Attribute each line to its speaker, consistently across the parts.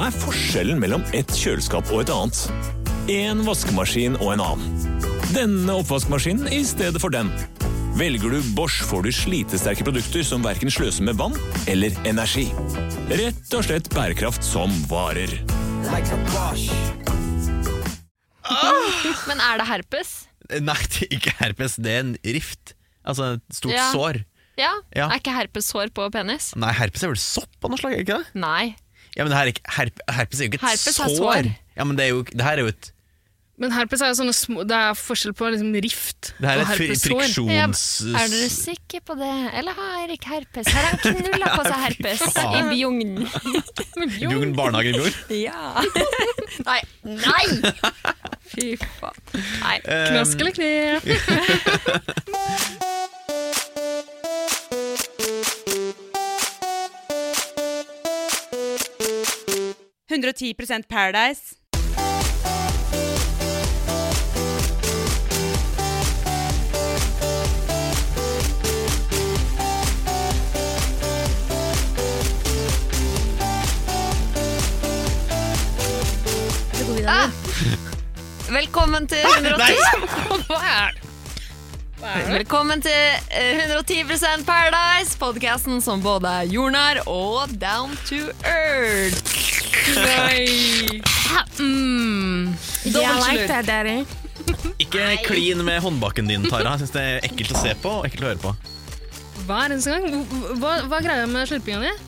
Speaker 1: er forskjellen mellom et kjøleskap og et annet? En vaskemaskin og en annen. Denne oppvaskmaskinen i stedet for den. Velger du Bosch, får du slitesterke produkter som verken sløser med vann eller energi. Rett og slett bærekraft som varer.
Speaker 2: Men er det herpes?
Speaker 3: Eh, Nei, det er ikke herpes, det er en rift. Altså et stort
Speaker 2: Ja.
Speaker 3: sår.
Speaker 2: Ja.
Speaker 3: Ja.
Speaker 2: Er ikke herpes hår på penis?
Speaker 3: Nei, herpes er vel sopp av noe slag, er det ikke det?
Speaker 2: Nei.
Speaker 3: Ja, men det her er ikke, herp, herpes er jo ikke et
Speaker 2: Herpes er
Speaker 3: sår.
Speaker 2: sår.
Speaker 3: Ja, men det, er jo, det her er jo et,
Speaker 4: Men herpes er jo sånne små Det er forskjell på liksom rift
Speaker 3: det her
Speaker 4: og
Speaker 3: er et fri-
Speaker 4: herpessår.
Speaker 2: Ja,
Speaker 3: friksjons...
Speaker 2: er dere sikre på det? Eller har Erik herpes? Her har han knulla på seg herpes i
Speaker 3: faen.
Speaker 2: bjugnen.
Speaker 3: Jugend barnehage i går.
Speaker 2: Ja. Nei! Nei! Fy faen. Nei.
Speaker 4: Knask eller knep?
Speaker 5: Paradise.
Speaker 2: Velkommen til 110
Speaker 4: Hva er det?
Speaker 2: Velkommen til eh, 110 Paradise, podkasten som både er jordnær og down to earth.
Speaker 4: Nei.
Speaker 2: Mm.
Speaker 4: Dobbeltslurk.
Speaker 3: Ikke klin med håndbaken din, Tara. Jeg synes det er ekkelt å se på og ekkelt å høre på.
Speaker 4: Hver eneste gang. Hva- Hva, hva er greia med slurpinga di?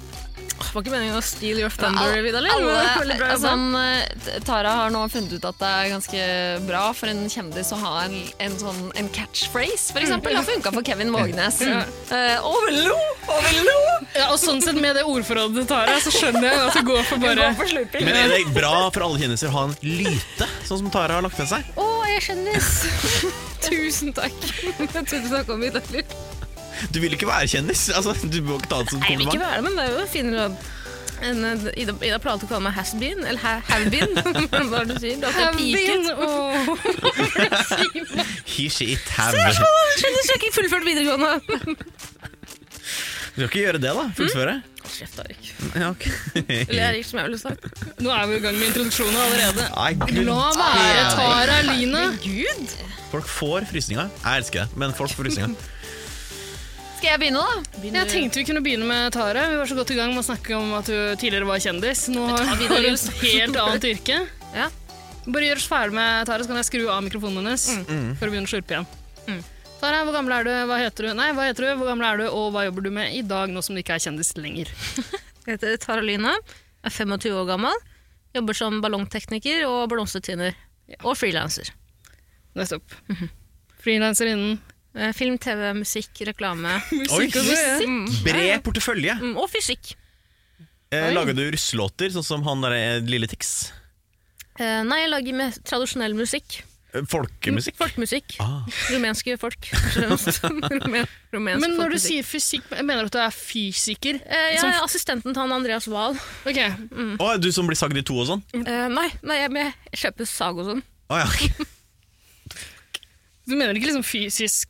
Speaker 4: Var ikke meningen å steal your thunder,
Speaker 2: Al-
Speaker 4: Vidar?
Speaker 2: alle-
Speaker 4: Alle,
Speaker 2: sånn, eh, Tara har nå funnet ut at det er ganske bra for en kjendis å ha en, en, sånn, en catchphrase, for
Speaker 4: Mm.
Speaker 2: eksempel. Det har funka for Kevin Vågenes. Eh, Overlo! Overlo!
Speaker 4: ja, og sånn sett, med det ordforrådet du tar her, så skjønner jeg at du går for bare
Speaker 2: Gå for slurping.
Speaker 3: Men er det bra for alle kjendiser å ha en lyte, sånn som Tara har lagt med seg?
Speaker 4: Å, jeg er kjendis! Tusen takk. Jeg trodde du snakka om Vidar Lill.
Speaker 3: Du vil ikke være kjendis. Altså, du må ikke ta det som et
Speaker 4: Nei, jeg vil ikke
Speaker 3: kompliment.
Speaker 4: være det, men det er jo fine råd. En, eh, Ida, Ida planla å kalle meg has-been, eller ha- have-been. Hva er det du sier? Du har piken.
Speaker 3: He, she, it, have.
Speaker 2: sånn.
Speaker 3: Du
Speaker 4: Skjønner, skal ikke fullført videregående.
Speaker 3: skal ikke gjøre det, da. Fullføre.
Speaker 4: Kjeft, Arik.
Speaker 3: Ja, ok.
Speaker 4: Eller Erik, som jeg ville sagt. Nå er vi i gang med introduksjonen allerede.
Speaker 3: Nei, gud.
Speaker 4: La være,
Speaker 3: Nei.
Speaker 4: Tara Line.
Speaker 3: Folk får frysninger. Jeg elsker det, men folk får frysninger.
Speaker 2: Skal jeg begynne, da?
Speaker 4: Jeg tenkte vi kunne begynne med Tara. Vi var så godt i gang med å snakke om at du tidligere var kjendis. Nå har
Speaker 2: tar
Speaker 4: du
Speaker 2: Vidar Lill.
Speaker 4: et helt annet yrke.
Speaker 2: Ja.
Speaker 4: Bare gjør oss ferdig med Tara, så kan jeg skru av mikrofonen hennes
Speaker 2: Mm.
Speaker 4: for å begynne å slurpe igjen. Tara, hvor gammel er du? Hva heter du? Nei, hva heter du? Hvor gammel er du, og hva jobber du med i dag, nå som du ikke er kjendis lenger?
Speaker 6: Jeg heter Tara Lyna, er 25 år gammel, jobber som ballongtekniker og blomstertvinner. Og frilanser.
Speaker 4: Nettopp.
Speaker 2: Mhm.
Speaker 4: Frilanser innen
Speaker 6: Eh, Film, TV, musikk, reklame
Speaker 3: Oi,
Speaker 4: musikk og så,
Speaker 2: sånn.
Speaker 4: ja.
Speaker 3: Bred portefølje.
Speaker 6: mm, og fysikk.
Speaker 3: Eh, lager du russelåter, sånn som han der eh, Lille Tix?
Speaker 6: Eh, nei, jeg lager med tradisjonell musikk.
Speaker 3: Eh, Folkemusikk?
Speaker 6: Folkemusikk.
Speaker 3: Ah.
Speaker 6: Rumenske folk. Rumen, rumensk
Speaker 4: Men når du sier
Speaker 6: folkemusikk.
Speaker 4: fysikk, mener du at du er fysiker?
Speaker 6: Eh, Jeg
Speaker 4: Som-
Speaker 6: er assistenten til han Andreas Wahl.
Speaker 4: Ok,
Speaker 3: Å, er du som blir sagd i to og sånn?
Speaker 6: Eh, nei, nei, jeg, men jeg kjøper sag og sånn.
Speaker 3: Å ja. ok.
Speaker 4: Du mener ikke liksom fysisk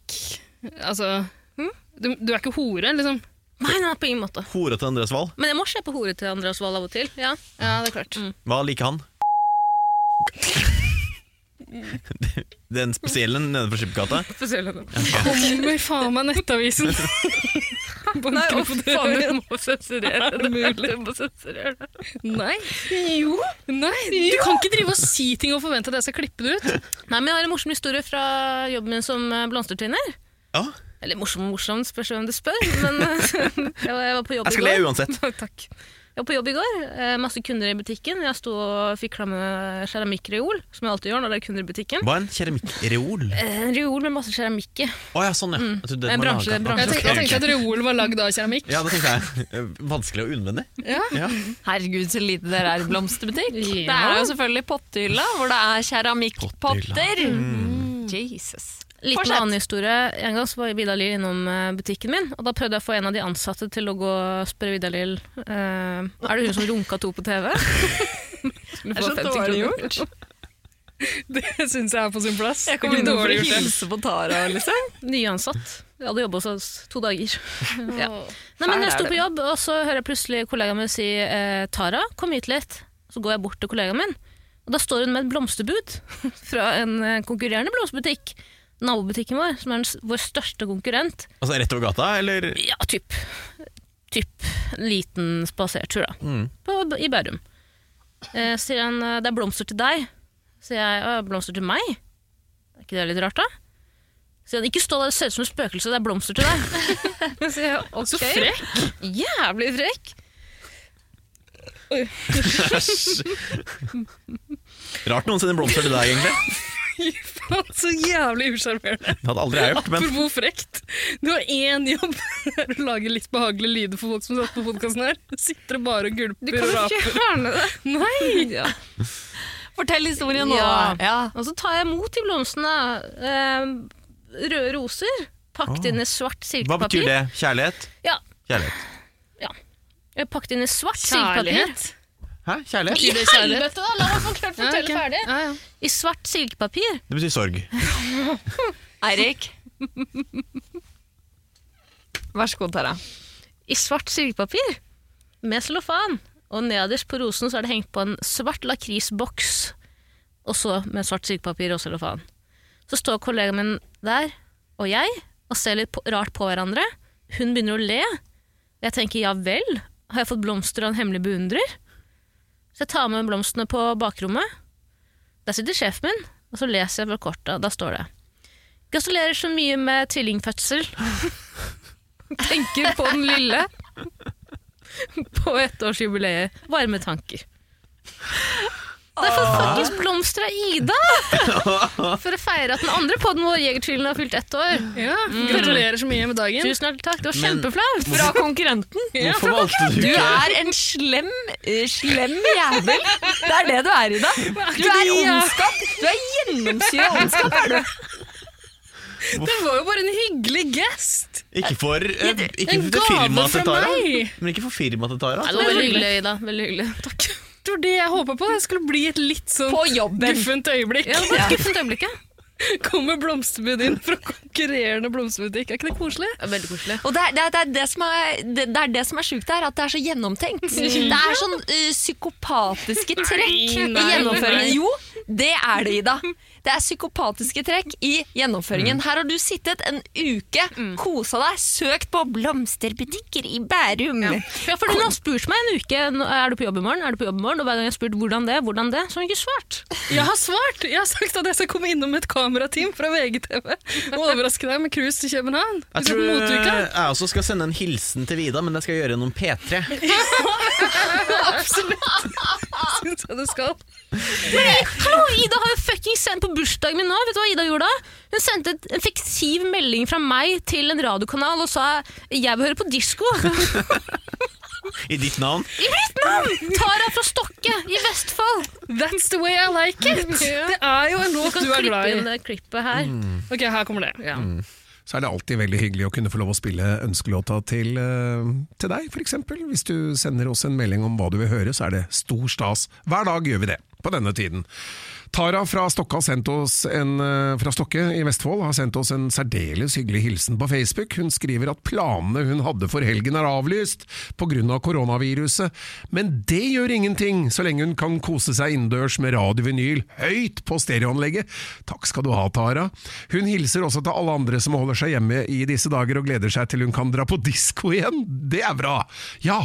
Speaker 4: Altså
Speaker 2: Hm?
Speaker 4: du, du er ikke hore, liksom?
Speaker 6: Nei, nei, på ingen måte.
Speaker 3: Hora til Andreas Wahl.
Speaker 6: Men jeg må kjøpe hore til Andreas Wahl av og til. Ja.
Speaker 4: Ja, det er klart.
Speaker 3: Hva liker han? Den spesielle nede på Skippergata?
Speaker 4: Kommer faen meg Nettavisen!
Speaker 6: Nei,
Speaker 4: Banker
Speaker 6: å,
Speaker 4: på
Speaker 6: faen,
Speaker 4: døra.
Speaker 6: jeg må sensurere det. Jeg må sensurere det.
Speaker 4: Nei. Jo. Nei. Du kan ikke drive og si ting og forvente at jeg skal klippe det ut.
Speaker 6: Nei, men Jeg har en morsom historie fra jobben min som eh, blomstertvinner.
Speaker 3: Ja,
Speaker 6: Eller morsom og morsom, spørs hvem du spør. Men eh, jeg var jeg var på jobb
Speaker 3: jeg
Speaker 6: i
Speaker 3: skal le
Speaker 6: går.
Speaker 3: uansett.
Speaker 6: Takk. Jeg var på jobb i går. eh, Masse kunder i butikken. Jeg sto og fikla med keramikkreol, som jeg alltid gjør når det er kunder i butikken.
Speaker 3: Hva er en keramikkreol?
Speaker 6: Eh, En reol med masse keramikk i.
Speaker 3: Å ja, sånn ja. Jeg trodde det
Speaker 6: En
Speaker 3: var
Speaker 6: bransje-
Speaker 3: laget.
Speaker 6: bransje-
Speaker 4: Jeg tenkte, jeg tenkte at reol var lagd av keramikk.
Speaker 3: Ja, det tenkte jeg. Vanskelig og unnvendig.
Speaker 2: Herregud, så lite dere er i blomsterbutikk.
Speaker 4: Ja.
Speaker 2: Det er jo selvfølgelig pottehylla, hvor det er keramikkpotter. Mm.
Speaker 6: Mm.
Speaker 2: Jesus.
Speaker 6: Liten
Speaker 2: Fortsett.
Speaker 6: annen historie. En gang så var Vidalil innom eh, butikken min, og da prøvde jeg å få en av de ansatte til å gå og spørre Vidalil eh, Er det hun som runka to på TV?
Speaker 2: Det
Speaker 6: Skulle
Speaker 2: er
Speaker 6: få
Speaker 2: så
Speaker 6: 50
Speaker 2: dårlig
Speaker 6: kroner.
Speaker 4: Det syns jeg er på sin plass.
Speaker 2: Jeg kom
Speaker 4: Ikke
Speaker 2: innom for
Speaker 4: dårlig
Speaker 2: å
Speaker 4: gjort, det.
Speaker 2: hilse på Tara, liksom.
Speaker 6: Nyansatt. Jeg hadde jobba hos oss to dager. Ja. Nei,
Speaker 2: Fæl
Speaker 6: men Jeg
Speaker 2: er
Speaker 6: sto
Speaker 2: det.
Speaker 6: på jobb, og så hører jeg plutselig kollegaen min si eh, Tara, kom hit litt. Så går jeg bort til kollegaen min, og da står hun med et blomsterbud fra en eh, konkurrerende blomsterbutikk. Nabobutikken vår, som er den, s- vår største konkurrent.
Speaker 3: Altså rett over gata, eller?
Speaker 6: Ja, typ. Typ. En liten spasertur, da.
Speaker 3: Mm.
Speaker 6: På, I Bærum. Eh, sier han eh, 'det er blomster til deg'. Sier jeg «Å, 'blomster til meg'? Er ikke det litt rart, da? Sier han 'ikke stå der, det ser ut som et spøkelse, det er blomster til deg'. sier jeg, ok.
Speaker 4: Så frekk!
Speaker 6: Jævlig frekk.
Speaker 3: Æsj. Rart noen sender blomster til deg, egentlig.
Speaker 4: Så jævlig usjarmerende.
Speaker 3: Det hadde aldri jeg gjort, men
Speaker 4: Apropos frekt. Du har én jobb. Det er Å lage litt behagelige lyder for folk som satt på podkasten her. Sitter og bare og
Speaker 6: Du
Speaker 4: gulper
Speaker 6: kan
Speaker 4: og
Speaker 6: jo
Speaker 4: raper.
Speaker 6: fjerne det.
Speaker 4: Nei!
Speaker 6: Ja.
Speaker 2: Fortell historien nå.
Speaker 6: Ja.
Speaker 2: Ja.
Speaker 6: Og så tar jeg imot de blomstene. Eh, røde roser pakket inn i svart
Speaker 3: Ah. hva betyr
Speaker 6: silkepapir.
Speaker 3: det? Kjærlighet?
Speaker 6: Ja,
Speaker 3: Kjærlighet.
Speaker 6: eh, pakket inn i svart silkepapir.
Speaker 4: Kjærlighet.
Speaker 3: Hæ? Kjærlighet?
Speaker 6: I
Speaker 4: Betyr det kjærlighet?
Speaker 6: helvete, da! La meg få klart fortelle
Speaker 4: ok.
Speaker 6: ferdig.
Speaker 4: Ja, ja.
Speaker 6: I svart silkepapir.
Speaker 3: Det betyr sorg.
Speaker 2: Eirik. Vær så god, Tara.
Speaker 6: I svart silkepapir med cellofan. Og nederst på rosen så er det hengt på en svart lakrisboks, og så med svart silkepapir og cellofan. Så står kollegaen min der, og jeg, og ser litt på, rart på hverandre. Hun begynner å le. Og jeg tenker ja vel, har jeg fått blomster av en hemmelig beundrer? Så jeg tar med blomstene på bakrommet. Der sitter sjefen min, og så leser jeg fra kortet. Da står det Gratulerer så mye med tvillingfødsel. Tenker på den lille. På ettårsjubileet. Varme tanker. Det er fått faktisk blomster av Ida! For å feire at den andre podden vår, Jegertvillen, har fylt ett år.
Speaker 4: Ja, gratulerer så mye med dagen.
Speaker 6: Tusen hjertelig takk, det var
Speaker 3: Men-
Speaker 6: kjempeflaut!
Speaker 2: Fra konkurrenten.
Speaker 3: Hvorfor valgte du
Speaker 2: Du
Speaker 3: ikke
Speaker 2: er en slem, eh, slem jævel. Det er det du er, Ida. Du er ondskap. Du er gjennomsyra ondskap. Er du.
Speaker 4: Det var jo bare en hyggelig gest.
Speaker 3: Ikke for, eh, ikke
Speaker 4: En
Speaker 3: for det
Speaker 4: gave
Speaker 3: firmaet til
Speaker 4: fra
Speaker 3: Tara.
Speaker 4: meg.
Speaker 3: Men ikke for firmaet til Tara. altså.
Speaker 6: Nei, det var veldig hyggelig, Ida. Veldig hyggelig. Takk.
Speaker 4: Det var det jeg håpa på. Det skulle bli et litt sånn
Speaker 2: På jobben.
Speaker 4: guffent øyeblikk.
Speaker 6: Ja, det var et guffent øyeblikk. ja.
Speaker 4: Kommer blomsterbud inn fra konkurrerende blomsterbutikk. Er ikke det koselig?
Speaker 6: Ja, Veldig koselig.
Speaker 2: Og det er det, er- det, er det som er, det, det er det som er sjukt her, at det er så gjennomtenkt. Det er sånn eh, psykopatiske trekk
Speaker 4: Nei, nei,
Speaker 2: i gjennomføringen.
Speaker 4: nei.
Speaker 2: Jo, det er det, Ida. Det er psykopatiske trekk i gjennomføringen. Her har du sittet en uke, kosa deg, søkt på blomsterbutikker i Bærum.
Speaker 6: Ja, fordi Hun har spurt meg en uke nå- er du på jobb i morgen, er du på jobb i morgen? og hver gang jeg har spurt hvordan det, hvordan det, så har hun ikke svart.
Speaker 4: Jeg har svart! Jeg har sagt at jeg skal komme innom et kamerateam fra VGTV og overraske deg med cruise til København.
Speaker 3: Jeg
Speaker 4: Vi skal
Speaker 3: tror eh,
Speaker 4: på motuka.
Speaker 3: jeg også skal sende en hilsen til Vida, men det skal jeg gjøre gjennom P3.
Speaker 4: Absolutt. Syns jeg du skal.
Speaker 6: Hallo, Ida har jo fucking sendt på bursdagen min nå. Vet du hva Ida gjorde da? Hun sendte et- en fiktiv melding fra meg til en radiokanal og sa 'jeg vil høre på disko'.
Speaker 3: I ditt navn.
Speaker 6: I mitt navn! Tara fra Stokke i Vestfold.
Speaker 4: That's the way I like it! Det er jo en låt
Speaker 6: Kan
Speaker 4: du er
Speaker 6: klippe
Speaker 4: glad
Speaker 6: inn
Speaker 4: i.
Speaker 6: det klippet her.
Speaker 4: Ok, her kommer det.
Speaker 6: Ja.
Speaker 3: Mm.
Speaker 5: så er det alltid veldig hyggelig å kunne få lov å spille ønskelåta til, eh, til deg, f.eks. Hvis du sender oss en melding om hva du vil høre, så er det stor stas. Hver dag gjør vi det, på denne tiden. Tara fra Stokke, har sendt oss en, eh, fra Stokke i Vestfold har sendt oss en særdeles hyggelig hilsen på Facebook. Hun skriver at planene hun hadde for helgen er avlyst pga. Av koronaviruset, men det gjør ingenting så lenge hun kan kose seg innendørs med radiovinyl høyt på stereoanlegget. Takk skal du ha, Tara. Hun hilser også til alle andre som holder seg hjemme i disse dager og gleder seg til hun kan dra på disko igjen. Det er bra! Ja,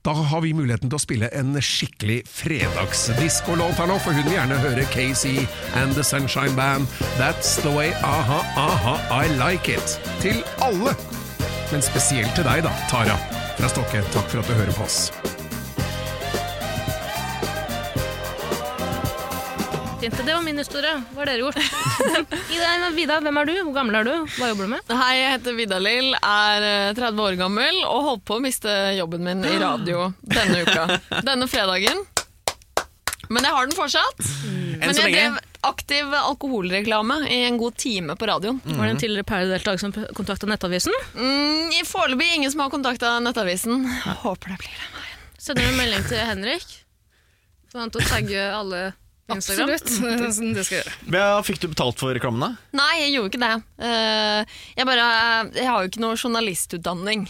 Speaker 5: da har vi muligheten til å spille en skikkelig fredagsdiskolåt her nå, for hun vil gjerne høre KC and The Sunshine Band. That's the way, aha, aha, I like it. Til alle! Men spesielt til deg da, Tara fra Stokke. Takk for at du hører på oss.
Speaker 6: Jente, det var min historie. Hva har dere gjort? Ida, Vida, hvem er du? Hvor gammel er du? Hva jobber du med?
Speaker 2: Hei, jeg heter Vidalil, er eh, 30 år gammel og holdt på å miste jobben min i radio denne uka. Denne fredagen. Men jeg har den fortsatt.
Speaker 3: Enn
Speaker 2: Men
Speaker 3: så
Speaker 2: jeg
Speaker 3: lenge.
Speaker 2: drev aktiv alkoholreklame i en god time på radioen.
Speaker 6: Var det en tidligere Paradise-deltaker som kontakta Nettavisen?
Speaker 2: Mm, i Foreløpig ingen som har kontakta Nettavisen. Jeg håper det blir det.
Speaker 6: Sender en melding til Henrik. For han til å tagge alle på Instagram. Mm,
Speaker 4: Absolutt. Det er sånn det skal jeg gjøre.
Speaker 3: Bea, fikk du betalt for reklamen, da?
Speaker 2: eh, Nei, jeg gjorde ikke det. Eh, jeg, bare, jeg har jo ikke noe journalistutdanning.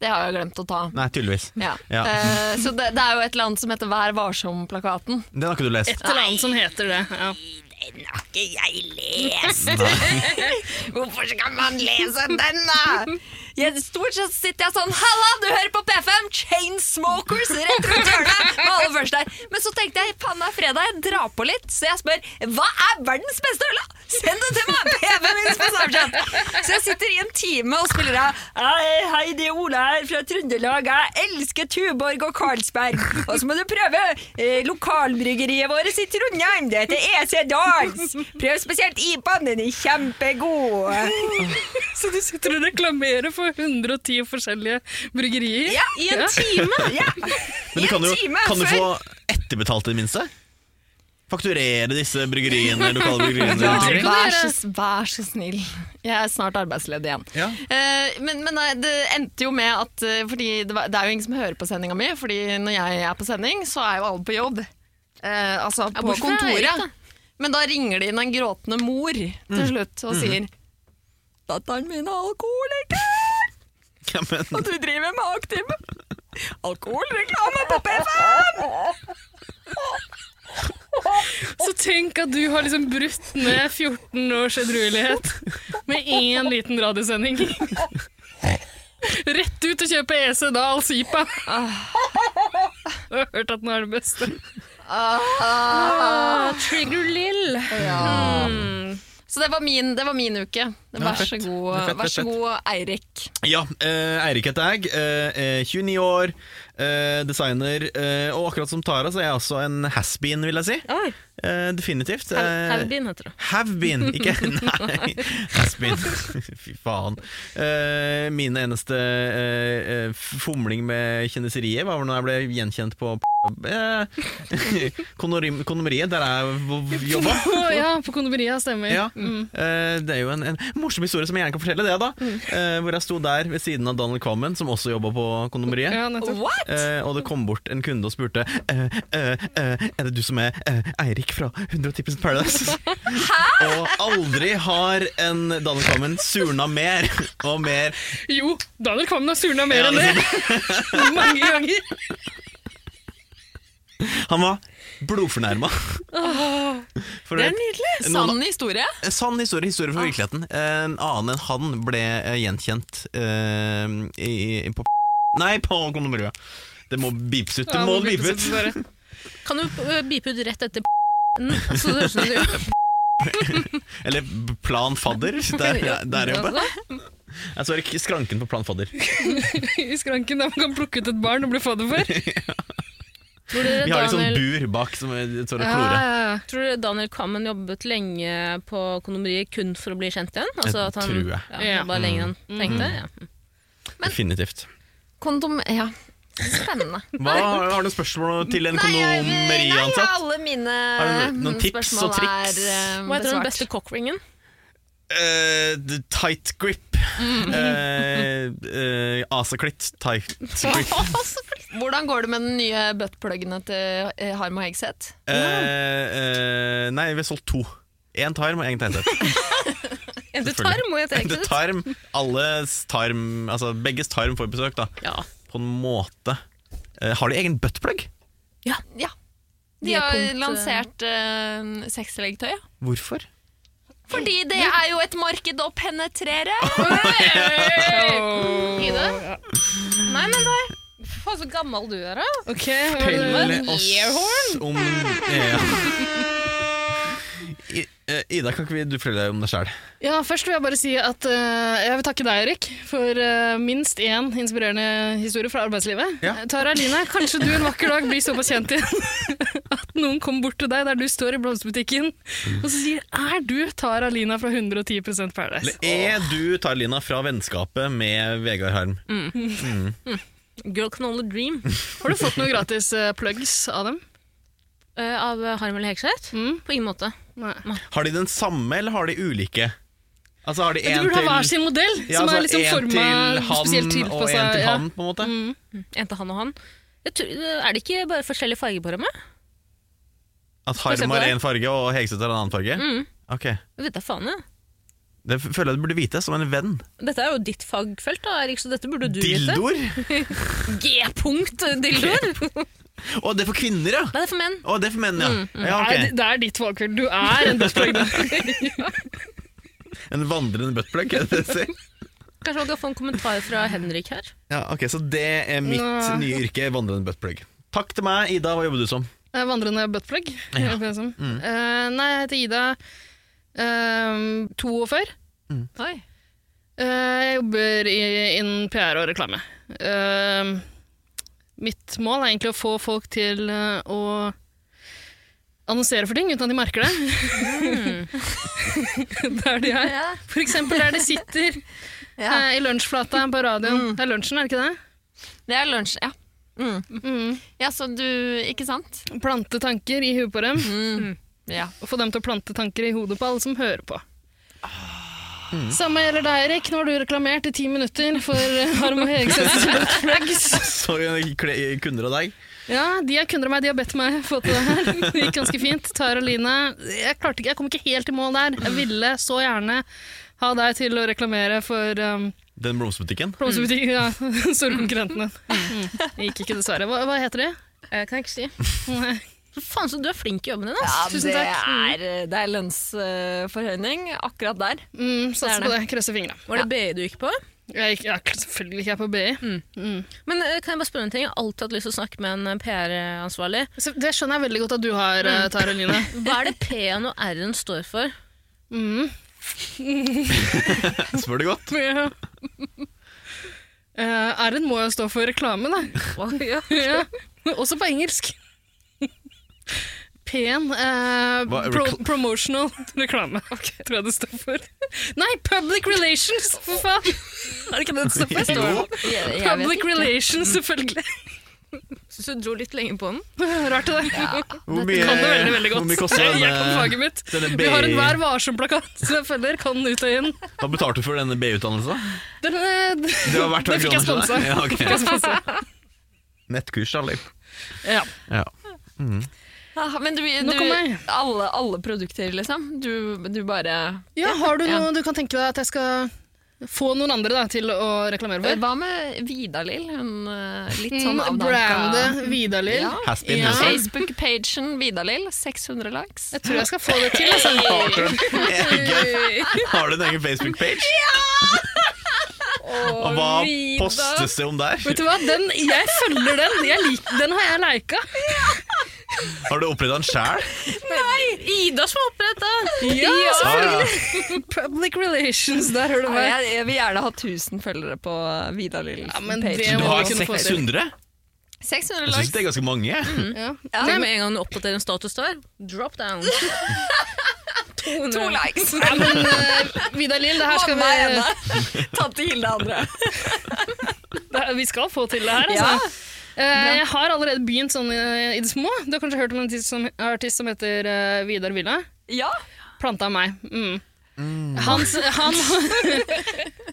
Speaker 2: Det har jeg glemt å ta.
Speaker 3: Nei, tydeligvis.
Speaker 2: Ja.
Speaker 3: Ja.
Speaker 2: Eh, så det, det er jo et eller annet som heter Vær varsom-plakaten.
Speaker 3: Den har ikke du lest.
Speaker 4: Et eller annet som heter det. Ja.
Speaker 2: Den har ikke jeg lest! Hvorfor skal man lese den, da? Jeg, stort sett sitter jeg sånn Halla, du hører på P5! Chainsmokers rett rundt hjørnet! Med alle først der. Men så tenkte jeg faen, det er fredag, jeg drar på litt. Så jeg spør hva er verdens beste øl? da? Send det til meg! P5 min på Snapchat! Så jeg sitter i en time og spiller av Hei, hei, det er Ola her fra Trøndelag. Jeg elsker Tuborg og Carlsberg. Og så må du prøve eh, lokalbryggeriet vårt i Trondheim. Det heter EC Dals. Prøv spesielt IPA-en, den er kjempegod.
Speaker 4: Så du sitter og reklamerer for 110 forskjellige bryggerier?
Speaker 2: Ja,
Speaker 6: I en time!
Speaker 2: Ja.
Speaker 3: Men du kan jo
Speaker 2: time
Speaker 3: kan du
Speaker 2: før.
Speaker 3: få etterbetalt i det minste? Fakturere disse bryggeriene, lokale bryggeriene?
Speaker 2: Ja,
Speaker 3: rundt omkring?
Speaker 2: vær, så, vær så snill. Jeg er snart arbeidsledig igjen.
Speaker 3: Ja.
Speaker 2: Eh, men men nei, det endte jo med at eh, Fordi det, var, det er jo ingen som hører på sendinga mi, Fordi når jeg er på sending, så er jo alle på jobb. Eh, altså på
Speaker 6: bortsett fra
Speaker 2: kontoret.
Speaker 6: Erik, da.
Speaker 2: men da ringer det inn en gråtende mor til
Speaker 3: Mm.
Speaker 2: slutt og sier Datteren min er alkoholiker,
Speaker 3: Ja, men,
Speaker 2: og du driver med aktiv alkoholreklame på P5!
Speaker 4: Så tenk at du har liksom brutt ned 14 års edruelighet med én liten radiosending. Rett ut og E kjøpe EC Dahl Sipa. Du har hørt at den er det beste.
Speaker 6: Ah.
Speaker 4: Trigger Lill.
Speaker 2: Så det var min, det var min uke. Vær så
Speaker 3: fett.
Speaker 2: god,
Speaker 3: Det er fett,
Speaker 2: vær
Speaker 3: det er
Speaker 2: så god Eirik.
Speaker 3: ja, eh, Eirik heter jeg. eh, eh, 29 år, eh, designer. eh, og akkurat som Tara, så er jeg også en has-been, vil jeg si.
Speaker 6: Oi.
Speaker 3: Eh, definitivt. eh,
Speaker 6: Haubin heter det.
Speaker 3: Have been, ikke Nei, has been. Fy faen. Eh, min eneste eh, eh, fomling med kjendiseriet var vel når jeg ble gjenkjent på eh, konorim- Kondomeriet, der jeg jobba.
Speaker 4: Å, ja, på kondomeriet stemmer.
Speaker 3: Ja. Eh, det er jo en, en morsom historie som jeg gjerne kan fortelle, det, da. Eh, hvor jeg sto der ved siden av Donald Quammen, som også jobba på Kondomeriet.
Speaker 4: Ja, nettopp.
Speaker 2: What?!
Speaker 3: Eh, og det kom bort en kunde og spurte eh, eh, eh, Er det du som er eh, Eirik fra 110 Paradise? og aldri har en Daniel Kvammen surna mer og mer.
Speaker 4: Jo, Daniel Kvammen har surna mer
Speaker 3: Ja,
Speaker 4: enn det mange ganger.
Speaker 3: Han var blodfornærma. For
Speaker 6: Det er
Speaker 3: et-
Speaker 6: nydelig!
Speaker 3: noen-
Speaker 2: Sann historie.
Speaker 3: en Eh, sann historie, historie fra virkeligheten. Eh, En annen enn han ble eh, gjenkjent eh, i, i, på Nei, på kondomeriet. Det må beepes ut! Det
Speaker 4: Ja,
Speaker 3: må
Speaker 4: må
Speaker 3: beepes
Speaker 4: bipes
Speaker 3: ut!
Speaker 4: ut, bare.
Speaker 6: Kan du ø, bipe ut rett etter så det høres ut som du gjør
Speaker 3: Eller Plan Fadder. Der, der jobber
Speaker 6: det.
Speaker 3: Jeg så ikke skranken på Plan Fadder.
Speaker 4: I skranken der man kan plukke ut et barn og bli fadder for.
Speaker 6: Tror dere
Speaker 3: Vi har litt sånn
Speaker 6: Daniel,
Speaker 3: bur bak som er- står og klorer.
Speaker 4: Ja,
Speaker 6: tror dere Daniel Kvammen jobbet lenge på kondomeriet kun for å bli kjent igjen? Altså at han
Speaker 3: tror jeg.
Speaker 6: ja, han
Speaker 4: Ja.
Speaker 6: jobba lenger enn han tenkte? Ja.
Speaker 3: Definitivt.
Speaker 2: Kondom Ja, spennende.
Speaker 3: Hva, har du spørsmål til en
Speaker 2: nei, ja,
Speaker 3: kondomeriansatt?
Speaker 2: alle mine mm,
Speaker 3: Har du noen tips og
Speaker 2: spørsmål
Speaker 3: triks?
Speaker 2: er eh,
Speaker 6: Hva heter den
Speaker 2: besvart.
Speaker 6: beste cockringen?
Speaker 3: Eh, the tight grip. Uh, Asaklitt tight grip.
Speaker 2: Hvordan går det med den nye buttpluggene til eh, Harm og Hegseth?
Speaker 3: Eh, eh, nei, vi har solgt to. Én tarm og én tegntet.
Speaker 6: En til
Speaker 3: Selvfølgelig.
Speaker 6: tarm og et
Speaker 3: Det er
Speaker 6: eget.
Speaker 3: tarm, alles tarm Altså begges tarm får besøk, da.
Speaker 6: Ja.
Speaker 3: På en måte. Eh, har de egen buttplug?
Speaker 2: Ja.
Speaker 6: Det
Speaker 2: De har
Speaker 6: punkt, eh,
Speaker 2: lansert uh, sexlegetøy. ja.
Speaker 3: Hvorfor?
Speaker 2: Fordi det er jo et marked å penetrere!
Speaker 6: Ida? Nei, men nei. Faen, så gammel du er, da.
Speaker 4: Ok, hva var det?
Speaker 6: det? Earhorn?
Speaker 3: om ja. I, eh, Ida, kan ikke vi, du fortelle deg om deg sjæl?
Speaker 4: Ja, først vil jeg bare si at eh, jeg vil takke deg, Erik, for eh, minst én inspirerende historie fra arbeidslivet.
Speaker 3: Ja.
Speaker 4: Eh, Tara Line, kanskje du en vakker dag blir såpass kjent igjen at noen kommer bort til deg der du står i blomsterbutikken og så sier 'Er du Tara Lina fra 110 Paradise?'
Speaker 3: Er du Tarlina fra vennskapet med Vegard Harm?
Speaker 6: Girl can only dream.
Speaker 4: Har du fått noen gratis eh, plugs av dem?
Speaker 6: Eh, av Harmel Hegseth?
Speaker 4: Mm.
Speaker 6: På ingen måte.
Speaker 4: Nei.
Speaker 3: Har de den samme, eller har de ulike? Altså har de
Speaker 4: Du
Speaker 3: en
Speaker 4: burde ha
Speaker 3: til
Speaker 4: hver sin modell,
Speaker 3: Ja,
Speaker 4: som
Speaker 3: altså,
Speaker 4: er liksom
Speaker 3: en
Speaker 4: forma
Speaker 3: til han,
Speaker 4: spesielt
Speaker 3: og
Speaker 4: tilpassa.
Speaker 3: en til
Speaker 4: ja.
Speaker 3: han, på en måte.
Speaker 6: En til han og han. Jeg tror, er det ikke bare forskjellige farger på dem? jeg?
Speaker 3: At
Speaker 6: se
Speaker 3: Harm
Speaker 6: på
Speaker 3: har
Speaker 6: det.
Speaker 3: én farge, og Hegseth har en annen farge?
Speaker 6: Mm.
Speaker 3: Ok.
Speaker 6: Jeg vet da faen, jeg.
Speaker 3: Det f- føler jeg du burde vite, som en venn.
Speaker 6: Dette er jo ditt fagfelt, da, Erik, så dette burde du vite.
Speaker 3: Dildoer!
Speaker 6: G-punkt dildoer!
Speaker 3: Å, det er for kvinner, ja!
Speaker 6: Nei, det er for menn.
Speaker 3: Å, det er for menn, ja. ja
Speaker 4: Mm, Nei,
Speaker 3: ok.
Speaker 4: det- det er ditt valgfelt. Du er en dødsplagg.
Speaker 3: En vandrende buttplug, er det det du sier?
Speaker 6: Kanskje man kan få en kommentar fra Henrik her.
Speaker 3: Ja, ok, Så det er mitt
Speaker 4: Nå.
Speaker 3: nye yrke, vandrende buttplug. Takk til meg. Ida, hva jobber du som?
Speaker 4: Eh, Vandrende buttplug.
Speaker 3: Ja.
Speaker 4: Ja. nei, jeg heter Ida. eh, 42.
Speaker 6: Oi.
Speaker 4: Eh, jeg jobber i- innen PR og reklame. Eh, mitt mål er egentlig å få folk til eh, å annonsere for ting uten at de merker det. Der de er.
Speaker 2: Ja.
Speaker 4: For eksempel der de sitter
Speaker 2: Ja. Mm.
Speaker 4: eh, i lunsjflata på radioen. Det er lunsjen, er det ikke det?
Speaker 2: Det er lunsj, ja. Mm. Ja, så du Ikke sant?
Speaker 4: Plante tanker i huet på dem,
Speaker 2: Mm. Ja.
Speaker 4: og få dem til å plante tanker i hodet på alle som hører på.
Speaker 6: Ah.
Speaker 4: Samme gjelder deg, Erik. Nå har du reklamert i ti minutter for eh, Harm og Hegsets Buttplugs.
Speaker 3: Sorry, jeg kle- kunder av deg.
Speaker 4: Ja, de er kunder av meg, de har bedt meg få til det her. Det gikk ganske fint. Tara Line, jeg klarte ikke, jeg kom ikke helt i mål der. Jeg ville så gjerne ha deg til å reklamere for um,
Speaker 3: Den blomsterbutikken.
Speaker 4: blomsterbutikken, ja, store konkurrentene. Mm. Det gikk ikke, dessverre. Hva, hva heter de?
Speaker 6: Jeg Eh, kan ikke si.
Speaker 4: Nei.
Speaker 6: Faen, så du er flink i jobben din, ass.
Speaker 2: Ja,
Speaker 4: Tusen
Speaker 2: det
Speaker 4: takk.
Speaker 2: er, eh, det er lønnsforhøyning eh, akkurat der.
Speaker 4: Mm, Satser
Speaker 2: Det er
Speaker 4: på det, krøsser fingra.
Speaker 6: Var det BI du gikk på?
Speaker 4: Jeg gikk ja, selvfølgelig ikke jeg på BI.
Speaker 6: Men eh, kan jeg bare spørre en ting? Jeg har alltid hatt lyst til å snakke med en eh, PR-ansvarlig.
Speaker 4: Så det skjønner jeg veldig godt at du har, eh,
Speaker 2: Mm.
Speaker 4: Tara Line.
Speaker 6: Hva er det P-en og R-en står for?
Speaker 4: Mm.
Speaker 3: Spør du godt?
Speaker 4: Ja. Eh, R-en må jo stå for reklame, da.
Speaker 6: ja.
Speaker 4: Ja, også på engelsk. Pen eh,
Speaker 3: Hva er
Speaker 4: pro
Speaker 3: rekl-
Speaker 4: promotional reklame, tror jeg det står for. Nei, public relations, for faen! Er det ikke det det står for? Står det?
Speaker 2: Jeg, jeg vet
Speaker 4: Public
Speaker 2: ikke.
Speaker 4: relations, selvfølgelig.
Speaker 6: Syns du dro litt lenge på den?
Speaker 4: Rart det der.
Speaker 3: Hvor
Speaker 4: Jeg kan det veldig, veldig
Speaker 3: hvor mye
Speaker 4: godt.
Speaker 3: koster
Speaker 4: Jeg kan
Speaker 3: denne,
Speaker 4: faget mitt.
Speaker 3: denne
Speaker 4: Vi har en Vær
Speaker 3: BI?
Speaker 4: varsom-plakat som jeg følger, kan ut og inn.
Speaker 3: Hva betalte du for denne BI-utdannelsen?
Speaker 4: Den, eh, d-
Speaker 3: Det var verdt
Speaker 4: den fikk jeg sponsa.
Speaker 3: Ja, ok.
Speaker 4: Fikk jeg sponsa.
Speaker 3: Nettkurs, Alip.
Speaker 4: Ja.
Speaker 3: Ja.
Speaker 2: Ah, men du,
Speaker 4: Nå kommer
Speaker 2: du
Speaker 4: jeg.
Speaker 2: alle, alle produkter, liksom? Du, du bare
Speaker 4: ja, har du
Speaker 2: Ja.
Speaker 4: noe du kan tenke deg at jeg skal få noen andre da, til å reklamere for?
Speaker 2: Hva med Vidalil? Hun eh, litt sånn
Speaker 4: Mm,
Speaker 2: avdanka
Speaker 4: Brandet Vidalil.
Speaker 2: Ja.
Speaker 3: Has been,
Speaker 4: Ja.
Speaker 3: has been.
Speaker 2: Facebook-pagen Vidalil, 600 likes.
Speaker 4: Jeg tror jeg skal få det til. Altså.
Speaker 3: Har du en egen Facebook-page? Og hva postes det om der?
Speaker 4: Vet du hva, den, jeg følger den. Jeg lik, den har jeg lika.
Speaker 3: Har du oppretta en sjæl?
Speaker 6: Nei! Ida som har oppretta!
Speaker 4: Ja,
Speaker 3: Ja, ja.
Speaker 4: Public relations, der hører du
Speaker 2: Ja,
Speaker 4: meg.
Speaker 2: jeg, jeg vil gjerne ha 1000 følgere på Vidalil.
Speaker 4: Ja, men
Speaker 2: page.
Speaker 4: det
Speaker 3: Du
Speaker 4: må
Speaker 3: har
Speaker 4: vi kunne få til.
Speaker 3: 600?
Speaker 2: 600
Speaker 3: Jeg syns
Speaker 2: likes.
Speaker 3: det er ganske mange.
Speaker 4: Ja.
Speaker 2: Ja,
Speaker 6: Nei, med en gang du oppdaterer en status der, drop down.
Speaker 2: to
Speaker 6: 200.
Speaker 2: likes.
Speaker 4: Ja, men eh, Vidar Lill, det her skal
Speaker 2: Mamma
Speaker 4: vi,
Speaker 2: er ene. Tante Hilde andre.
Speaker 4: det, her- vi skal få til det her. Altså. Eh, jeg har allerede begynt sånn eh, i det små. Du har kanskje hørt om en artist som, artist som heter eh, Vidar Villa?
Speaker 2: Ja.
Speaker 4: Planta meg. Mm. Han, han,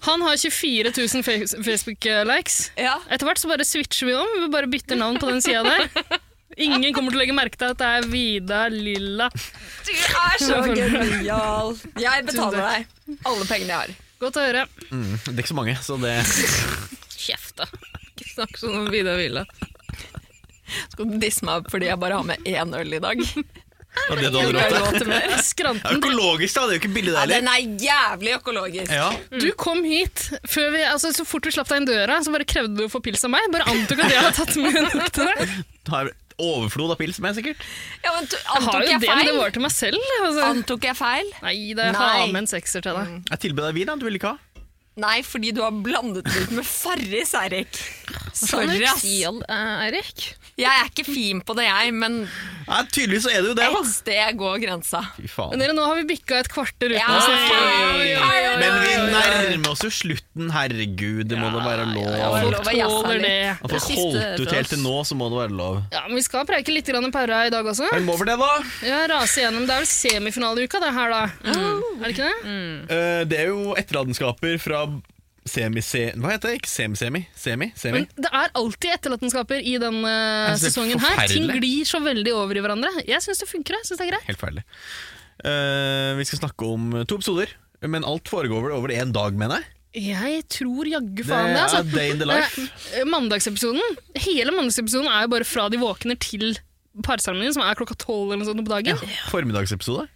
Speaker 4: han har 24 000 face- Facebook-likes.
Speaker 2: ja.
Speaker 4: Etter hvert så bare switcher vi om. Vi bare bytter navn på den sida der. Ingen kommer til å legge merke til at det er Vida Lilla.
Speaker 2: Du er så genial. Jeg betaler deg alle pengene jeg har.
Speaker 4: Godt å høre.
Speaker 3: Det er ikke så mange, så det
Speaker 6: Kjeft, da. Ikke snakk sånn om Vidar Villa.
Speaker 2: Skal du disse meg fordi jeg bare har med én øl i dag?
Speaker 3: det var det du
Speaker 2: Jeg har ikke
Speaker 3: hadde råd til.
Speaker 2: råd til mer.
Speaker 3: Det er
Speaker 4: Skranten.
Speaker 3: Økologisk, da. Det er jo ikke billig, det
Speaker 2: Ja,
Speaker 3: heller.
Speaker 2: den er jævlig økologisk.
Speaker 3: Ja.
Speaker 4: Du kom hit før vi, altså, så fort vi slapp deg inn døra, så bare krevde du å få pils av meg. Bare antok at jeg hadde tatt med nok til deg.
Speaker 3: Du har overflod av pils med, sikkert.
Speaker 2: Ja, men to-
Speaker 4: Jeg har
Speaker 2: antok
Speaker 4: jo
Speaker 2: jeg
Speaker 4: det, men det
Speaker 2: feil?
Speaker 4: var til meg selv. Altså.
Speaker 2: Antok jeg feil?
Speaker 4: Nei da, jeg har
Speaker 2: Nei.
Speaker 4: med en sekser til deg.
Speaker 3: Jeg tilbød deg vin, da. Du ville ikke ha.
Speaker 2: Nei, fordi du har blandet det ut med Farris, Eirik.
Speaker 4: Sånn
Speaker 6: Kan du
Speaker 2: Sorry,
Speaker 6: ikke
Speaker 2: ass.
Speaker 6: si all- eh, Eirik?
Speaker 2: Jeg er ikke fin på det, jeg, men
Speaker 3: Nei, tydeligvis så er det jo det, da.
Speaker 2: et sted går grensa.
Speaker 3: Fy
Speaker 4: Men
Speaker 3: faen.
Speaker 4: dere, nå har vi bikka et kvarter uten
Speaker 2: Ja,
Speaker 4: å
Speaker 2: oi, oi, oi, oi.
Speaker 4: snakke.
Speaker 3: Men vi nærmer oss jo slutten. Herregud, det må da være
Speaker 2: lov
Speaker 3: lov.
Speaker 2: å
Speaker 4: Folk
Speaker 2: jazze
Speaker 4: tåler
Speaker 2: litt.
Speaker 4: det.
Speaker 3: At folk
Speaker 6: Det siste
Speaker 3: holdt ut
Speaker 6: fra
Speaker 3: helt til
Speaker 6: oss.
Speaker 3: nå, så må det være lov.
Speaker 4: Ja, men vi skal preike litt grann para i dag også.
Speaker 3: Men må for det, da.
Speaker 4: Ja, rase gjennom. Det er vel semifinaleuka det her, da.
Speaker 3: Mm.
Speaker 4: Er det ikke det?
Speaker 3: Eh, Det er jo etterlatenskaper fra semi-se... Hva heter det? Ikke semi-semi? Semi? Semi?
Speaker 4: Men det er alltid etterlatenskaper i denne
Speaker 3: Jeg synes det er
Speaker 4: sesongen her. Ting
Speaker 3: forferdelig.
Speaker 4: glir så veldig over i hverandre. Jeg syns det funker. jeg synes det er greit.
Speaker 3: Helt ferdig. Eh, vi skal snakke om to episoder Men alt foregår vel over én dag, mener jeg?
Speaker 4: Jeg tror jaggu
Speaker 3: Det
Speaker 4: faen det, altså.
Speaker 3: er day in the life.
Speaker 4: Eh, Mandagsepisoden, hele mandagsepisoden er jo bare fra de våkner til parseremonien, som er klokka tolv eller noe sånt på dagen.
Speaker 3: Formiddagsepisode.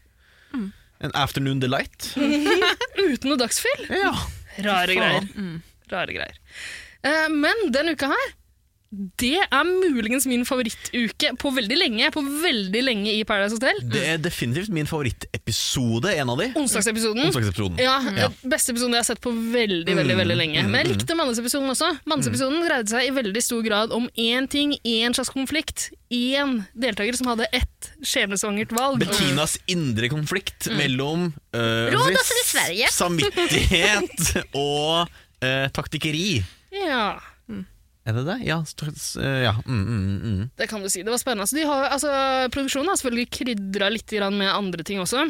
Speaker 6: Mm.
Speaker 3: En afternoon delight.
Speaker 4: Uten noe dagsfyll.
Speaker 3: Ja.
Speaker 4: Rare greier.
Speaker 3: Mm.
Speaker 4: Rare greier. Eh, men den uka her, det er muligens min favorittuke på veldig lenge. På veldig lenge i Paradise Hotel.
Speaker 3: Det er definitivt min favorittepisode, en av de.
Speaker 6: Mm.
Speaker 4: Onsdagsepisoden.
Speaker 3: Onsdagsepisoden.
Speaker 4: Ja, Beste episoden jeg har sett på veldig veldig, veldig lenge. Men jeg likte mannsepisoden også. Mannsepisoden dreide seg i veldig stor grad om én ting, én slags konflikt. Én deltaker som hadde ett skjebnesvangert valg.
Speaker 3: Bettinas indre konflikt mellom øh,
Speaker 6: Rådassen Mm. i
Speaker 3: s-
Speaker 6: Sverige.
Speaker 3: samvittighet og øh, taktikkeri.
Speaker 4: Ja,
Speaker 3: Er det det? Ja. st- s- øh, ja. Mm, mm, mm.
Speaker 4: det kan du si. Det var spennende. Så de har, altså, produksjonen har selvfølgelig krydra litt grann med andre ting også.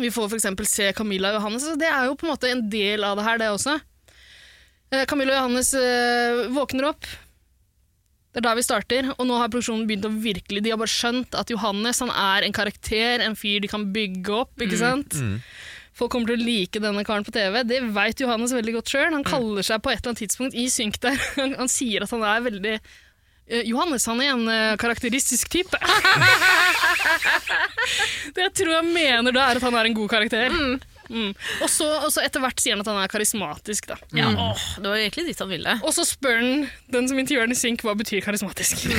Speaker 4: Vi får f.eks. se Camilla og Johannes. Så det er jo på en måte en del av det her, det også. Eh, Camilla og Johannes eh, våkner opp. Det er da vi starter, og nå har produksjonen begynt å virkelig De har bare skjønt at Johannes han er en karakter, en fyr de kan bygge opp. ikke sant? Folk kommer til å like denne karen på TV. Det veit Johannes veldig godt sjøl. Han kaller seg på et eller annet tidspunkt i synk der. Han, han sier at han er veldig eh, Johannes han er en eh, karakteristisk type. det jeg tror han mener da, er at han er en god karakter. Mm. Og, så, og så etter hvert sier han at han er karismatisk, da.
Speaker 6: Ja, åh, det var jo egentlig dit han ville.
Speaker 4: Og så spør han den som intervjuer den i synk hva betyr karismatisk.
Speaker 2: Mm.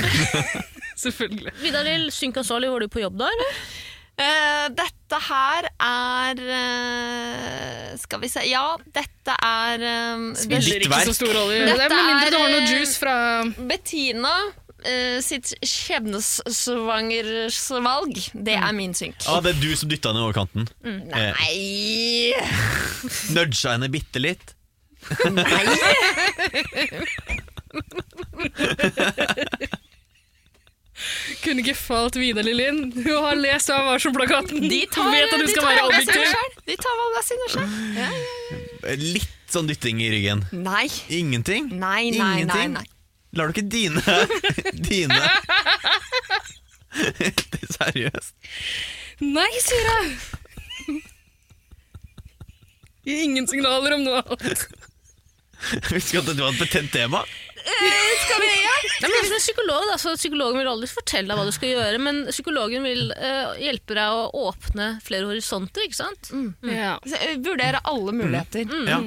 Speaker 4: Selvfølgelig.
Speaker 6: Vidar-Lill, Synkansvarlig, var du på jobb da, eller?
Speaker 2: Eh, dette her er eh, Skal vi se Ja, dette er eh,
Speaker 4: Spiller
Speaker 3: Litt
Speaker 4: ikke
Speaker 3: verk.
Speaker 4: så stor rolle.
Speaker 2: Dette
Speaker 4: Det er Med mindre du har
Speaker 2: er,
Speaker 4: noe
Speaker 2: eh,
Speaker 4: juice fra
Speaker 2: Bettina eh, sitt skjebnesvangersvalg. Det
Speaker 4: Mm.
Speaker 2: er min synk.
Speaker 3: Ah, det er du som dytta henne over kanten. Eh,
Speaker 2: Mm, Nei
Speaker 3: Nudga henne bitte litt.
Speaker 4: Kunne ikke falt Vidar Lillin. Hun har lest av Varsom-plakaten.
Speaker 2: De tar,
Speaker 4: Vet at du
Speaker 2: de
Speaker 4: skal
Speaker 2: tar
Speaker 4: være
Speaker 2: valgene
Speaker 4: objektiv.
Speaker 2: sine selv. De tar valgene sine sjøl.
Speaker 3: Eh, Litt sånn dytting i ryggen.
Speaker 2: Nei.
Speaker 3: Ingenting.
Speaker 2: Nei, nei, nei.
Speaker 3: Ingenting.
Speaker 2: nei.
Speaker 3: Lar du ikke dine Dine Det er Seriøst?
Speaker 4: Nei, sier jeg. Gir ingen signaler om noe annet.
Speaker 3: Jeg visste ikke at det var et betent tema.
Speaker 6: Nei, men det er som en psykolog, da, så Psykologen vil aldri fortelle deg hva du skal gjøre, men psykologen vil eh, hjelpe deg å åpne flere horisonter, ikke sant?
Speaker 4: Ja.
Speaker 2: Så jeg Vurderer alle muligheter
Speaker 3: Ja.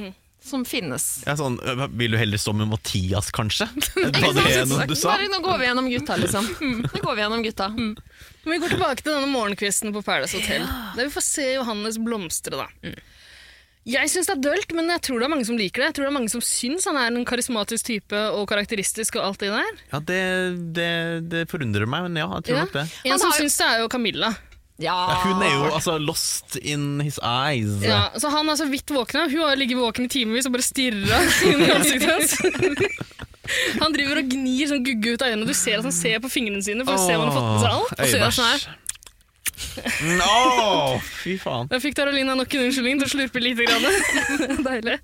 Speaker 2: som finnes.
Speaker 3: Ja, sånn, øh, vil du heller stå med Mathias, kanskje? Hva det er noe du sa?
Speaker 2: Bare nå går vi gjennom gutta, liksom. Nå går vi gjennom gutta.
Speaker 4: Mm. Men vi går tilbake til denne morgenkvisten på Paradise Hotel. Der vi får se Johannes blomstre, da.
Speaker 2: Mm.
Speaker 4: Jeg syns det er dølt, men jeg tror det er mange som liker det. Jeg tror det er mange som syns han er en karismatisk type og karakteristisk og alt det der.
Speaker 3: Ja, det, det, det forundrer meg, men ja, jeg tror
Speaker 4: Ja.
Speaker 3: nok det.
Speaker 4: En
Speaker 2: Han
Speaker 4: som
Speaker 2: har-
Speaker 4: syns det er jo Camilla.
Speaker 2: Ja.
Speaker 3: Ja, hun er
Speaker 2: Ah.
Speaker 3: jo altså lost in his eyes.
Speaker 4: Ja, så han er så vidt våkna. Hun har ligget våken i timevis og bare stirra inn i ansiktet hans. Han driver og gnir sånn gugge ut av øynene, og du ser at han ser på fingrene sine for å se om han har fått med seg alt. Og så gjør han sånn her.
Speaker 3: Øyebæsj. Nå, fy faen.
Speaker 4: Da fikk Taralina nok en unnskyldning til å slurpe lite grann. Deilig.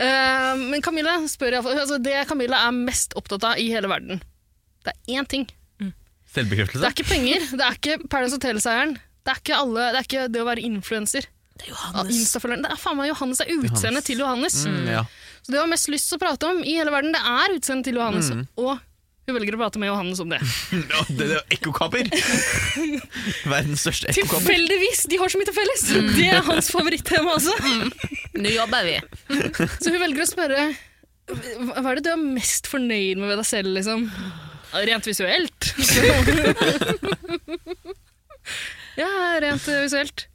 Speaker 4: Eh, men Camilla spør i alle fall- altså Det Camilla er mest opptatt av i hele verden, det er én ting. Det
Speaker 3: Selvbekreftelse?
Speaker 4: er ikke penger, det er ikke Paradise Hotel-seieren, det er ikke alle, det er ikke det å være influenser.
Speaker 6: Det
Speaker 4: Ja,
Speaker 6: er Johannes.
Speaker 4: Insta-følgeren. Det er faen meg Johannes, det er utseendet
Speaker 3: Johannes.
Speaker 4: til Johannes.
Speaker 3: Mm, ja.
Speaker 4: Så det hun har mest lyst til å prate om i hele verden, det er utseendet til Johannes.
Speaker 3: Mm.
Speaker 4: Og hun velger å prate med Johannes om det.
Speaker 3: Nå, Det er jo ekkokammer! Verdens største ekkokammer.
Speaker 4: Tilfeldigvis! De har så mye til felles! Det er hans favorittema også.
Speaker 6: Ny jobb er vi.
Speaker 4: Så hun velger å spørre hva hva er det du er mest fornøyd med ved deg selv, liksom? Rent visuelt. ja, rent visuelt.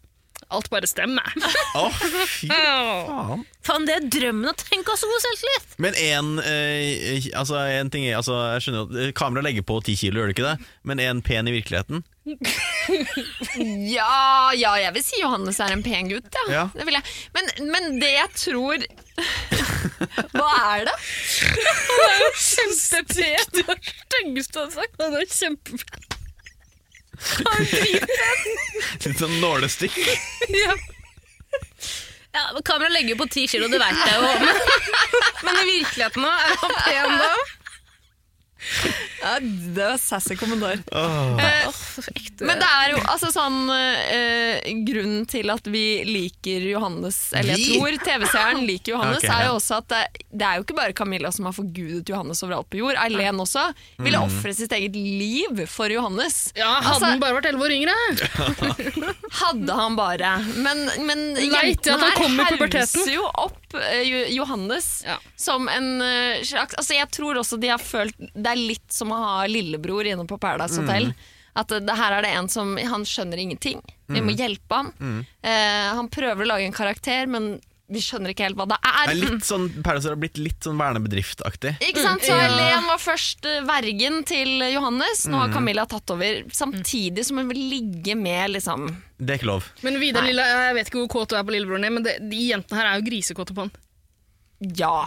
Speaker 4: Alt bare stemmer.
Speaker 3: Å, fy faen.
Speaker 6: Faen, det er drømmen å tenke å ha så god selvtillit!
Speaker 3: Men en, eh, altså, en ting er altså, jeg skjønner, jo at, eh, Kamera legger på ti kilo, gjør det ikke det? Men en pen i virkeligheten?
Speaker 2: Ja, ja, jeg vil si Johannes er en pen gutt, ja.
Speaker 3: Ja.
Speaker 2: Det vil jeg. Men, men det jeg tror Hva er det?
Speaker 4: Kjempepen! Du er styggest du har sagt. Han er kjempepen.
Speaker 3: Litt sånn nålestikk.
Speaker 6: Ja, men Kamera legger jo på ti kilo, det veit jeg jo. Men, men i virkeligheten nå, er han pen da?
Speaker 2: Ja, det var sassy kommentar.
Speaker 4: Eh, uff, ekte.
Speaker 2: Men det er jo altså sånn eh, Grunnen til at vi liker Johannes, eller jeg
Speaker 3: Vi?
Speaker 2: tror TV-seeren liker Johannes,
Speaker 3: Ok,
Speaker 2: er
Speaker 3: ja.
Speaker 2: jo også at det, det er jo ikke bare Camilla som har forgudet Johannes overalt på jord. Eileen også ville
Speaker 3: Mm.
Speaker 2: ofre sitt eget liv for Johannes.
Speaker 4: ja, hadde
Speaker 2: altså-
Speaker 4: han bare vært elleve år yngre!
Speaker 2: Hadde han bare. Men, men
Speaker 4: Leit til at han kom i puberteten.
Speaker 2: hauser jo opp eh, Jo- Johannes
Speaker 4: Ja.
Speaker 2: som en eh, slags Altså Jeg tror også de har følt Det er litt som å ha lillebror inne på Paradise
Speaker 3: Mm.
Speaker 2: Hotel. At eh, det her er det en som Han skjønner ingenting. Vi
Speaker 3: Mm.
Speaker 2: må hjelpe ham. Eh, han prøver å lage en karakter, men vi skjønner ikke helt hva det er.
Speaker 3: Det er litt sånn, Paradise har blitt litt sånn vernebedriftaktig.
Speaker 2: Ikke sant? Så Helen var først eh, vergen til Johannes. Nå
Speaker 3: Mm.
Speaker 2: har Camilla tatt over, samtidig som hun vil ligge med liksom
Speaker 3: Det er ikke lov.
Speaker 4: Men Vidar Lille, jeg vet ikke hvor kåt du er på lillebroren din, men det, de jentene her er jo grisekåte på han.
Speaker 2: Ja.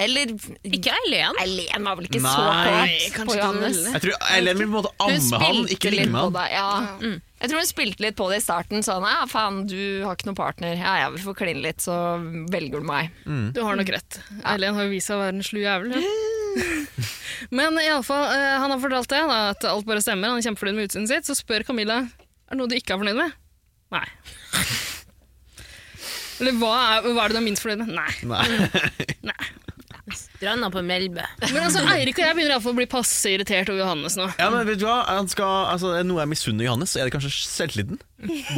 Speaker 2: Eller
Speaker 6: Ikke Eileen.
Speaker 2: Eileen var vel ikke så
Speaker 3: Mm. Nei,
Speaker 2: kåt på
Speaker 4: kanskje ikke
Speaker 2: Johannes.
Speaker 4: Lille.
Speaker 3: Jeg tror Eileen vil på en måte amme han, ikke ligge med han.
Speaker 2: det. Ja. Mm. Jeg tror hun spilte litt på det i starten. Sånn, ja, faen, du har ikke noen partner. Ja, ja, vi får kline litt, så velger du meg.
Speaker 4: Du har nok rett. Eileen har jo vist seg å være en slu jævel. ja. Men i alle fall, eh, han har fortalt det, da, at alt bare stemmer. Han er kjempefornøyd med utseendet sitt. Så spør Camilla er det noe du ikke er fornøyd med. Nei. Eller hva er, hva er det du er minst fornøyd med? Nei. Nei.
Speaker 6: Stranda på Melbu.
Speaker 4: Men altså, Eirik og jeg begynner i alle fall å bli passe irritert over Johannes nå.
Speaker 3: Ja, men vet du hva? Han skal, altså, er det noe jeg misunner Johannes, så er det kanskje selvtilliten.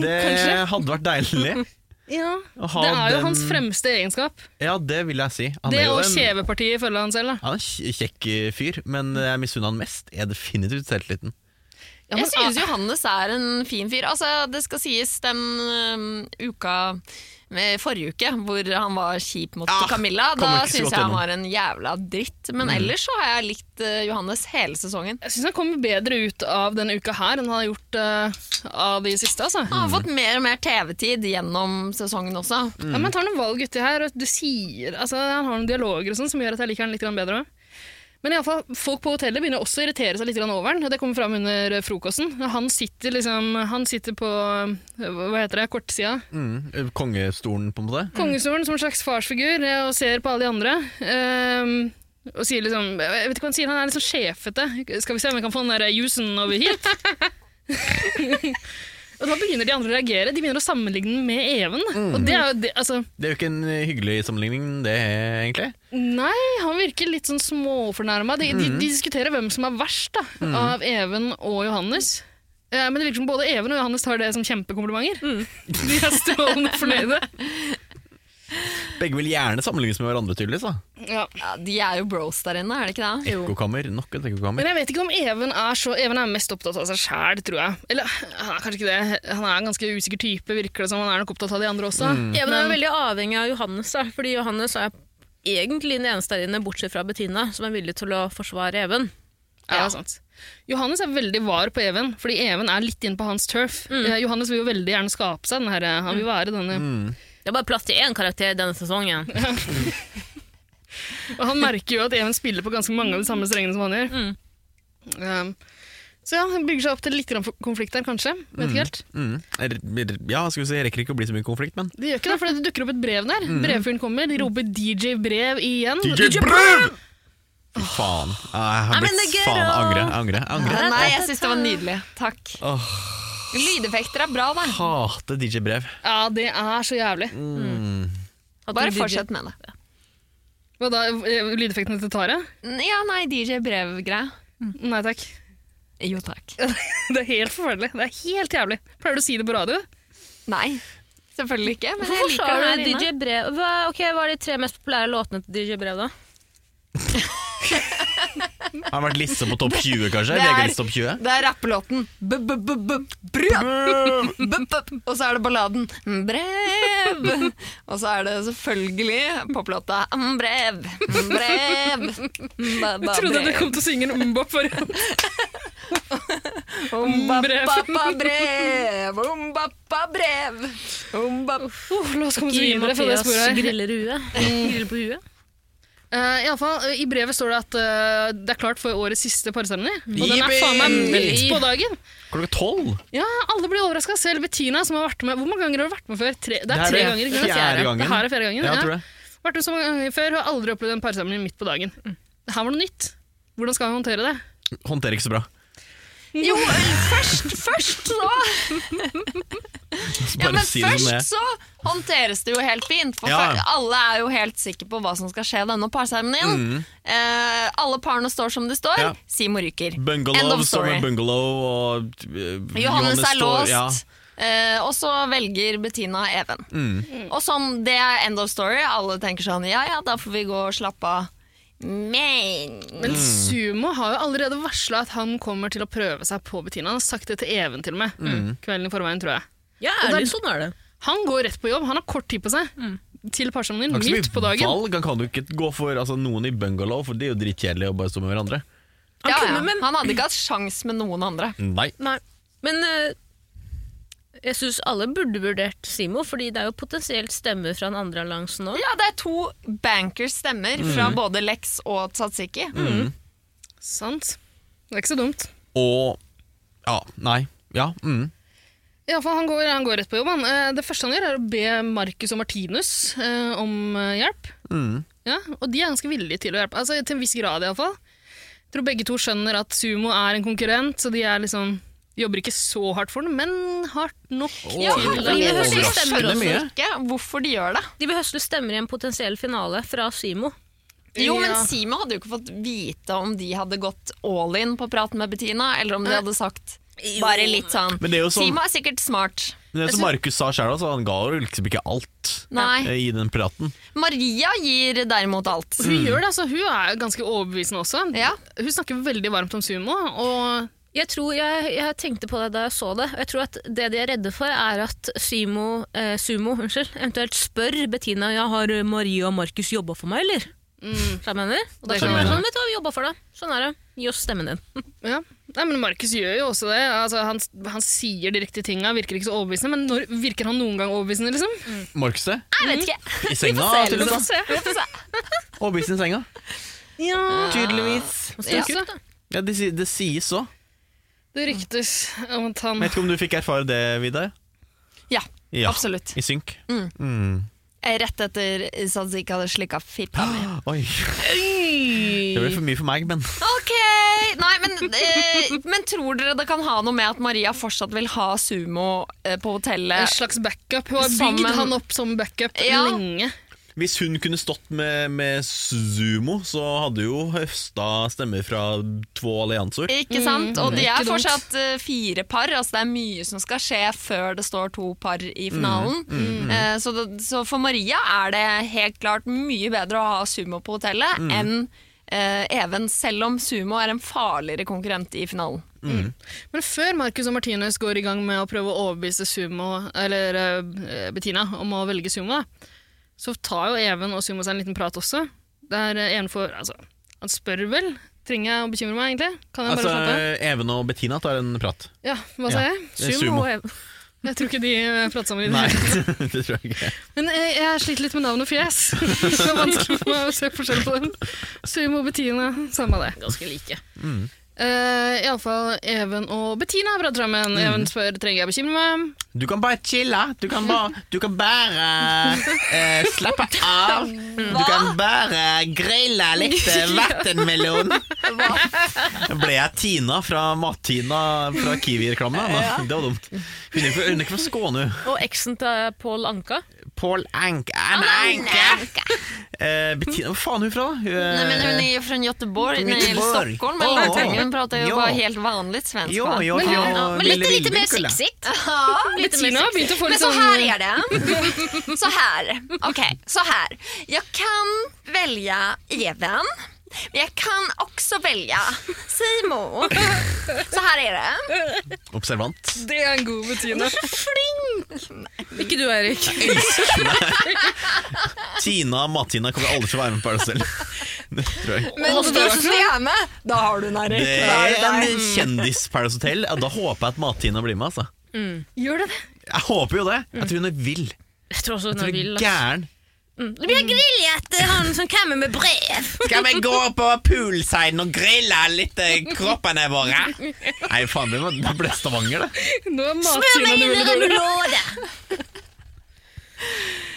Speaker 3: Det hadde vært deilig.
Speaker 4: Ja.
Speaker 3: Å ha
Speaker 4: Det er jo
Speaker 3: den-
Speaker 4: hans fremste egenskap.
Speaker 3: Ja, det vil jeg si. Han
Speaker 4: Det
Speaker 3: er jo
Speaker 4: og
Speaker 3: en-
Speaker 4: kjevepartiet følger han selv. da.
Speaker 3: Han er en kj- kjekk eh, fyr, men jeg misunner han mest. Er definitivt selvtilliten.
Speaker 2: jeg synes Johannes er en fin fyr. Altså, det skal sies den øhm, uka eh, Forrige uke, hvor han var kjip mot
Speaker 3: Ah,
Speaker 2: Camilla. Da
Speaker 3: kommer ikke så
Speaker 2: syns
Speaker 3: godt
Speaker 2: jeg han
Speaker 3: gjennom. Mm.
Speaker 2: var en jævla dritt. Men ellers så har jeg likt eh, Johannes hele sesongen.
Speaker 4: Jeg syns han kommer bedre ut av denne uka her enn han har gjort eh, av de siste. altså.
Speaker 2: Han har fått mer og mer TV-tid gjennom sesongen også.
Speaker 4: Ja, men tar noen valg uti her, og du sier, altså, han har noen dialoger og sånn som gjør at jeg liker han litt grann bedre òg. Men i alle fall, folk på hotellet begynner også å irritere seg litt grann over han, og det kommer fram under frokosten. Han sitter liksom, han sitter på hva heter det, kortsida.
Speaker 3: Mm. Kongestolen, på en måte.
Speaker 4: Kongestolen som en slags farsfigur eh, og ser på alle de andre. ehm, og sier liksom Jeg vet ikke hva han sier, han er litt sånn sjefete. Skal vi se om vi kan få den der jusen over hit? og da begynner de andre å reagere. De begynner å sammenligne den med Even. Og det er jo det, altså
Speaker 3: Det er jo ikke en eh, hyggelig sammenligning, det, egentlig.
Speaker 4: Nei, han virker litt sånn småfornærma. De, de, de diskuterer hvem som er verst da, av Even og Johannes. Eh, men det virker som både Even og Johannes tar det som kjempekomplimenter. De er strålende fornøyde.
Speaker 3: Begge vil gjerne sammenlignes med hverandre, tydeligvis. da
Speaker 4: Ja.
Speaker 2: Ja, de er jo bros der inne, er det ikke det?
Speaker 3: Ekkokammer. Nok et ekkokammer.
Speaker 4: Men jeg vet ikke om Even er så Even er mest opptatt av seg sjæl, tror jeg. Eller han er kanskje ikke det. Han er en ganske usikker type, virker det som. Han er nok opptatt av de andre også.
Speaker 2: Mm.
Speaker 6: Ja, men det er veldig avhengig av Johannes, da. fordi Johannes er egentlig den eneste der inne, bortsett fra Bettina, som er villig til å forsvare Even.
Speaker 4: Ja, det er sant. Johannes er veldig var på Even, fordi Even er litt inne på hans turf. Eh, Johannes vil jo veldig gjerne skape seg den her, eh, han vil være denne
Speaker 6: Det er bare plass til én karakter denne sesongen.
Speaker 4: Og han merker jo at Even spiller på ganske mange av de samme strengene som han gjør. Um, så ja, han bygger seg opp til litt grann konflikt der, kanskje. Vet ikke helt.
Speaker 3: Mm. Er- er- Ja, skal vi si, rekker ikke å bli så mye konflikt, men
Speaker 4: Det gjør ikke det, for det dukker opp et brev der. Brevfyren kommer, de roper DJ Brev igjen.
Speaker 3: Mm. Brev! Fy faen. Ah, Jeg har
Speaker 6: I'm in
Speaker 3: blitt
Speaker 6: the
Speaker 3: faen
Speaker 6: ghetto.
Speaker 3: angre. angre, angre.
Speaker 2: Ja, nei, jeg syns det var nydelig. Takk.
Speaker 3: Åh.
Speaker 2: Lydeffekter er bra, da.
Speaker 3: Hater DJ Brev.
Speaker 4: Ja, det er så jævlig.
Speaker 6: At
Speaker 2: Bare
Speaker 6: du-
Speaker 2: fortsett med det.
Speaker 4: Hva da, eh, lydeffektene til Tare?
Speaker 2: N- Ja, nei, DJ Brev-greia.
Speaker 4: Nei takk.
Speaker 2: Jo takk.
Speaker 4: Det er helt forferdelig. Det er helt jævlig. Pleier du å si det på radio?
Speaker 2: Nei, selvfølgelig ikke. Men jeg
Speaker 6: Hvorfor
Speaker 2: liker det
Speaker 6: sa
Speaker 2: her
Speaker 6: du
Speaker 2: inne.
Speaker 6: DJ Brev? Hva, ok, hva er de tre mest populære låtene til DJ Brev, da?
Speaker 3: Har vært lista på topp 20, kanskje?
Speaker 2: Det er-
Speaker 3: VG-lista topp 20?
Speaker 2: Det er rappelåten B-b-b-b-brød. Og så er det balladen Mm, Brev. Og så er det selvfølgelig poplåta Mm, Brev. Mm, Brev. Mm, ba- ba-
Speaker 4: Trodde du
Speaker 2: brev.
Speaker 4: kom til å synge en umbop for
Speaker 2: Om ba-
Speaker 4: brev.
Speaker 2: ba- ba- brev. Om ba- ba- brev. Om ba-
Speaker 4: Uff, La oss komme oss videre fra det sporet her.
Speaker 6: griller huet. Mm. Griller på huet.
Speaker 4: Eh, i, alle fall, eh, I brevet står det at eh, det er klart for årets siste parseremoni. Og den er
Speaker 3: Yippee!
Speaker 4: faen meg midt på dagen!
Speaker 3: Klokka tolv?
Speaker 4: Ja, Alle blir overraska, selv Bettina som har vært med Hvor mange ganger har du vært med før? Tre, det er tre ganger. ikke sant?
Speaker 3: Fjerde gangen.
Speaker 4: Det her er fjerde gangen,
Speaker 3: Ja,
Speaker 4: ja.
Speaker 3: jeg tror det.
Speaker 4: Vært med så mange ganger før og aldri opplevd en parseremoni midt på dagen. Det her var noe nytt. Hvordan skal vi håndtere det?
Speaker 3: Håndterer ikke så bra.
Speaker 2: Jo, først, først så
Speaker 3: Så
Speaker 2: Ja,
Speaker 3: bare
Speaker 2: men
Speaker 3: si det som det er.
Speaker 2: først så håndteres det jo helt fint. For
Speaker 3: Ja.
Speaker 2: før- alle er jo helt sikre på hva som skal skje denne parseremonien. Eh, alle parene står som de står.
Speaker 3: Mm. Ja.
Speaker 2: Simo ryker. End
Speaker 3: Bungalow
Speaker 2: of
Speaker 3: står
Speaker 2: story.
Speaker 3: med bungalow, og eh,
Speaker 2: Johannes er
Speaker 3: står-
Speaker 2: låst.
Speaker 3: Ja.
Speaker 2: eh, og så velger Bettina Even.
Speaker 3: Mm.
Speaker 2: Og sånn, det er end of story. Alle tenker sånn ja ja, da får vi gå og slappe av. Men
Speaker 3: Mm.
Speaker 4: Men Sumo har jo allerede varsla at han kommer til å prøve seg på Bettina. Han har sagt det til Even til og med.
Speaker 3: Mm.
Speaker 4: Kvelden i forveien, tror jeg.
Speaker 7: Ja,
Speaker 4: Og det er-
Speaker 7: litt sånn er det.
Speaker 4: Han går rett på jobb, han har kort tid på seg. Til parseremonien,
Speaker 3: Har ikke så
Speaker 4: midt
Speaker 3: mye
Speaker 4: på dagen.
Speaker 3: Valg. Han kan jo ikke gå for altså, noen i bungalow, for det er jo dritkjedelig å bare stå med hverandre.
Speaker 2: ja,
Speaker 7: Han
Speaker 2: ja.
Speaker 7: kunne, men
Speaker 2: Han hadde ikke hatt sjans med noen andre.
Speaker 3: Nei.
Speaker 7: Nei.
Speaker 6: Men eh, jeg syns alle burde vurdert Simo, fordi det er jo potensielt stemmer fra den andre alliansen òg.
Speaker 2: Ja, det er to bankers stemmer
Speaker 3: Mm.
Speaker 2: fra både Lex og Tsatsiki.
Speaker 4: Sant. Det er ikke så dumt.
Speaker 3: Og Ja, nei. Ja. Mm.
Speaker 4: Ja, for han går, han går rett på jobb. Han. Eh, Det første han gjør, er å be Marcus og Martinus eh, om eh, hjelp.
Speaker 2: Mm.
Speaker 4: Ja, og de er ganske villige til å hjelpe. Altså, til en viss grad, iallfall. Jeg tror begge to skjønner at Sumo er en konkurrent, så de er liksom de jobber ikke så hardt for den, men hardt nok.
Speaker 2: Ja,
Speaker 4: til at-
Speaker 2: fordi jeg hører- jeg
Speaker 6: Overraskende
Speaker 2: skjønner
Speaker 3: mye.
Speaker 2: også ikke hvorfor de gjør det.
Speaker 6: De vil høsle stemmer i en potensiell finale fra Simo.
Speaker 2: Jo, men
Speaker 4: Ja.
Speaker 2: Simo hadde jo ikke fått vite om de hadde gått all in på praten med Bettina, eller om de hadde sagt bare litt sånn.
Speaker 3: Men det er jo sånn-
Speaker 2: Simo er sikkert smart.
Speaker 3: Men det som Markus sa sjøl, altså, han ga jo liksom ikke alt eh,
Speaker 2: Nei.
Speaker 3: i den praten.
Speaker 2: Maria gir derimot alt.
Speaker 4: Hun gjør det, altså. Hun er jo ganske overbevisende også.
Speaker 2: Ja.
Speaker 4: Hun snakker veldig varmt om sumo, og
Speaker 6: Jeg tror jeg, jeg tenkte på det da jeg så det, og jeg tror at det de er redde for, er at Simo, eh, Sumo unnskyld, eventuelt spør Bettina ja, har Maria og Markus jobba for meg, eller? Mm. Jeg mener. Og da
Speaker 4: Det kan
Speaker 6: kan hun være
Speaker 4: hende.
Speaker 6: sånn, vet du hva, vi jobba for deg. Sånn er det. Gi oss stemmen din.
Speaker 4: Ja. Nei, men Markus gjør jo også det. Altså, han, han sier de riktige tinga, virker ikke så overbevisende, men når, virker han noen gang overbevisende, liksom?
Speaker 3: Markus det?
Speaker 2: Jeg vet ikke.
Speaker 3: I senga?
Speaker 2: Ah, se,
Speaker 3: tydeligvis,
Speaker 2: liksom.
Speaker 3: da. Overbevist i senga?
Speaker 2: Ah.
Speaker 3: Ja. Tydeligvis.
Speaker 6: Det er
Speaker 2: Ja.
Speaker 6: kult, da.
Speaker 3: Ja, det, si- det sies så.
Speaker 4: Det ryktes om at han
Speaker 3: Vet ikke om du fikk erfare det, Vidar?
Speaker 2: Ja,
Speaker 3: Ja.
Speaker 2: absolutt.
Speaker 3: I synk?
Speaker 2: Rett etter Sazik hadde slikka fitta mi.
Speaker 3: Oi. Det ble for mye for meg, men
Speaker 2: Ok! Nei, men, eh, men tror dere det kan ha noe med at Maria fortsatt vil ha Sumo eh, på
Speaker 4: En
Speaker 2: hotellet?
Speaker 4: slags backup. Hun har
Speaker 2: Som
Speaker 4: bygd
Speaker 2: en-
Speaker 4: han opp som backup
Speaker 2: Ja.
Speaker 4: lenge.
Speaker 3: Hvis hun kunne stått med, med Sumo, så hadde jo høsta stemmer fra to allianser.
Speaker 2: Ikke sant? Og de
Speaker 4: ikke
Speaker 2: er
Speaker 4: dumt.
Speaker 2: fortsatt eh, fire par. Altså det er mye som skal skje før det står to par
Speaker 3: Mm,
Speaker 2: i finalen. Eh, så, det, så for Maria er det helt klart mye bedre å ha Sumo på hotellet
Speaker 3: Mm.
Speaker 2: enn eh, Even, selv om Sumo er en farligere konkurrent i finalen.
Speaker 4: Men før Marcus og Martinus går i gang med å prøve å overbevise sumo, eller, eh, Bettina om å velge sumo, da, så tar jo Even og sumo seg en liten prat også. Der eh, Even får altså, Han spør vel Trenger jeg å bekymre meg, egentlig? Kan jeg bare
Speaker 3: Altså,
Speaker 4: slappe av?
Speaker 3: Even og Bettina tar en prat.
Speaker 4: Ja, hva sa
Speaker 3: ja,
Speaker 4: jeg?
Speaker 3: det er Sumo.
Speaker 6: og Ev-
Speaker 4: Jeg tror ikke de eh, prater sammen. i det
Speaker 3: Nei,
Speaker 4: hele tatt.
Speaker 3: det tror jeg ikke.
Speaker 4: Men jeg, jeg sliter litt med navn og fjes. Det er vanskelig for meg å se forskjell på dem. Sumo og Bettina, samme det.
Speaker 7: Ganske like.
Speaker 4: Uh, Iallfall Even og Bettina har pratet sammen. Even spør trenger jeg bekymre meg.
Speaker 3: Du kan bare chille. Du kan bare, du kan bare eh, slappe av. Du kan bare grille litt eh, vattenmelon. Ble jeg Tina fra Mat-Tina fra Kiwi-reklame? Ja. Det var dumt. Hun er ikke- hun er ikke fra Skåne.
Speaker 6: Og eksen til Pål Anka.
Speaker 3: Paul Ank Anne Anke. Eh, Bettina, hvor faen er hun fra, da? Hun er-
Speaker 2: Nei, men hun er jo fra Göteborg,
Speaker 3: Fra
Speaker 2: nei,
Speaker 3: Göteborg.
Speaker 2: eller Stockholm, eller
Speaker 3: Å,
Speaker 2: noe. Hun prater jo
Speaker 3: ja.
Speaker 2: bare helt vanlig svensk.
Speaker 3: Eh, Jo,
Speaker 2: va?
Speaker 3: jo,
Speaker 4: Men-
Speaker 3: jo,
Speaker 4: ja,
Speaker 6: Men litt,
Speaker 3: Lille
Speaker 6: litt mer
Speaker 3: Vinkel, da.
Speaker 6: siksikt.
Speaker 2: Ja.
Speaker 4: Bettina har begynt å få
Speaker 2: Men
Speaker 4: litt
Speaker 2: så
Speaker 4: sånn
Speaker 6: Liksom-
Speaker 2: här är det. Så här. Okej, så här. Jag kan välja Even. Men jag kan också välja Simo. Så här är det.
Speaker 3: Observant.
Speaker 4: Det er en god Bettina.
Speaker 6: Ikke du, Erik.
Speaker 3: Tina Matina kommer aldri til å være med på det selv. Det tror jeg.
Speaker 2: Men
Speaker 4: hvis du
Speaker 2: är henne, då har du den
Speaker 3: Det er en kjendis Paradise Hotel. Ja, da håper jeg at Matina blir med. Altså.
Speaker 4: Gjør det det?
Speaker 3: Jeg håper jo det. Jeg tror hun er vill.
Speaker 6: Jeg tror også
Speaker 3: Jeg
Speaker 6: hun
Speaker 3: tror
Speaker 6: er
Speaker 3: hun
Speaker 6: vill.
Speaker 3: er
Speaker 6: ass.
Speaker 3: gæren.
Speaker 6: Det blir grilljete, han som kommer med brev.
Speaker 3: Skal vi gå på poolsiden og grille litt eh, kroppene våre? Nei, faen, det var- det ble Stavanger, det.
Speaker 4: Nå er Martina dårlig.
Speaker 6: rullåde!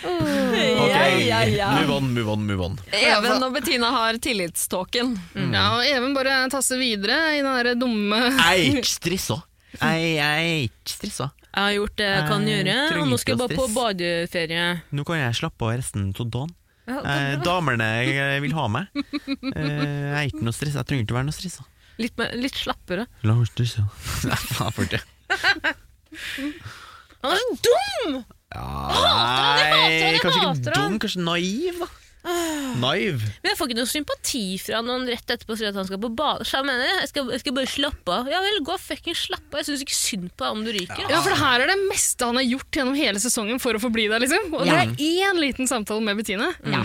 Speaker 3: Ok,
Speaker 2: ja, ja.
Speaker 3: Move on, move on, move on.
Speaker 2: Even og Bettina har tillitståken.
Speaker 4: Ja, og Even bare tasser videre i den der dumme
Speaker 3: Ei, ikke stressa. Ei, ei, ikke stressa.
Speaker 6: Jeg har gjort det jeg kan
Speaker 3: Eh,
Speaker 6: gjøre, og
Speaker 3: trenger
Speaker 6: nå skal
Speaker 3: ikke
Speaker 6: jeg
Speaker 3: å
Speaker 6: bare på
Speaker 3: stresse.
Speaker 6: badeferie.
Speaker 3: Nå kan jeg slappe av resten av dagen. Eh, damene jeg vil ha med. Eh, jeg er ikke noe stressa. Jeg trenger ikke å være noe stressa.
Speaker 6: Litt, mer- litt slappere.
Speaker 3: La meg stressa. Nei, faen for det.
Speaker 6: Han er så dum!
Speaker 3: Ja,
Speaker 6: han,
Speaker 3: nei,
Speaker 6: jeg
Speaker 3: kanskje
Speaker 6: hater
Speaker 3: ikke
Speaker 6: han.
Speaker 3: dum, kanskje naiv, da. Naiv.
Speaker 6: Men jeg får ikke noe sympati fra han når han rett etterpå sier at han skal på bade. Så jeg mener, jeg skal, jeg skal bare slappe av. Ja vel, gå og fucking slappe av. Jeg syns ikke synd på deg om du ryker.
Speaker 4: Ja, for det her er det meste han har gjort gjennom hele sesongen for å forbli der, liksom. Og det er én liten samtale med Bettine. Ja.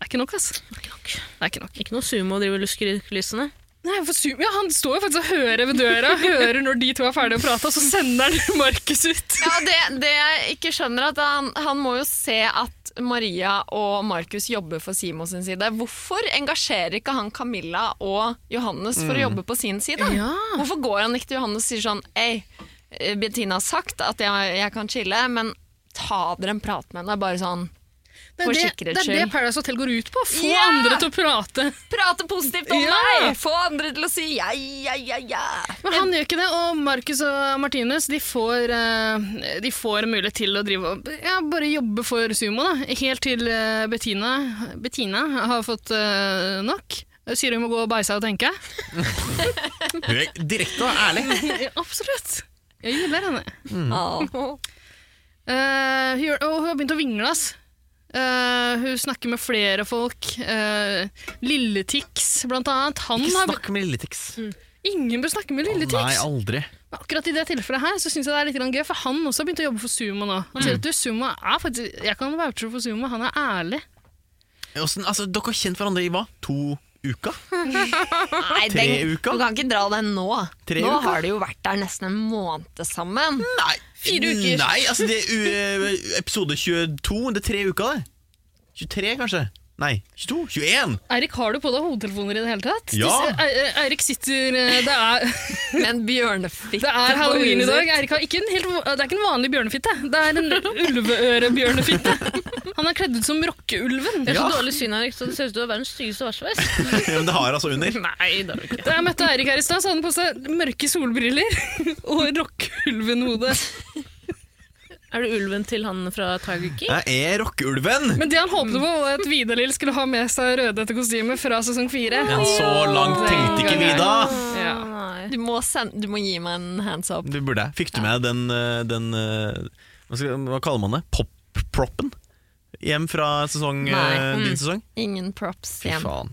Speaker 4: Det er ikke nok, ass. Det er ikke nok.
Speaker 6: Ikke noe sumo å drive og luske i kulissene.
Speaker 4: Nei, for Zoom- ja, han står jo faktisk og hører ved døra, hører når de to er ferdige å prate, og så sender han Markus ut.
Speaker 2: Ja, det, det jeg ikke skjønner, er at han, han må jo se at Maria og Markus jobber for Simo sin side. Hvorfor engasjerer ikke han Camilla og Johannes
Speaker 3: Mm.
Speaker 2: for å jobbe på sin side?
Speaker 4: Ja.
Speaker 2: Hvorfor går han ikke til Johannes og sier sånn Ei, eh, Bettina har sagt at jeg, jeg kan chille, men ta dere en prat med henne. Bare sånn
Speaker 4: Det er
Speaker 2: For
Speaker 4: det, det
Speaker 2: sikkerhets
Speaker 4: er det
Speaker 2: skyld.
Speaker 4: Paradise Hotel går ut på. Få
Speaker 2: Ja!
Speaker 4: andre til å prate.
Speaker 2: Prate positivt om
Speaker 4: Ja!
Speaker 2: meg! Få andre til å si ja, ja, ja, ja.
Speaker 4: Men han gjør ikke det, og Markus og Martinus de får, eh, de får en mulighet til å drive og ja, bare jobbe for sumo, da. Helt til eh, Bettina, Bettina har fått eh, nok. Sier hun må gå og beise og tenke.
Speaker 3: Direkte og ærlig.
Speaker 4: Ja, Absolutt. Jeg gilder henne.
Speaker 3: Mm.
Speaker 2: Ja.
Speaker 4: Eh, hun, gjør- og hun har begynt å vingle, ass. Eh, hun snakker med flere folk. Uh, Lilletix, blant annet. Han
Speaker 3: Ikke
Speaker 4: har,
Speaker 3: snakk med Lilletix.
Speaker 6: Mm.
Speaker 4: ingen bør snakke med
Speaker 3: Nei,
Speaker 4: Lilletix.
Speaker 3: aldri.
Speaker 4: Men akkurat i det tilfellet her så synes jeg det er litt grann gøy, for han også har begynt å jobbe for Sumo nå. Han
Speaker 3: Mm.
Speaker 4: sier at du, Sumo er faktisk Jeg kan vouche for Sumo, han er ærlig.
Speaker 3: Åssen- altså, dere har kjent hverandre i hva? To uker?
Speaker 2: Nei,
Speaker 3: Tre
Speaker 2: den,
Speaker 3: uker?
Speaker 2: Du kan ikke dra den nå.
Speaker 3: Tre
Speaker 2: nå
Speaker 3: uker?
Speaker 2: har de jo vært der nesten en måned sammen.
Speaker 3: Nei.
Speaker 2: Fire uker.
Speaker 3: Nei, altså det er u- episode 22, det er tre uker det. 23 kanskje? Nei, 22? 21?
Speaker 4: Eirik, har du på deg hodetelefoner i det hele tatt?
Speaker 3: Ja.
Speaker 4: Du ser- Ei- Eirik sitter eh, Det er,
Speaker 2: Med en bjørnefitte
Speaker 4: det er halloween i dag. Eirik har ikke en helt, det er ikke en vanlig bjørnefitte. Det er en ulveørebjørnefitte. Han er kledd ut som rockeulven.
Speaker 6: Det er så
Speaker 3: Ja.
Speaker 6: dårlig syn, Erik, så det ser ut til å være den styggeste varsveis.
Speaker 3: Ja, men det har altså under.
Speaker 6: Nei, det er det ikke.
Speaker 4: Da jeg møtte Eirik her i stad, så hadde han på seg mørke solbriller og rockeulvenhode.
Speaker 6: Er det ulven til han fra Tiger King?
Speaker 3: Jeg er rockeulven.
Speaker 4: Men det han håpet på, var at Vidar-Lill skulle ha med seg rødhette kostyme fra sesong fire.
Speaker 3: Men så langt tenkte ikke vi da.
Speaker 4: Ja.
Speaker 2: Du må, send, du må gi meg en hands up.
Speaker 3: Du burde. Fikk du med den, eh, den eh, hva, skal, hva kaller man det? Pop-proppen? Hjem fra sesong, eh,
Speaker 2: Nei.
Speaker 4: Mm.
Speaker 3: din sesong?
Speaker 2: Ingen props
Speaker 3: Fy
Speaker 2: igjen,
Speaker 3: faen.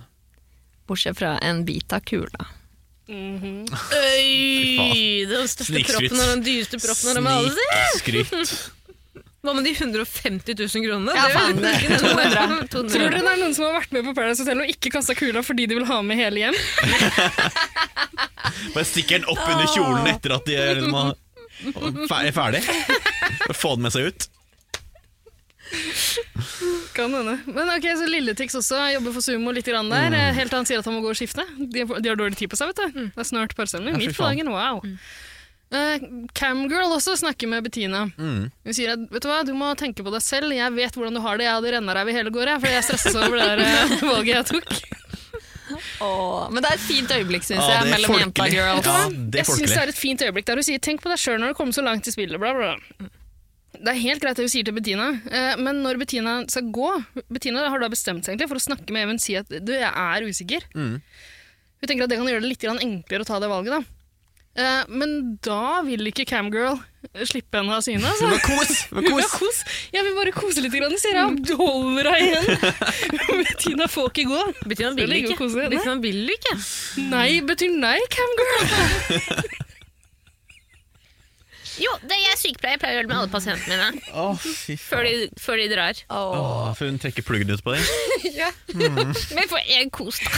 Speaker 2: bortsett fra en bit av kula.
Speaker 6: Øy, den største
Speaker 3: Snikskryt.
Speaker 6: proppen og den dyreste proppen av dem alle.
Speaker 3: Snikskryt.
Speaker 6: Hva med de 150 000 kronene?
Speaker 2: Ja,
Speaker 6: Det er
Speaker 2: faen,
Speaker 6: jo
Speaker 2: det er
Speaker 6: ikke 200.
Speaker 4: Tror dere det er noen som har vært med på Paradise Hotel og ikke kasta kula fordi de vil ha med hele hjem?
Speaker 3: Bare stikker den opp under kjolen etter at de er liksom har- er ferdig. Bare Få den med seg ut.
Speaker 4: Kan hende. Men ok, så Lilletix også jobber for Sumo litt grann der.
Speaker 3: Mm.
Speaker 4: eh, Helt til han sier at han må gå og skifte. De har, de har dårlig tid på seg, vet du. Det er snart parsemner.
Speaker 3: Ja, fy
Speaker 4: Midt på
Speaker 3: faen. Mm.
Speaker 4: dagen, wow. Eh, Camgirl også snakker med Bettina.
Speaker 3: Mm.
Speaker 4: Hun sier at vet du hva, du må tenke på deg selv. Jeg vet hvordan du har det. Jeg hadde rennaræv i hele går, jeg, fordi jeg stresset over det der eh, valget jeg tok.
Speaker 2: Åh, men det er et fint øyeblikk, syns
Speaker 3: Ja,
Speaker 2: jeg,
Speaker 3: det er
Speaker 2: mellom jenta og
Speaker 3: folkelig.
Speaker 2: girls.
Speaker 3: Ja, det er
Speaker 4: altså. jeg syns
Speaker 3: folkelig.
Speaker 4: det er et fint øyeblikk der hun sier 'tenk på deg sjøl når du kommer så langt i spillet', bla, bla. bla. Det er helt greit det hun sier til Bettina, eh, men når Bettina skal gå Bettina har da bestemt seg egentlig for å snakke med Even og si at 'du, jeg er usikker'.
Speaker 3: Mm.
Speaker 4: Hun tenker at det kan gjøre det litt grann enklere å ta det valget, da. Eh, Men da vil ikke Camgirl slippe henne av syne. Altså.
Speaker 3: Men kos! Men
Speaker 4: Hun vil
Speaker 3: kos.
Speaker 4: ha kos. Jeg vil bare kose litt, grann, sier jeg. Du holder deg igjen. Bettina får ikke gå.
Speaker 6: Bettina
Speaker 4: Skal
Speaker 6: vil
Speaker 4: ligge og
Speaker 6: ikke.
Speaker 4: kose. Nei.
Speaker 6: Bettina vil ikke.
Speaker 4: Nei betyr nei, Camgirl.
Speaker 6: Jo, det er jeg sykepleier pleier å gjøre det med alle pasientene mine.
Speaker 3: Å, fy
Speaker 6: Før
Speaker 3: faen.
Speaker 6: de, før de drar.
Speaker 2: Åh.
Speaker 3: Å, for hun trekker pluggen ut på deg.
Speaker 6: Men for en kos, da.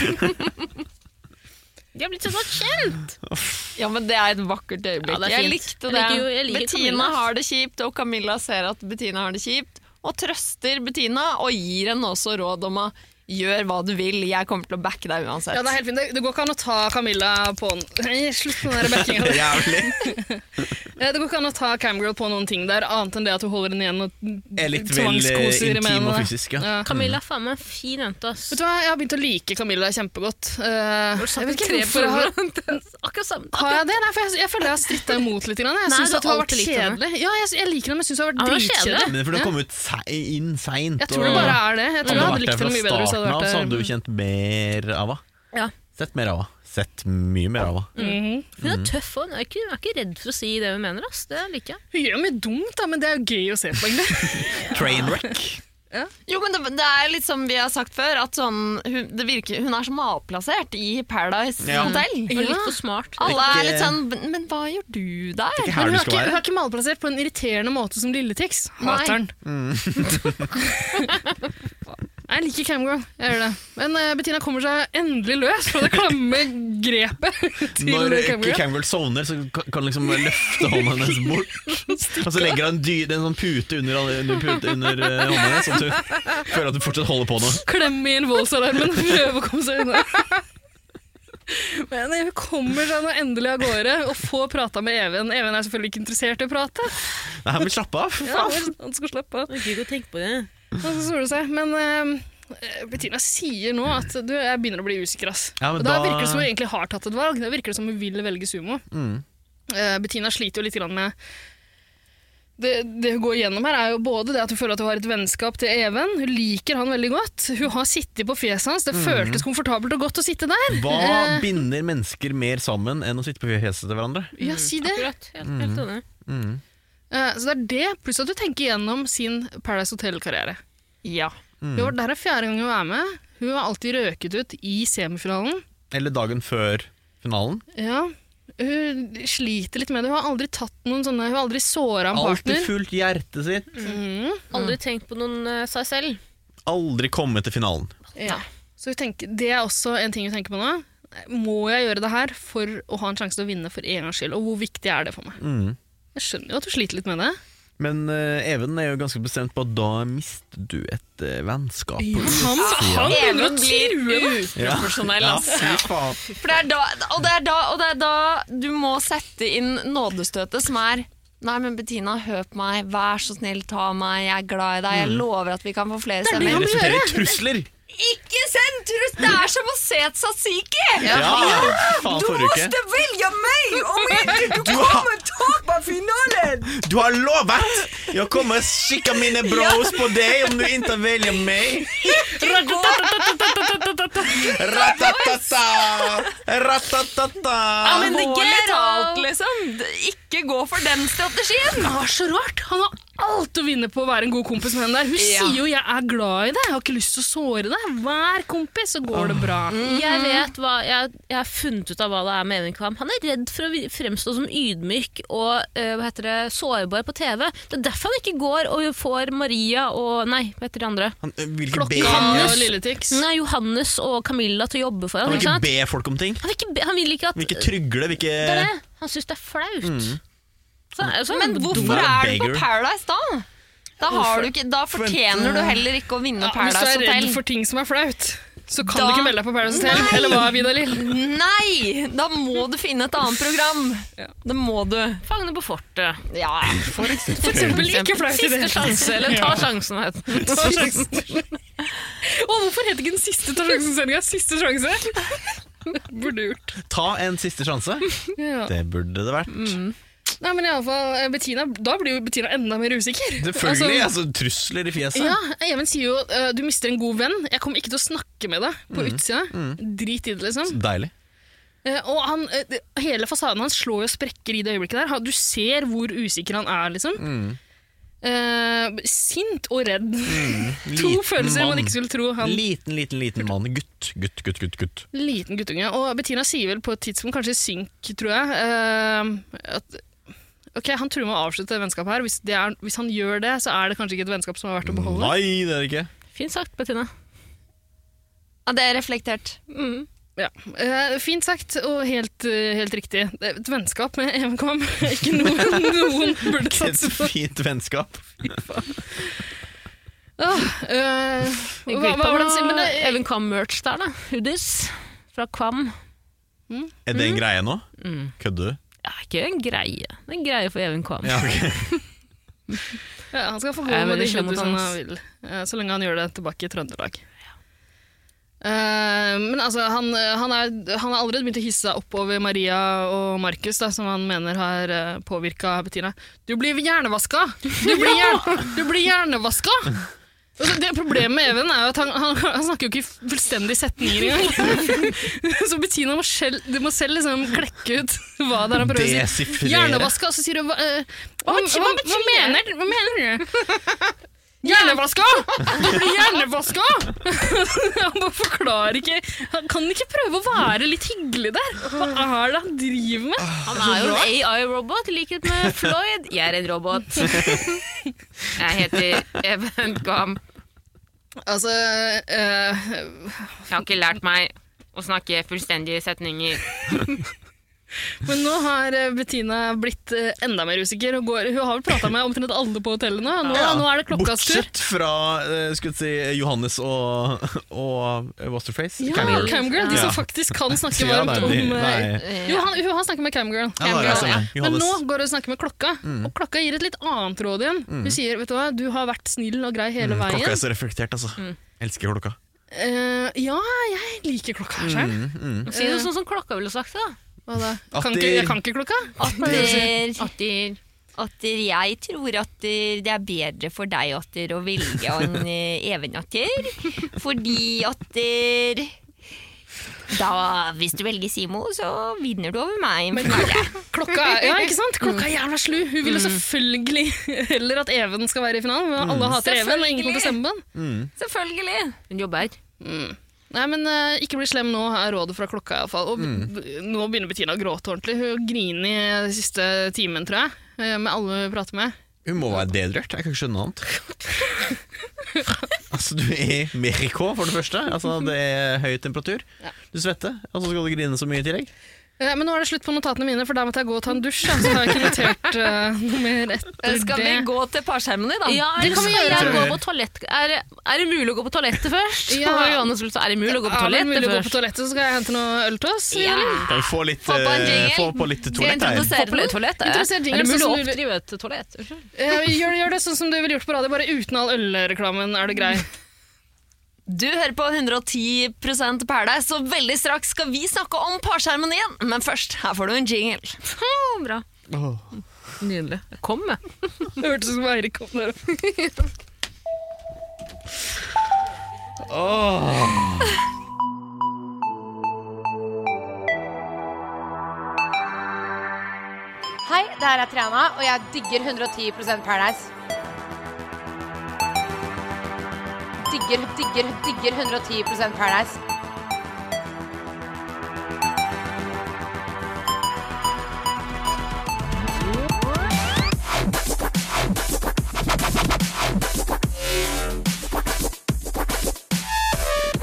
Speaker 6: De har blitt så godt kjent!
Speaker 2: Ja, men det er et vakkert øyeblikk.
Speaker 6: Ja, det er
Speaker 2: jeg
Speaker 6: fint.
Speaker 2: likte
Speaker 6: Jeg
Speaker 2: det.
Speaker 6: liker jo- jeg liker
Speaker 2: Bettina
Speaker 6: Camilla, ass.
Speaker 2: har det kjipt, og Camilla ser at Bettina har det kjipt, og trøster Bettina og gir henne også råd om å Gjør hva du vil, jeg kommer til å backe deg uansett.
Speaker 4: Ja, det er helt fint. Det, det går ikke an å ta Camilla på en... Nei, Slutt med den der backinga.
Speaker 3: Jævlig.
Speaker 4: Eh, Det går ikke an å ta Camgirl på noen ting der, annet enn det at hun holder den igjen og
Speaker 3: Er litt vel eh,
Speaker 4: tvangskoser med
Speaker 3: intim og
Speaker 4: henne.
Speaker 3: fysisk, ja.
Speaker 4: Ja.
Speaker 6: Camilla er faen meg en fin jente, ass.
Speaker 4: Mm. Vet du hva, Jeg har begynt å like Camilla kjempegodt. Eh, jeg vet ikke hvorfor jeg har,
Speaker 6: Akkurat samme.
Speaker 4: har jeg det? Nei, for jeg, jeg føler jeg har stritta imot litt. Grann. Jeg
Speaker 6: Nei,
Speaker 4: syns
Speaker 6: du
Speaker 4: at hun har
Speaker 6: har
Speaker 4: vært
Speaker 6: alltid likt henne.
Speaker 4: kjedelig. Ja, jeg, jeg liker henne, men jeg syns hun har vært
Speaker 6: Ja, hun er
Speaker 4: dritkjedelig.
Speaker 6: kjedelig.
Speaker 3: Men for det
Speaker 4: Ja.
Speaker 3: kom ut sei, inn seint.
Speaker 4: Jeg tror det bare er det. Jeg tror jeg hadde likt henne mye bedre hvis jeg hadde
Speaker 3: starten av, så
Speaker 4: vært eh,
Speaker 3: hadde
Speaker 4: der.
Speaker 3: du kjent mer av henne.
Speaker 6: Ja.
Speaker 3: Sett mer av henne. Sett mye mer av henne.
Speaker 4: Mhm.
Speaker 6: Hun er tøff og hun er ikke, hun er ikke redd for å si det hun mener. Ass. Det liker jeg.
Speaker 4: Hun gjør mye dumt, da, men det er jo gøy å se på. egentlig.
Speaker 3: Trainwreck.
Speaker 2: Jo, men det, det er litt som vi har sagt før, at sånn, hun, det virker, hun er så malplassert i Paradise
Speaker 3: Ja.
Speaker 2: Hotel.
Speaker 6: Hun er
Speaker 4: Ja.
Speaker 6: litt for smart.
Speaker 2: Alle er
Speaker 3: Ikke-
Speaker 2: litt sånn Men hva gjør du der?
Speaker 3: Ikke
Speaker 4: Men
Speaker 3: her
Speaker 4: hun
Speaker 3: du
Speaker 4: er
Speaker 3: skal
Speaker 4: ikke, hun
Speaker 3: være.
Speaker 4: er ikke malplassert på en irriterende måte som Lilletix.
Speaker 2: Nei.
Speaker 4: Hater den.
Speaker 3: Mm.
Speaker 4: Nei, Jeg liker Camgirl, jeg gjør det. Men eh, Bettina kommer seg endelig løs fra det klamme grepet til
Speaker 3: Når
Speaker 4: Camgirl.
Speaker 3: Camgirl sovner, så kan- kan liksom løfte hånda hennes bort. Og så legger hun en, dy, en sånn pute under, under, pute under eh, hånda hennes, sånn at hun føler at hun fortsatt holder på noe.
Speaker 4: klemme inn voldsalarmen og prøve å komme seg unna. Men hun kommer seg nå endelig av gårde og får prata med Even. Even er selvfølgelig ikke interessert i å prate.
Speaker 3: Nei, men slapp av. for
Speaker 4: Ja,
Speaker 3: faen.
Speaker 4: han skal slappe av.
Speaker 6: Gidder ikke å tenke på det.
Speaker 4: Og så soler det seg. Men eh, Bettina sier nå at du, jeg begynner å bli usikker. ass.
Speaker 3: Ja, men
Speaker 4: og da,
Speaker 3: da-
Speaker 4: virker det som hun egentlig har tatt et valg. Da virker det som hun vil velge sumo.
Speaker 3: Mm.
Speaker 4: Eh, Bettina sliter jo litt grann med det, det hun går igjennom her, er jo både det at hun føler at hun har et vennskap til Even. Hun liker han veldig godt. Hun har sittet på fjeset hans. Det
Speaker 3: Mhm.
Speaker 4: føltes komfortabelt og godt å sitte der.
Speaker 3: Hva
Speaker 4: Eh.
Speaker 3: binder mennesker mer sammen enn å sitte på fjeset til hverandre?
Speaker 4: Ja, si det.
Speaker 6: Akkurat. Helt, helt enig.
Speaker 4: Eh, Så det er det, pluss at hun tenker igjennom sin Paradise Hotel-karriere.
Speaker 2: Ja.
Speaker 3: Mhm.
Speaker 4: Hun har vært der er fjerde gang hun er med. Hun har alltid røket ut i semifinalen.
Speaker 3: Eller dagen før finalen?
Speaker 4: Ja. Hun sliter litt med det. Hun har aldri tatt noen sånne Hun har aldri såra en
Speaker 3: Alltid
Speaker 4: partner.
Speaker 3: fullt hjertet sitt.
Speaker 4: Mm.
Speaker 6: Aldri tenkt på noen eh, seg selv.
Speaker 3: Aldri komme til finalen.
Speaker 4: Ja. Så hun tenker, det er også en ting hun tenker på nå. Må jeg gjøre det her for å ha en sjanse til å vinne for en gangs skyld? Og hvor viktig er det for meg?
Speaker 3: Mhm.
Speaker 4: Jeg skjønner jo at hun sliter litt med det.
Speaker 3: Men eh, Even er jo ganske bestemt på at da mister du et eh, vennskap.
Speaker 4: Han, han begynner å
Speaker 2: Even blir
Speaker 4: true! da.
Speaker 2: uprofesjonell,
Speaker 3: Ja,
Speaker 2: altså.
Speaker 3: fy faen.
Speaker 2: For det er da, og, det er da, og det er da du må sette inn nådestøtet, som er Nei, men Bettina, hør på meg. Vær så snill, ta meg. Jeg er glad i deg.
Speaker 3: Mm.
Speaker 2: Jeg lover at vi kan få flere
Speaker 4: er det
Speaker 3: Det
Speaker 2: stemmer.
Speaker 4: han-
Speaker 3: resulterer i trusler!
Speaker 2: liksom Ikke send trus! Det er som å se et tzatziki!
Speaker 3: Ja, fy faen forrige uke.
Speaker 2: velge meg om ikke
Speaker 3: Du har,
Speaker 2: tar på finalen!
Speaker 3: du har lovet! Jeg kommer skikke mine bros på deg om du ikke velger meg. Ratatata! Ratatata!
Speaker 2: men det
Speaker 6: Alvorlig talt,
Speaker 2: talt, liksom. Ikke gå for den strategien!
Speaker 4: Det var så rart. Han har alt å vinne på å være en god kompis med henne der. Hun
Speaker 2: Ja.
Speaker 4: sier jo 'jeg er glad i deg', jeg har ikke lyst til å såre deg. Vær kompis, så går det bra.
Speaker 6: Jeg vet hva, jeg, jeg har funnet ut av hva det er med Even Kvam. Han er redd for å vi- fremstå som ydmyk og eh, hva heter det, sårbar på TV. Det er derfor han ikke går og får Maria og Nei, hva heter de andre?
Speaker 3: Han eh, vil ikke be,
Speaker 4: Klokke Hanne og Lilletix.
Speaker 6: Nei, Johannes og Camilla til å jobbe for
Speaker 3: han
Speaker 6: ham.
Speaker 3: vil
Speaker 6: Ikke
Speaker 3: ikke
Speaker 6: sant?
Speaker 3: be folk om ting.
Speaker 6: Han, vil ikke be, han vil ikke at
Speaker 3: Han vil ikke trygle. Vil ikke...
Speaker 6: Det er det. Han syns det er flaut.
Speaker 3: Mm.
Speaker 6: Så, sånn. så,
Speaker 2: Men hvorfor
Speaker 3: Dummer
Speaker 2: er du på
Speaker 3: beggar.
Speaker 2: Paradise da? Da, har du ikke, da fortjener du heller ikke å vinne
Speaker 4: Ja, hvis du
Speaker 2: Paradise
Speaker 4: er redd
Speaker 2: Hotel.
Speaker 4: for ting som er flaut, så kan
Speaker 2: Da-
Speaker 4: du ikke melde deg på Paradise Hotel.
Speaker 2: Nei.
Speaker 4: Eller hva, Vidar Lill?
Speaker 2: Nei! Da må du finne et annet program.
Speaker 4: Ja.
Speaker 2: Det må du.
Speaker 6: Fangene på fortet.
Speaker 2: Ja, for
Speaker 4: For eksempel ikke flaut i det
Speaker 6: Siste sjanse, eller ta sjansen. het den.
Speaker 4: Ta sjansen. Å, hvorfor heter ikke den siste Ta sjansen-sendinga Siste sjanse? Burde gjort.
Speaker 3: Ta en siste sjanse.
Speaker 4: Ja. Mm.
Speaker 3: Det burde det vært.
Speaker 4: Nei, men i alle fall, eh, Bettina, Da blir jo Bettina enda mer usikker.
Speaker 3: Selvfølgelig.
Speaker 4: Altså,
Speaker 3: altså Trusler i fjeset.
Speaker 4: Ja, Even sier jo eh, du mister en god venn. Jeg kommer ikke til å snakke med deg på
Speaker 3: Mm.
Speaker 4: utsida. Drit i det, liksom.
Speaker 3: Deilig.
Speaker 4: Eh, og han, eh, det- hele fasaden hans slår jo sprekker i det øyeblikket der. Han- Du ser hvor usikker han er, liksom.
Speaker 3: Mm.
Speaker 4: Eh, sint og redd. to
Speaker 3: Liten
Speaker 4: følelser man
Speaker 3: mann.
Speaker 4: ikke skulle tro han
Speaker 3: Liten, liten, liten mann. Gutt, gutt, gutt, gutt. gutt.
Speaker 4: Liten guttunge. Og Bettina sier vel på et tidspunkt, kanskje i synk, tror jeg, eh, at ok, han truer med å avslutte det vennskapet her. Hvis, det er, hvis han gjør det, så er det kanskje ikke et vennskap som er verdt å beholde.
Speaker 3: Nei, det er det ikke.
Speaker 6: Fint sagt, Bettina.
Speaker 2: Ja, det er reflektert.
Speaker 4: Ja. eh, fint sagt, og helt, eh, helt riktig. Det er Et vennskap med EMKM. Ikke noe noen burde satse
Speaker 3: Et
Speaker 4: på.
Speaker 3: fint vennskap.
Speaker 4: Åh, øh,
Speaker 6: Vi
Speaker 4: hva, hva var det han sier? Men det,
Speaker 6: Even Kvam-merch der, da. Hoodies fra Kvam.
Speaker 3: Er
Speaker 4: Mm.
Speaker 3: det en greie nå? Kødder du?
Speaker 6: Ja, ikke en greie. Det er en greie for Even Kvam.
Speaker 3: Ja, ok.
Speaker 4: ja, han skal få gå
Speaker 6: Jeg er
Speaker 4: med de
Speaker 6: veldig slem mot
Speaker 4: kjendisene han
Speaker 6: hans.
Speaker 4: vil, eh, så lenge han gjør det tilbake i Trøndelag. Eh, men altså, han, han, er, han har allerede begynt å hisse seg opp over Maria og Markus, da, som han mener har uh, påvirka Bettina. Du blir hjernevaska! Du blir, hjer du blir hjernevaska! Altså, det Problemet med Even er jo at han, han, han snakker jo ikke i fullstendige setninger engang. så Bettina må selv, du må selv liksom klekke ut hva det er han prøver å si.
Speaker 3: Desifrere.
Speaker 4: Hjernevaska, og så sier hun hva, eh, hva,
Speaker 6: Hva
Speaker 4: hva,
Speaker 6: betyr-
Speaker 4: hva,
Speaker 6: hva betyr
Speaker 4: mener, hva mener du? Hjernevaska! Du blir hjernevaska! Han bare forklarer ikke Han kan ikke prøve å være litt hyggelig der? Hva er det han driver med?
Speaker 6: Han er jo en AI-robot, i likhet med Floyd. Jeg er en robot. Jeg heter Even Kvam.
Speaker 4: Altså eh,
Speaker 6: Jeg har ikke lært meg å snakke fullstendige setninger.
Speaker 4: Men nå har eh, Bettina blitt eh, enda mer usikker. Og går, hun har vel prata med omtrent alle på hotellet nå. Nå, nå er det klokkas tur.
Speaker 3: Bortsett fra eh, skulle jeg si, Johannes og, og eh, What's Her Face?
Speaker 4: Ja,
Speaker 3: Camgirl.
Speaker 4: Camgirl. De som
Speaker 3: Ja.
Speaker 4: faktisk kan snakke
Speaker 3: Ja,
Speaker 4: varmt
Speaker 3: nei,
Speaker 4: om
Speaker 3: de-
Speaker 4: eh,
Speaker 3: nei.
Speaker 4: Jo, han, hun har snakket med Camgirl.
Speaker 3: Ja, det er det samme.
Speaker 4: Men
Speaker 3: Johannes.
Speaker 4: nå går hun og snakker med klokka,
Speaker 3: Mm.
Speaker 4: og klokka gir et litt annet råd igjen. Hun sier vet du hva, du har vært snill og grei hele veien.
Speaker 3: Mm, Klokka er så reflektert, altså.
Speaker 4: Mm.
Speaker 3: Elsker klokka.
Speaker 4: Eh, ja, jeg liker klokka sjøl.
Speaker 6: Si det sånn som klokka ville sagt det.
Speaker 4: Hva da?
Speaker 3: Mm. At
Speaker 4: Kan
Speaker 3: de-
Speaker 4: ikke, jeg kan ikke klokka?
Speaker 6: da.
Speaker 2: Atter,
Speaker 6: Atter.
Speaker 2: atter, jeg tror at eh, det er bedre for deg, Atter, å velge en eh, Even, Atter. Fordi, Atter da, Hvis du velger Simo, så vinner du over meg.
Speaker 4: Men klokka, klokka, er- ja, ikke sant? klokka
Speaker 3: Mm.
Speaker 4: er jævla slu. Hun vil jo selvfølgelig heller at Even skal være i finalen. men
Speaker 3: Mm.
Speaker 4: Alle hater Even, og ingen kommer til å stemme på han.
Speaker 2: Selvfølgelig!
Speaker 6: Hun jobber her.
Speaker 4: Nei, men eh, ikke bli slem nå, er rådet fra klokka i hvert fall. Og
Speaker 3: Mm.
Speaker 4: b- nå begynner Bettina å gråte ordentlig. Hun griner i den siste timen, tror jeg, eh, med alle hun prater med.
Speaker 3: Hun må være dedrørt. Jeg kan ikke skjønne noe annet. altså, du er i Mexico, for det første. Altså, det er høy temperatur. Du svetter, og så skal du grine så mye i tillegg.
Speaker 4: Eh, Men nå er det slutt på notatene mine, for da måtte jeg gå og ta en dusj. da, Så har jeg ikke notert eh, noe mer etter
Speaker 2: Skal vi
Speaker 4: det.
Speaker 2: gå til parskjermene, da?
Speaker 6: Ja,
Speaker 4: Det
Speaker 6: eller
Speaker 4: kan vi
Speaker 6: skal
Speaker 4: gjøre.
Speaker 6: jeg gå på toalett? Er, er det mulig å gå på toalettet først?
Speaker 4: Ja.
Speaker 6: Og Johannes lurte, er det mulig å
Speaker 4: Ja,
Speaker 6: gå på
Speaker 4: det er
Speaker 6: toalettet
Speaker 4: mulig å gå på
Speaker 6: først?
Speaker 4: toalettet, så skal jeg hente noe øl til oss.
Speaker 2: Ja.
Speaker 4: eller?
Speaker 3: Kan vi få litt,
Speaker 2: Få på en
Speaker 3: eh,
Speaker 2: jingle.
Speaker 3: få på litt toalett
Speaker 2: Skal jeg
Speaker 3: her?
Speaker 2: introdusere noe toalett? eh?
Speaker 4: Interesser
Speaker 6: Er det
Speaker 4: jingles,
Speaker 6: mulig
Speaker 4: sånn
Speaker 6: å
Speaker 4: som du,
Speaker 6: oppdrive et toalett? Unnskyld.
Speaker 4: Eh, gjør, gjør det sånn som du ville gjort på radio, bare uten all ølreklamen. Er det grei?
Speaker 2: Du hører på 110 Paradise, og veldig straks skal vi snakke om parskjermen igjen. Men først, her får du en jingle.
Speaker 6: Å, Bra.
Speaker 3: Åh.
Speaker 6: Nydelig. Kom med.
Speaker 4: Det hørtes ut som Eirik kom der opp.
Speaker 7: Hei, det her er Triana, og jeg digger 110 Paradise. Digger, digger, digger 110 Paradise.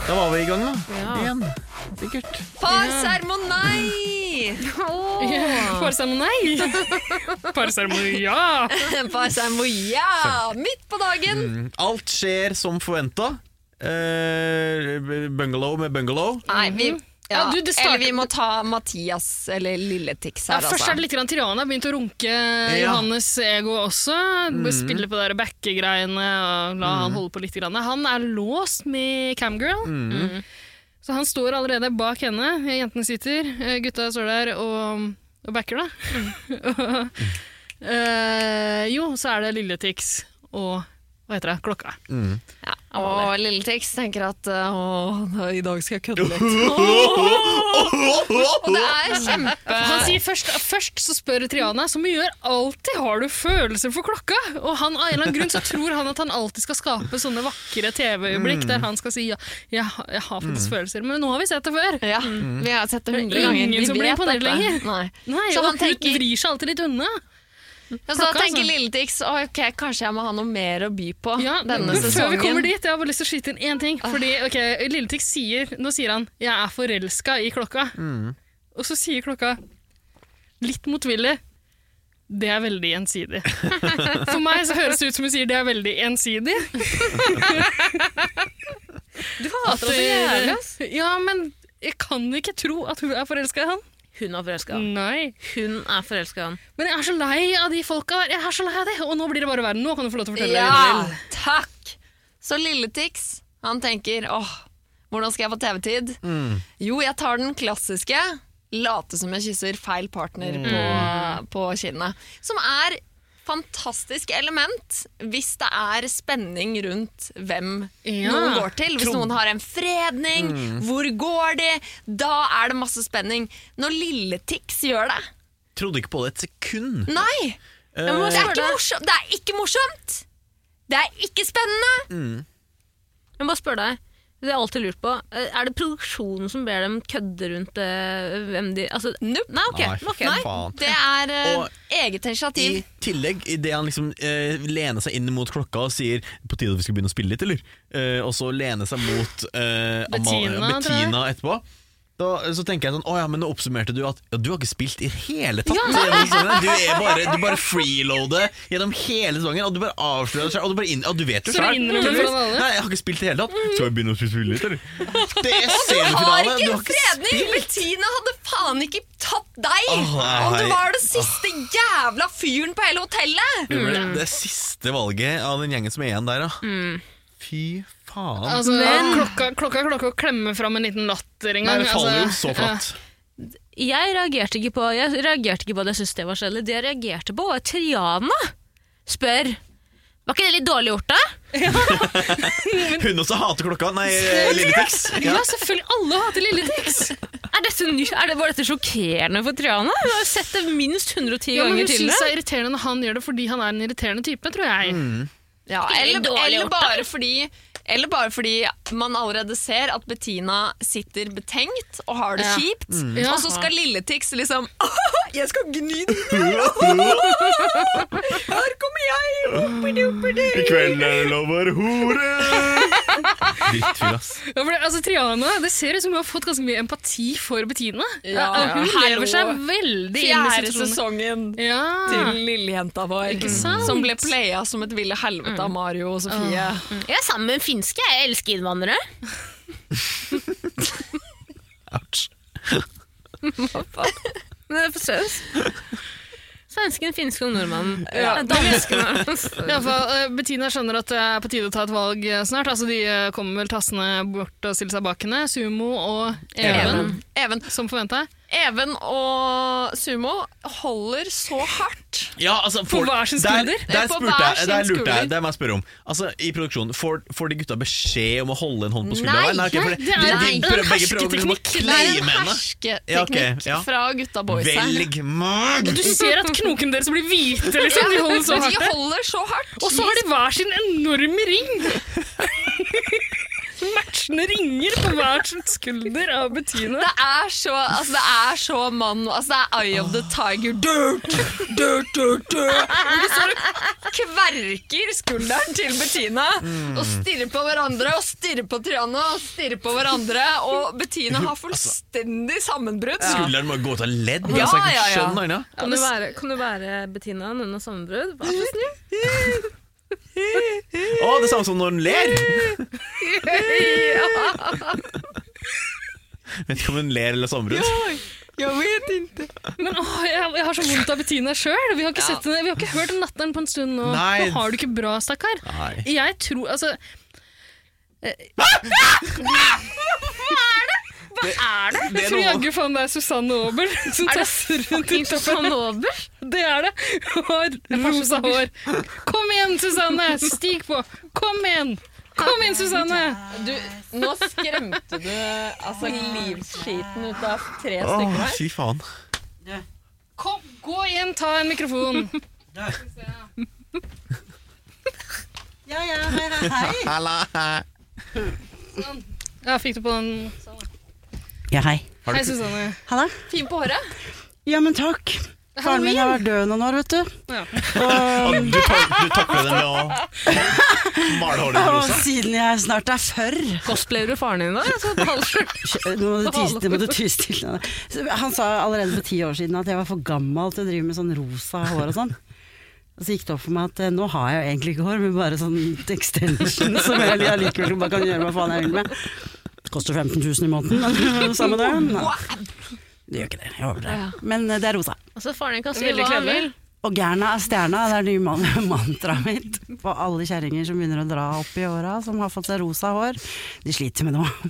Speaker 3: Da var vi i gang, da. Igjen. Sikkert.
Speaker 2: Parsermonei!
Speaker 4: Parseremoni! Parseremoni, ja!
Speaker 2: Parsermoia! Midt på dagen!
Speaker 3: Mm, Alt skjer som forventa. Eh, bungalow med bungalow.
Speaker 2: Nei, vi Mm. ja.
Speaker 4: Ja, du, det starter-
Speaker 2: Eller vi må ta Mathias eller Lilletix
Speaker 4: Ja,
Speaker 2: her, altså.
Speaker 4: først er det litt grann Tirana har begynt å runke Johannes ego også. Bare Spille på de der backegreiene og la han holde på litt. Grann. Han er låst med camgirl. Mm. Så han står allerede bak henne. Jentene sitter, eh, gutta står der og, og backer, da. Eh, jo, så er det Lilletix og hva heter det? Klokka.
Speaker 2: Ja. Og Lilletix tenker at eh, åh, da- i dag skal jeg kødde litt. Og det er kjempe
Speaker 4: Han sier først, først så spør Triana, som hun gjør alltid, har du følelser for klokka? Og han, av en eller annen grunn så tror han at han alltid skal skape sånne vakre TV-øyeblikk der han skal si ja, jeg, har- jeg har faktisk følelser, men nå har vi sett det før.
Speaker 2: Ja, Mm. vi har sett det hundre ganger.
Speaker 4: Ingen
Speaker 2: Vi
Speaker 4: som blir
Speaker 2: vet
Speaker 4: imponert
Speaker 2: dette.
Speaker 4: lenger.
Speaker 2: Nei.
Speaker 4: Nei,
Speaker 2: Så
Speaker 4: og
Speaker 2: han
Speaker 4: hun
Speaker 2: tenker-
Speaker 4: vrir seg alltid litt unna.
Speaker 2: Ja, så da
Speaker 4: Klokka,
Speaker 2: tenker
Speaker 4: altså.
Speaker 2: Lilletix ok, kanskje jeg må ha noe mer å by på
Speaker 4: Ja,
Speaker 2: Ah, denne
Speaker 4: men Før
Speaker 2: sesongen. Ah.
Speaker 4: vi kommer dit, jeg har bare lyst til å skyte inn én ting. Fordi, ok, Lilletix sier Nå sier han 'jeg er forelska i klokka'. Og så sier klokka, litt motvillig, Det er veldig gjensidig. For meg så høres det ut som hun sier det er veldig ensidig.
Speaker 6: Du hater oss så jævlig, ass.
Speaker 4: Ja, men jeg kan ikke tro at hun er forelska i han.
Speaker 6: Hun er forelska i han.
Speaker 4: Nei.
Speaker 6: Hun er forelska i han.
Speaker 4: Men jeg er så lei av de folka her. Jeg er så lei av det. Og nå blir det bare verre. Nå kan du få lov til å fortelle
Speaker 2: Ja,
Speaker 4: det du vil.
Speaker 2: takk! Så Lilletix, han tenker åh, hvordan skal jeg få TV-tid? Jo, jeg tar den klassiske. Late som jeg kysser feil partner på, på kinnet. Som er fantastisk element hvis det er spenning rundt hvem
Speaker 4: Ja.
Speaker 2: noen går til. Hvis noen har en fredning, hvor går de? Da er det masse spenning. Når Lilletix gjør det
Speaker 3: Trodde ikke på det et sekund.
Speaker 2: Nei! Det er, ikke morsomt. det er ikke morsomt! Det er ikke spennende!
Speaker 6: Men bare spør deg, det har jeg alltid lurt på, Eh, er det produksjonen som ber dem kødde rundt eh, hvem de altså,
Speaker 2: Nope.
Speaker 6: Nei, ok.
Speaker 3: Nei,
Speaker 6: ok.
Speaker 3: faen.
Speaker 2: Det er eh,
Speaker 3: Og-
Speaker 2: eget initiativ.
Speaker 3: I tillegg, idet han liksom eh, lener seg inn mot klokka og sier 'på tide at vi skal begynne å spille litt', eller? Eh, og så lener seg mot eh, Amal-
Speaker 4: Bettina, tror jeg.
Speaker 3: Bettina etterpå. Da, eh, så tenker jeg sånn Å ja, men nå oppsummerte du at ja, du har ikke spilt i det hele tatt. gjennom sesongen. Du er bare, du bare freeloader gjennom hele sesongen, og du bare avslører deg selv, og du bare inn, og du vet jo
Speaker 4: Så du
Speaker 3: selv.
Speaker 4: innrømmer det foran alle?
Speaker 3: Nei, jeg har ikke spilt i det hele tatt. Skal vi begynne å spille litt, eller? Det er
Speaker 2: Du har
Speaker 3: semifinale!
Speaker 2: ikke en fredning! Bettina hadde faen ikke tatt deg!
Speaker 3: Åh,
Speaker 2: og du
Speaker 3: nei.
Speaker 2: var den siste jævla fyren på hele hotellet!
Speaker 3: Det ble det siste valget av den gjengen som er igjen der, da.
Speaker 4: Mm.
Speaker 3: Fy faen.
Speaker 4: Altså, klokka, klokka, klokka klemmer fram en liten latter en
Speaker 3: Nei,
Speaker 4: gang.
Speaker 3: det faller jo
Speaker 4: altså.
Speaker 3: så flatt.
Speaker 6: Jeg reagerte ikke på Jeg reagerte ikke på at jeg syntes det var kjedelig. Det jeg reagerte på, var at Triana spør Var ikke det litt dårlig gjort, da?
Speaker 3: Hun også hater klokka. Nei, eh, Lilletex.
Speaker 4: Ja. ja, selvfølgelig. Alle hater Lilletix.
Speaker 6: Er dette ny, er det, var dette sjokkerende for Triana? Hun har jo sett det minst 110
Speaker 4: Ja, men
Speaker 6: ganger
Speaker 4: hun syns det
Speaker 6: tidligere.
Speaker 4: er irriterende når han gjør det fordi han er en irriterende type, tror jeg.
Speaker 3: Mm.
Speaker 2: Ja,
Speaker 6: Eller-
Speaker 2: eller,
Speaker 6: eller
Speaker 2: bare fordi eller bare fordi man allerede ser at Bettina sitter betenkt og har det
Speaker 4: Ja.
Speaker 2: kjipt.
Speaker 4: Ja.
Speaker 2: Og så skal Lilletix liksom Jeg skal gni den! Her kommer jeg! Hoppidi-hoppidi!
Speaker 3: I kveld er det lov å være hore. Drittfyr, ass.
Speaker 4: Ja, for det, altså, Triana, det ser ut som hun har fått ganske mye empati for Bettina.
Speaker 2: Ja.
Speaker 4: Ja, hun
Speaker 2: Hallo.
Speaker 4: lever seg veldig inn i
Speaker 2: Fjerde
Speaker 4: situasjonen.
Speaker 2: sesongen
Speaker 4: Ja.
Speaker 2: til lillejenta vår. mm,
Speaker 4: sant?
Speaker 2: Som ble playa som et ville helvete av Mario og Sofie.
Speaker 6: Jeg er sammen med en finske. Jeg elsker innvandrere.
Speaker 3: Ouch.
Speaker 6: Men det er for søs. Svensken, finsken og nordmannen.
Speaker 2: Ja.
Speaker 6: Danskene.
Speaker 4: I alle fall, eh, Bettina skjønner at det er på tide å ta et valg eh, snart. Altså, de eh, kommer vel tassende bort og stiller seg bak henne. Sumo og Even,
Speaker 2: Even. Even.
Speaker 4: som forventa.
Speaker 2: Even og Sumo holder så hardt.
Speaker 3: Ja, altså, får-
Speaker 4: hver sin
Speaker 3: Der,
Speaker 4: skulder?
Speaker 3: der,
Speaker 2: På
Speaker 3: spurte
Speaker 2: hver
Speaker 3: jeg,
Speaker 2: sin
Speaker 3: der lurte
Speaker 2: skulder.
Speaker 3: jeg. Det må jeg spørre om. Altså, I produksjonen, får, får de gutta beskjed om å holde en hånd på skuldra?
Speaker 2: Nei,
Speaker 3: ok, for
Speaker 4: nei, det er-
Speaker 3: de,
Speaker 4: det
Speaker 3: de
Speaker 4: er en
Speaker 3: prøver, begge prøver liksom å
Speaker 4: hersketeknikk.
Speaker 2: Det er en
Speaker 3: kleime henne.
Speaker 2: hersketeknikk
Speaker 3: Ja, ok, ja.
Speaker 2: fra gutta boysa.
Speaker 3: Velg mag!
Speaker 4: Du ser at knokene deres blir hvite, liksom. De holder så hardt.
Speaker 2: De
Speaker 4: der.
Speaker 2: holder så hardt.
Speaker 4: Og så har de hver sin enorme ring! Matchende ringer på hver sin skulder av Bettina.
Speaker 2: Det er så, altså, det er så mann altså, Det er Eye of the Tiger. Dirt, dirt, dirt, dirt. Og de står og kverker skulderen til Bettina og stirrer på hverandre og stirrer på Triana og stirrer på hverandre. Og Bettina har fullstendig sammenbrudd.
Speaker 3: Skulderen må gå ut av ledd.
Speaker 2: Ja,
Speaker 3: altså,
Speaker 2: ja, ja.
Speaker 3: skjønn, Aina.
Speaker 6: Kan du være, kan du være Bettina når hun har sammenbrudd? Vær så snill.
Speaker 3: Å, det er samme som når hun ler. Vet ikke om hun ler eller sammenbrudd.
Speaker 2: Jeg vet ikke.
Speaker 4: Men åh, jeg, jeg har så vondt av Bettina sjøl. Vi, har ikke
Speaker 2: Ja.
Speaker 4: sett henne- vi har ikke hørt om latteren på en stund nå.
Speaker 3: Nei.
Speaker 4: Nå har du ikke bra, stakkar.
Speaker 3: Nei.
Speaker 4: Jeg tror Altså
Speaker 3: Det
Speaker 4: Jeg
Speaker 3: er
Speaker 4: tror
Speaker 3: noe-
Speaker 4: jaggu faen det er Susanne Aabel som tasser rundt i toppen. Det er det! Hun har rosa hår. Kom igjen, Susanne! Stig på! Kom igjen! Kom igjen, Susanne!
Speaker 2: Du, nå skremte du altså livsskiten ut av tre
Speaker 3: Åh,
Speaker 2: stykker her.
Speaker 3: fy faen.
Speaker 4: Kom, gå igjen, ta en mikrofon.
Speaker 8: Ja, ja, hei, hei, hei.
Speaker 4: Ja, fikk du på den?
Speaker 8: Ja, hei.
Speaker 4: Hei, Susanne.
Speaker 8: Halla.
Speaker 2: Fin på håret.
Speaker 8: Ja, men takk. Faren min har vært død noen år, vet du.
Speaker 4: Ja.
Speaker 8: Og,
Speaker 3: Du, tak- du takler det med å male håret ditt
Speaker 8: og
Speaker 3: rosa?
Speaker 8: siden jeg snart er 40
Speaker 6: Cosplayer du faren din da? Så det holder.
Speaker 8: Nå må du ty nå må du ty stille. Så Han sa allerede for ti år siden at jeg var for gammel til å drive med sånn rosa hår og sånn. Og så gikk det opp for meg at eh, nå har jeg jo egentlig ikke hår, men bare sånn extension som jeg allikevel bare kan gjøre hva faen jeg vil med. Det koster 15 000 i måneden, samme det. Nei. Det gjør ikke det, jeg overdrev. Men eh, det er rosa.
Speaker 6: Altså, faren din kan si
Speaker 4: Veldig
Speaker 6: hva han
Speaker 4: kledelig.
Speaker 6: vil.
Speaker 8: Og gærna er stjerna, det er det nye man- mantraet mitt. På alle kjerringer som begynner å dra opp i åra, som har fått seg rosa hår. De sliter med noe.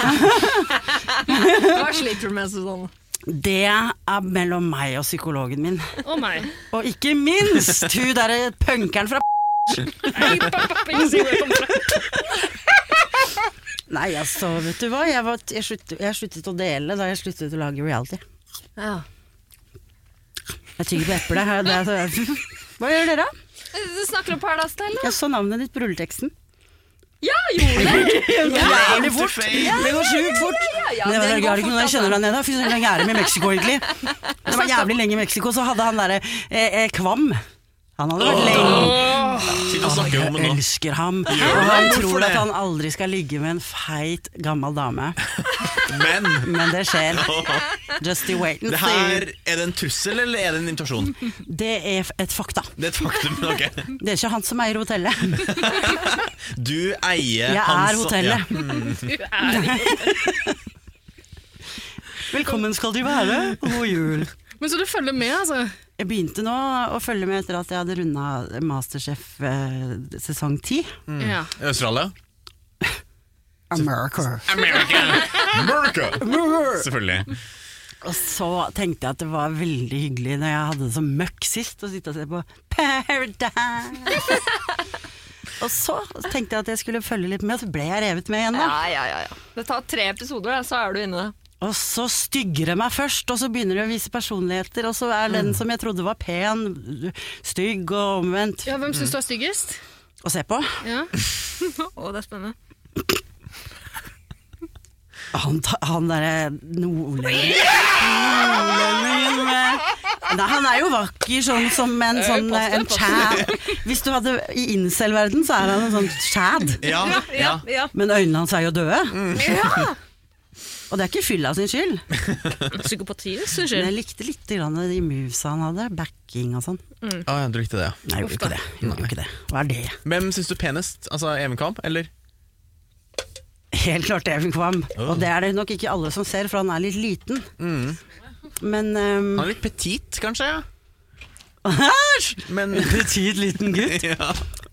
Speaker 2: Hva sliter du med, Susanne?
Speaker 8: Det er mellom meg og psykologen min.
Speaker 4: Å meg.
Speaker 8: Og ikke minst hun derre punkeren fra
Speaker 4: Nei, pappa, pappa, ikke si hvor jeg kommer fra.
Speaker 8: Nei, altså, vet du hva. Jeg, var, jeg, sluttet, jeg sluttet å dele da jeg sluttet å lage reality.
Speaker 2: Ja.
Speaker 8: Jeg tygger på eplet. her, det er så- Hva gjør dere? da?
Speaker 2: Du snakker om Paradise Hotel, da?
Speaker 8: Jeg så navnet ditt på rulleteksten.
Speaker 2: Ja, gjorde det!
Speaker 8: Jævlig fort! Det går sjukt fort.
Speaker 2: ja,
Speaker 8: Men det var
Speaker 2: den
Speaker 8: jeg
Speaker 2: går
Speaker 8: har ikke
Speaker 2: fort,
Speaker 8: noen jeg kjenner
Speaker 2: altså.
Speaker 8: der nede. Fy søren, jeg er med i Mexico, egentlig. Det var jævlig lenge i Mexico, så hadde han derre eh, eh, Kvam. Han hadde vært lenge
Speaker 3: Sitt og snakke om
Speaker 8: Jeg
Speaker 3: det nå.
Speaker 8: elsker ham.
Speaker 3: Gjør
Speaker 8: Og han
Speaker 3: det? Hvorfor
Speaker 8: tror at
Speaker 3: det?
Speaker 8: han aldri skal ligge med en feit, gammel dame.
Speaker 3: Men
Speaker 8: Men det skjer. Just you wait and
Speaker 3: det
Speaker 8: see.
Speaker 3: her, er det en trussel eller er det en invitasjon?
Speaker 8: Det er f- et fakta.
Speaker 3: Det er et faktum. men ok
Speaker 8: Det er ikke han som eier hotellet.
Speaker 3: Du eier
Speaker 8: Jeg
Speaker 3: hans-
Speaker 8: er hotellet.
Speaker 3: Ja.
Speaker 2: Mm.
Speaker 4: Du er det.
Speaker 8: Velkommen skal du være, og god jul.
Speaker 4: Men så du følger med, altså.
Speaker 8: Jeg begynte nå å følge med etter at jeg hadde runda Masterchef eh, sesong ti.
Speaker 4: Ja.
Speaker 3: Australia?
Speaker 8: America.
Speaker 3: America. Selvfølgelig.
Speaker 8: Og så tenkte jeg at det var veldig hyggelig når jeg hadde det så møkk sist, å sitte og se på Paradise. og så tenkte jeg at jeg skulle følge litt med, og så ble jeg revet med igjen. da.
Speaker 2: Ja, ja, ja, ja. Det tar tre episoder, da, så er du inne.
Speaker 8: Og så stygger det meg først, og så begynner det å vise personligheter, og så er den som jeg trodde var pen, stygg og omvendt.
Speaker 4: ja, hvem
Speaker 3: Mm.
Speaker 4: syns du er styggest?
Speaker 8: Å se på.
Speaker 4: Ja.
Speaker 2: Å, det er spennende.
Speaker 8: Han, ta- han derre nordlendingen Nordlendingen med Nei, han er jo vakker, sånn som en sånn eh, en chad. Hvis du hadde I incel-verden så er han en sånn chad,
Speaker 3: Ja, ja.
Speaker 2: ja. Mm.
Speaker 8: men øynene hans er jo døde. Og det er ikke fylla sin skyld.
Speaker 6: Psykopati, synes
Speaker 8: Men
Speaker 6: jeg.
Speaker 8: jeg likte litt grann de movesa han hadde, backing og sånn.
Speaker 3: Å, ja, du likte det, ja.
Speaker 8: Nei, jeg gjorde ikke det. Jeg Gjorde ikke det. Hva er det?
Speaker 3: Hvem syns du penest? Altså Even Kamp, eller?
Speaker 8: Helt klart Even Kvam. Og det er det nok ikke alle som ser, for han er litt liten. Men ehm,
Speaker 3: Han er litt petit, kanskje? ja? Men
Speaker 8: Petit liten gutt.
Speaker 3: ja.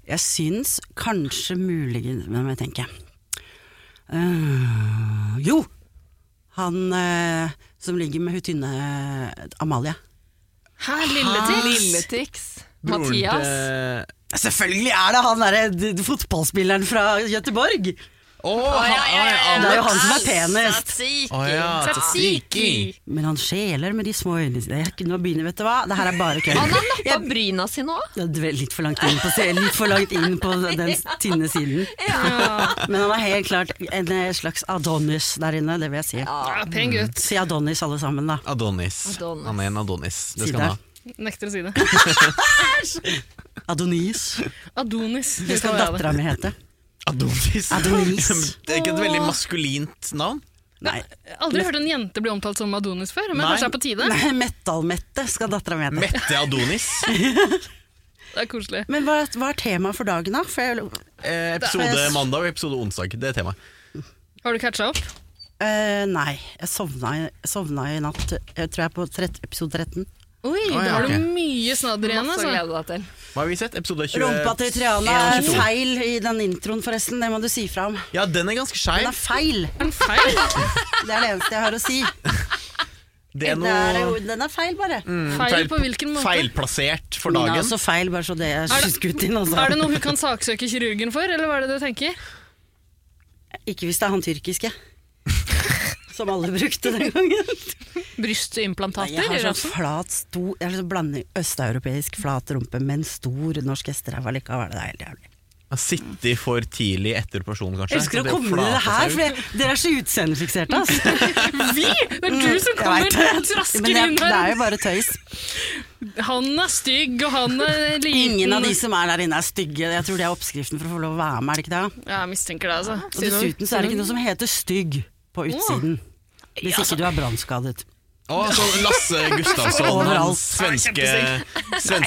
Speaker 8: Jeg syns kanskje muligens Men må jeg tenke. Eh, jo! Han eh, som ligger med hun tynne eh, Amalie.
Speaker 4: Hæ, lilletix?
Speaker 2: Lilletix.
Speaker 3: broren til-
Speaker 2: Mathias.
Speaker 8: Selvfølgelig er det han derre d- d- fotballspilleren fra Gøteborg!
Speaker 3: Å, han-
Speaker 8: Det er jo han som er penest.
Speaker 2: Satsiki.
Speaker 3: Å ja, tzatziki.
Speaker 8: Men han skjeler med de små øynene sine. Jeg er ikke- Nå begynner vet du hva, det her er bare kødd.
Speaker 2: Han har nappa bryna sine òg.
Speaker 8: Det er Litt for langt inn på, se- litt for langt inn på den tynne siden. Men han er helt klart en eh, slags Adonis der inne, det vil jeg si.
Speaker 3: Ah,
Speaker 4: Ja,
Speaker 3: mm.
Speaker 4: pen gutt.
Speaker 8: Si Adonis alle sammen, da.
Speaker 3: Adonis.
Speaker 2: Adonis.
Speaker 3: Han er en Adonis. Det
Speaker 8: Si
Speaker 3: skal han ha.
Speaker 4: Nekter å si det.
Speaker 8: Adonis.
Speaker 4: Adonis.
Speaker 8: Det skal dattera mi hete.
Speaker 3: Adonis.
Speaker 8: Adonis.
Speaker 3: det er ikke et veldig maskulint navn.
Speaker 8: Nei,
Speaker 4: Aldri hørt en jente bli omtalt som Adonis før, men
Speaker 3: Nei.
Speaker 4: kanskje det er på tide?
Speaker 8: Nei Metal-Mette skal dattera mi hete.
Speaker 3: Mette Adonis.
Speaker 4: Det er koselig.
Speaker 8: Men hva, hva er temaet for dagen, da? For jeg,
Speaker 3: Eh, episode mandag og episode onsdag. Det er temaet.
Speaker 4: Har du catcha opp?
Speaker 8: Eh, nei, jeg sovna, i- sovna i natt, jeg tror jeg, på trett, episode 13.
Speaker 4: Oi,
Speaker 3: Å,
Speaker 4: da
Speaker 3: ja,
Speaker 4: har
Speaker 3: ok.
Speaker 4: du mye snadder igjen,
Speaker 2: Masse å
Speaker 4: altså.
Speaker 2: glede deg til.
Speaker 3: Hva har vi sett? Episode 20...
Speaker 8: Rumpa til Triana er
Speaker 3: 22.
Speaker 8: feil i den introen, forresten. Det må du si fra om.
Speaker 3: Ja, den er ganske
Speaker 8: Den
Speaker 3: skeiv.
Speaker 8: er feil!
Speaker 4: Er den feil?
Speaker 8: Det er det eneste jeg har å si.
Speaker 3: Det er
Speaker 8: Det er,
Speaker 3: noe
Speaker 8: jo- den er feil, bare.
Speaker 4: Mm. Feil på hvilken måte?
Speaker 3: Feilplassert for
Speaker 8: Den er
Speaker 3: dagen.
Speaker 8: også feil, bare så det er
Speaker 4: Er det-
Speaker 8: skutt inn.
Speaker 4: Er det
Speaker 8: Altså.
Speaker 4: noe hun kan saksøke kirurgen for, eller hva er det du tenker?
Speaker 8: Ikke hvis det er han tyrkiske. Som alle brukte den gangen. Nei,
Speaker 6: Brystimplantater?
Speaker 8: jeg har
Speaker 6: eller
Speaker 8: sånn flat, stor liksom Jeg har sånn blander østeuropeisk flat rumpe med en stor norsk hesteræv allikevel. Det er helt jævlig.
Speaker 3: har sittet for tidlig etter personen, kanskje.
Speaker 8: Jeg elsker
Speaker 3: så
Speaker 8: å komme med
Speaker 3: flata
Speaker 8: det her,
Speaker 3: seg
Speaker 8: for
Speaker 3: ut.
Speaker 8: jeg- dere er så utseendefikserte, ass.
Speaker 4: Vi! Det er du som
Speaker 8: sånn- Mm,
Speaker 4: kommer
Speaker 8: Jeg vet det.
Speaker 4: og trasker
Speaker 8: Men det, er-
Speaker 4: inn
Speaker 8: det er jo
Speaker 4: her.
Speaker 8: bare tøys.
Speaker 4: Han er stygg, og han er liten.
Speaker 8: Ingen av de som er der inne er stygge. Jeg tror det er oppskriften for å få lov å være med, er det ikke det?
Speaker 4: Ja, jeg mistenker det, altså.
Speaker 8: Og dessuten så er det ikke noe som heter stygg på utsiden. Hvis ikke du er brannskadet.
Speaker 3: Å, så Lasse Gustavsson, han
Speaker 8: Overalt.
Speaker 3: svenske, svenske
Speaker 8: Ja,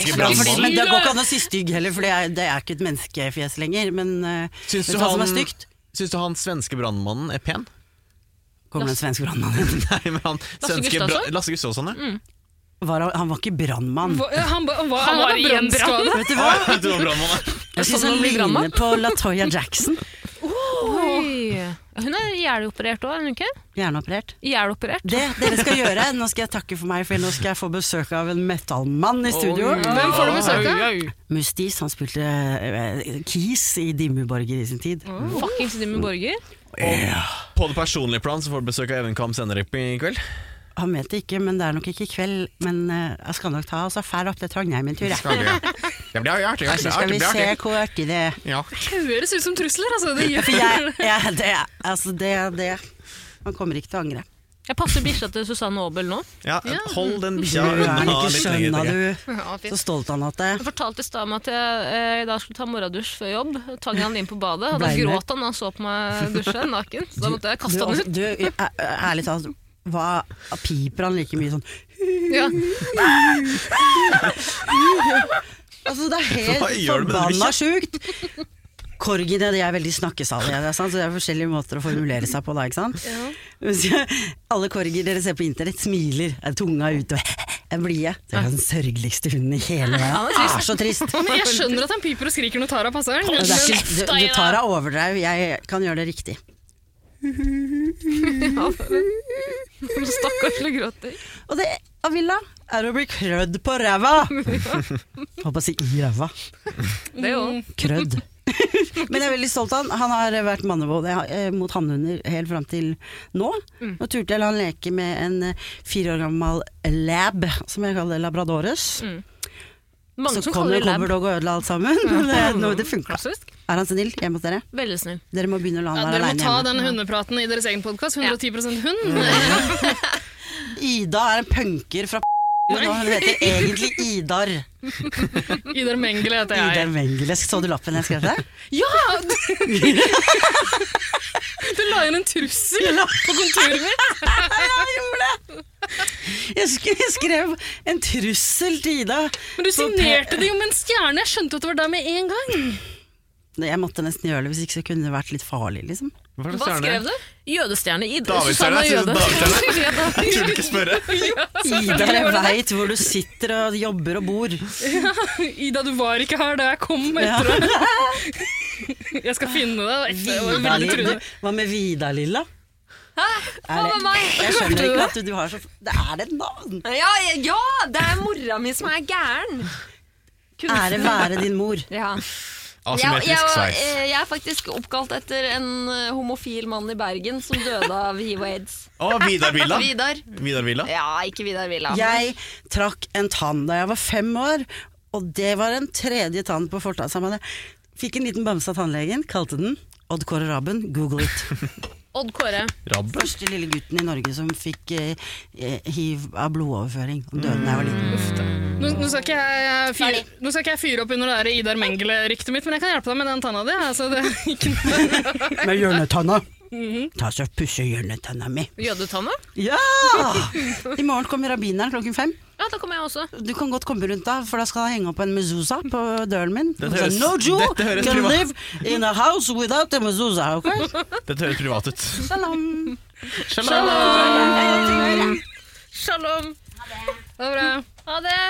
Speaker 8: fordi,
Speaker 3: brannmannen.
Speaker 8: men det går ikke an å si stygg heller, for det er, det er ikke et menneskefjes lenger. Men uh,
Speaker 3: Syns du
Speaker 8: vet du hva som
Speaker 3: han-
Speaker 8: er stygt?
Speaker 3: Syns du han svenske brannmannen er pen?
Speaker 8: Kommer en svensk brannmann inn.
Speaker 3: Nei, men han
Speaker 6: Lasse
Speaker 3: svenske bra-
Speaker 6: Gustavsson?
Speaker 3: Lasse Gustavsson,
Speaker 4: Mm.
Speaker 3: ja.
Speaker 8: Var han- Han var ikke brannmann.
Speaker 4: Hva- Han, ba- hva-
Speaker 6: Han
Speaker 4: han
Speaker 6: var
Speaker 4: var
Speaker 6: i en brann.
Speaker 4: brannskade.
Speaker 8: Vet du hva?
Speaker 3: Du var brannmann,
Speaker 8: Jeg syns
Speaker 6: sånn
Speaker 8: han
Speaker 6: man blir
Speaker 8: ligner
Speaker 6: gammel.
Speaker 8: på Latoya Jackson.
Speaker 6: Oi. Hun er hjerneoperert òg, er hun ikke?
Speaker 8: Hjerneoperert.
Speaker 6: Hjerneoperert.
Speaker 8: Det dere skal gjøre, nå skal jeg takke for meg, for nå skal jeg få besøk av en metallmann i studio.
Speaker 4: Hvem får du besøk av?
Speaker 8: Mustis, han spilte eh, Keys i Dimmeborger i sin tid.
Speaker 6: Fuckings Dimmy Borger.
Speaker 3: da. På det personlige plan så får du besøk av Even Kam senere i kveld.
Speaker 8: Han vet det ikke, men det er nok ikke i kveld. Men eh, jeg skal nok ta altså, fær opp til Trondheim en tur, jeg.
Speaker 3: Skal jeg. Ja, men det er artig. det er artig,
Speaker 8: Så skal vi
Speaker 3: det er
Speaker 8: se
Speaker 3: artig.
Speaker 8: hvor artig det er.
Speaker 3: Ja.
Speaker 4: Høres ut som trusler, altså. Det gjør
Speaker 8: For jeg, jeg det, er- altså det, er- det er- Man kommer ikke til å angre.
Speaker 6: Jeg passer bikkja til Susanne Aabel nå.
Speaker 3: Ja, hold den bikkja
Speaker 8: Du er
Speaker 3: unna litt
Speaker 8: ikke
Speaker 3: lenger.
Speaker 8: skjønna,
Speaker 3: tenker jeg.
Speaker 8: du.
Speaker 4: Ja, fint.
Speaker 8: Så stolt han at det
Speaker 6: Jeg fortalte i stad om at jeg eh, i dag skulle ta morgendusj før jobb. Tvang han inn på badet, og da
Speaker 8: Blei med.
Speaker 6: gråt han da han så på meg dusje naken. Så da måtte jeg
Speaker 8: du,
Speaker 6: kaste han
Speaker 8: altså,
Speaker 6: ut.
Speaker 8: du, æ- æ- Ærlig talt, sånn, altså, hva piper han like mye sånn
Speaker 4: Ja.
Speaker 8: Altså, det er
Speaker 3: Hva
Speaker 8: helt
Speaker 3: gjør du med den
Speaker 8: forbanna sjukt! Korgiene de er veldig snakkesalige, det er sant? så det er forskjellige måter å formulere seg på da, ikke sant? Mens jeg- Alle korger dere ser på internett smiler, er tunga ute og er blide. Det er den sørgeligste hunden i hele verden. Er så trist!
Speaker 4: Men jeg skjønner at han piper og skriker når Tara passer.
Speaker 8: Men Det er ikke, du,
Speaker 4: Men-
Speaker 8: du tar av overdrev, jeg kan gjøre det riktig.
Speaker 6: Stakkars lille gråter.
Speaker 8: Og det jeg vil da, er å bli krødd på ræva! Holdt på å si i ræva.
Speaker 6: Det
Speaker 2: Mm.
Speaker 6: òg.
Speaker 8: Krødd. Men jeg er veldig stolt av han. Han har vært mannevåd eh, mot hannhunder helt fram til nå.
Speaker 6: Mm.
Speaker 8: Nå turte jeg la han leke med en eh, fire år gammel lab, som jeg kaller labradores.
Speaker 6: Mm. Mange
Speaker 8: Så
Speaker 6: som
Speaker 8: kom
Speaker 6: kaller det
Speaker 8: det en
Speaker 6: lab. Mm.
Speaker 8: commerdog og ødela alt sammen. Men Det, nå- det funka.
Speaker 6: Klassisk.
Speaker 8: Er han snill hjemme hos dere?
Speaker 6: Veldig snill.
Speaker 8: Dere må begynne å la
Speaker 4: Ja, dere
Speaker 8: han være
Speaker 4: må
Speaker 8: aleine
Speaker 4: ta
Speaker 8: hjemme.
Speaker 4: den hundepraten i deres egen podkast. 110 hund.
Speaker 8: Mm. Ida er en punker fra men nå- hun heter egentlig Idar.
Speaker 4: Idar Mengele heter
Speaker 8: Idar
Speaker 4: jeg.
Speaker 8: Wengelesk. Så du lappen jeg skrev til deg?
Speaker 4: Ja! Du, du la inn en trussel på kontoret mitt.
Speaker 8: Jeg sk- jeg skrev en trussel til Ida.
Speaker 4: Men du
Speaker 8: Så pe-
Speaker 4: signerte det jo med en stjerne. Jeg skjønte at det var deg med en gang.
Speaker 8: Jeg måtte nesten gjøre det, hvis ikke så kunne det vært litt farlig, liksom.
Speaker 3: Hva
Speaker 6: Hva skrev du? Jødestjerne. Id
Speaker 3: Davidstjerne,
Speaker 6: Susanne
Speaker 3: jeg synes
Speaker 6: Jøde.
Speaker 3: Davidstjerne.
Speaker 6: Ja,
Speaker 3: Jeg
Speaker 6: da-
Speaker 3: turde ikke spørre.
Speaker 8: Ida, jeg veit hvor du sitter og jobber og bor.
Speaker 4: Ida, du var ikke her da jeg kom etter
Speaker 8: Ja.
Speaker 4: det. Jeg skal finne det. og etter- og
Speaker 8: Vidar
Speaker 4: veldig
Speaker 8: Lilla.
Speaker 4: truende.
Speaker 8: Hva med Vidar Lilla?
Speaker 2: Hva
Speaker 8: Er
Speaker 2: med
Speaker 8: det,
Speaker 2: meg?
Speaker 8: jeg skjønner ikke at du, du har så Det er et navn!
Speaker 2: Ja, ja, ja, det er mora mi som er gæren.
Speaker 8: Ære være din mor.
Speaker 2: Ja. Jeg, jeg,
Speaker 3: Asymmetrisk
Speaker 2: var-
Speaker 3: sveis.
Speaker 2: eh, jeg er faktisk oppkalt etter en eh, homofil mann i Bergen som døde av hiv og aids.
Speaker 3: Å, Vidar Villa.
Speaker 2: Vidar.
Speaker 3: Vidar Villa.
Speaker 2: Ja, ikke Vidar Villa.
Speaker 8: Jeg trakk en tann da jeg var fem år, og det var en tredje tann på fortaussambandet. Fikk en liten bamse av tannlegen, kalte den Odd Kåre Raben, google it.
Speaker 6: Odd Kåre.
Speaker 3: Rabbe.
Speaker 8: Første lille gutten i Norge som fikk eh, eh, hiv av blodoverføring. Han døde da jeg var liten.
Speaker 4: Nå, nå, skal ikke jeg fyre, nå skal ikke jeg fyre opp under det her Idar Mengele-ryktet mitt, men jeg kan hjelpe deg med den tanna di. Altså, det er ikke noe.
Speaker 8: Med hjørnetanna. Ta så pusse hjørnetanna mi.
Speaker 6: Mhm. Jødetanna?
Speaker 8: Ja! I morgen kommer rabbineren klokken fem.
Speaker 6: Ja, da kommer jeg også.
Speaker 8: Du kan godt komme rundt da, for da skal jeg henge opp en mezuzah på døren min.
Speaker 3: Dette
Speaker 8: Han sa,
Speaker 3: høres-
Speaker 8: no Jew
Speaker 3: dette høres
Speaker 8: can
Speaker 3: privat-
Speaker 8: live in a house without a mezuzah, ok?
Speaker 3: Dette høres privat ut.
Speaker 8: Salam.
Speaker 6: Shalom.
Speaker 4: Det er bra.
Speaker 6: Ha det.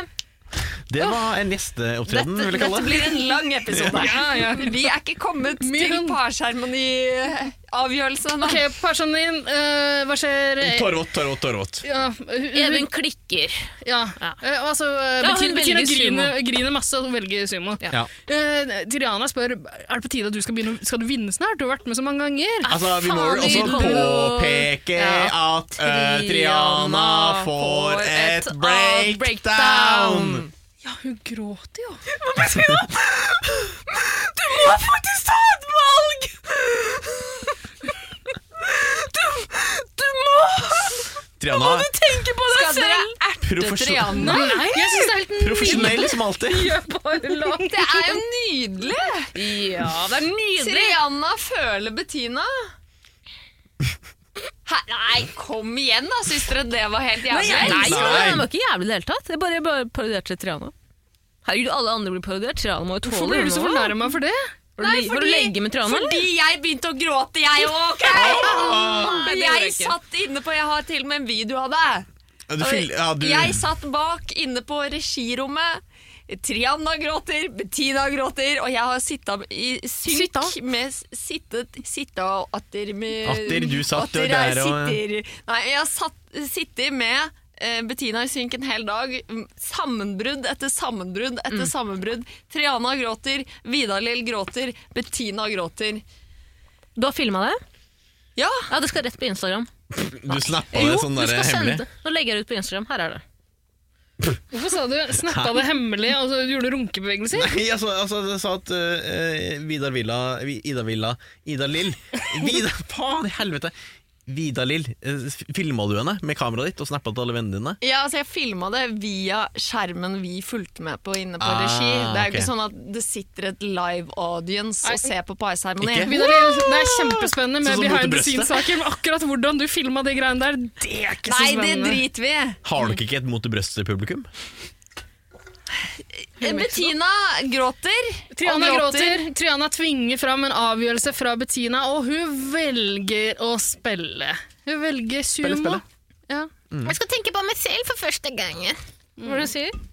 Speaker 3: Det var en gjesteopptreden,
Speaker 2: Dette,
Speaker 3: vil jeg kalle
Speaker 2: dette
Speaker 3: det.
Speaker 2: blir en lang episode.
Speaker 4: Ja, ja.
Speaker 2: Vi er ikke kommet til eh,
Speaker 4: Mye.
Speaker 2: parseremoniavgjørelsen.
Speaker 4: Ok, personen din, eh, hva skjer?
Speaker 3: Torvot, Torvot, Torvot.
Speaker 4: Ja, hun-
Speaker 6: Even klikker.
Speaker 4: Ja.
Speaker 6: Ja.
Speaker 4: Eh, altså, eh,
Speaker 6: Ja,
Speaker 4: betyr,
Speaker 6: hun
Speaker 4: betyr
Speaker 6: velger
Speaker 4: å grine,
Speaker 6: sumo.
Speaker 4: grine masse og velge sumo.
Speaker 3: Ja.
Speaker 4: Eh, Tiriana spør er det på tide at du skal begynne å- Skal du vinne snart. Du har vært med så mange ganger.
Speaker 3: Altså, vi må vel
Speaker 6: Faen,
Speaker 3: også
Speaker 6: vi kommer-
Speaker 3: påpeke
Speaker 6: Ja.
Speaker 3: at eh, Triana får et breakdown.
Speaker 4: Ja, hun gråter jo.
Speaker 2: Du må faktisk ta et valg! Du, du må
Speaker 3: Triana
Speaker 2: tenke på deg
Speaker 4: Skal dere
Speaker 2: erte
Speaker 3: Profesjon-
Speaker 2: Triana?
Speaker 4: Nei, jeg syns det er helt
Speaker 3: profesjonell som alltid.
Speaker 4: nydelig. Bare la
Speaker 2: Det er jo nydelig!
Speaker 4: Ja, det er nydelig!
Speaker 2: Triana føler Bettina. Hæ? Nei, kom igjen da, syns dere det var helt
Speaker 6: Nei,
Speaker 2: jævlig?
Speaker 6: jeg elsker
Speaker 3: Nei.
Speaker 6: det. Den var ikke jævlig i det hele tatt. Jeg bare, bare parodierte Triana. Herregud, alle andre blir parodiert. Triana må jo tåle
Speaker 4: Hvorfor blir du så
Speaker 6: noe.
Speaker 4: fornærma for det?
Speaker 6: Var du,
Speaker 2: Nei,
Speaker 6: le- var du
Speaker 2: fordi-
Speaker 6: legge med Triana? eller?
Speaker 2: Fordi jeg begynte å gråte, jeg òg, OK?
Speaker 6: Nei, det gjorde jeg
Speaker 2: Jeg
Speaker 6: ikke.
Speaker 2: satt inne på Jeg har til og med en video av det.
Speaker 3: Ja, du fyller- ja, du-
Speaker 2: Jeg satt bak inne på regirommet. Triana gråter, Bettina gråter, og jeg har sitta i synk
Speaker 4: Sitta?
Speaker 2: med s- sittet Sitta og atter med
Speaker 3: Atter, du satt
Speaker 2: atter
Speaker 3: der
Speaker 2: jeg
Speaker 3: og-
Speaker 2: sitter, Nei, jeg har satt- sittet med eh, Bettina i synk en hel dag. Mm, Sammenbrudd etter sammenbrudd etter sammenbrudd. Triana gråter, Vidar-Lill gråter, Bettina gråter.
Speaker 6: Du har filma det?
Speaker 2: Ja!
Speaker 6: Ja, det skal rett på Instagram.
Speaker 3: Du snappa
Speaker 6: Jo,
Speaker 3: det
Speaker 6: du
Speaker 3: sånn der
Speaker 6: skal sende
Speaker 3: hemmelig.
Speaker 6: det. Nå legger jeg det ut på Instagram. Her er det.
Speaker 4: Hvorfor sa du snappa det hemmelig og så gjorde du runkebevegelser?
Speaker 3: Jeg sa, altså, jeg sa at eh, Vidar Villa Vi- Ida Villa Ida Lill Vidar, Faen i helvete! Vidar Lill, eh, filma du henne med kameraet ditt og snappa til alle vennene dine?
Speaker 2: Ja, altså jeg filma det via skjermen vi fulgte med på inne på
Speaker 3: Ah,
Speaker 2: regi. Det er jo
Speaker 3: ok.
Speaker 2: ikke sånn at det sitter et live audience og ser på
Speaker 3: Ikke?
Speaker 2: parseremoni.
Speaker 4: Vidar Lill, altså, Det er kjempespennende med
Speaker 3: Sånn som mot
Speaker 4: behind the
Speaker 3: brøstet.
Speaker 4: scenes-saker. Men akkurat hvordan du filma de greiene der, det er ikke så
Speaker 2: Nei, det
Speaker 4: spennende.
Speaker 2: driter vi i.
Speaker 3: Har dere ikke et mot i brøstet-publikum?
Speaker 2: Bettina gråter. og
Speaker 4: Triana gråter. Triana tvinger fram en avgjørelse fra Bettina, og hun velger å spille. Hun velger sumo.
Speaker 3: spille.
Speaker 4: Ja.
Speaker 6: Jeg skal tenke på meg selv for første gangen. Hvordan sier du?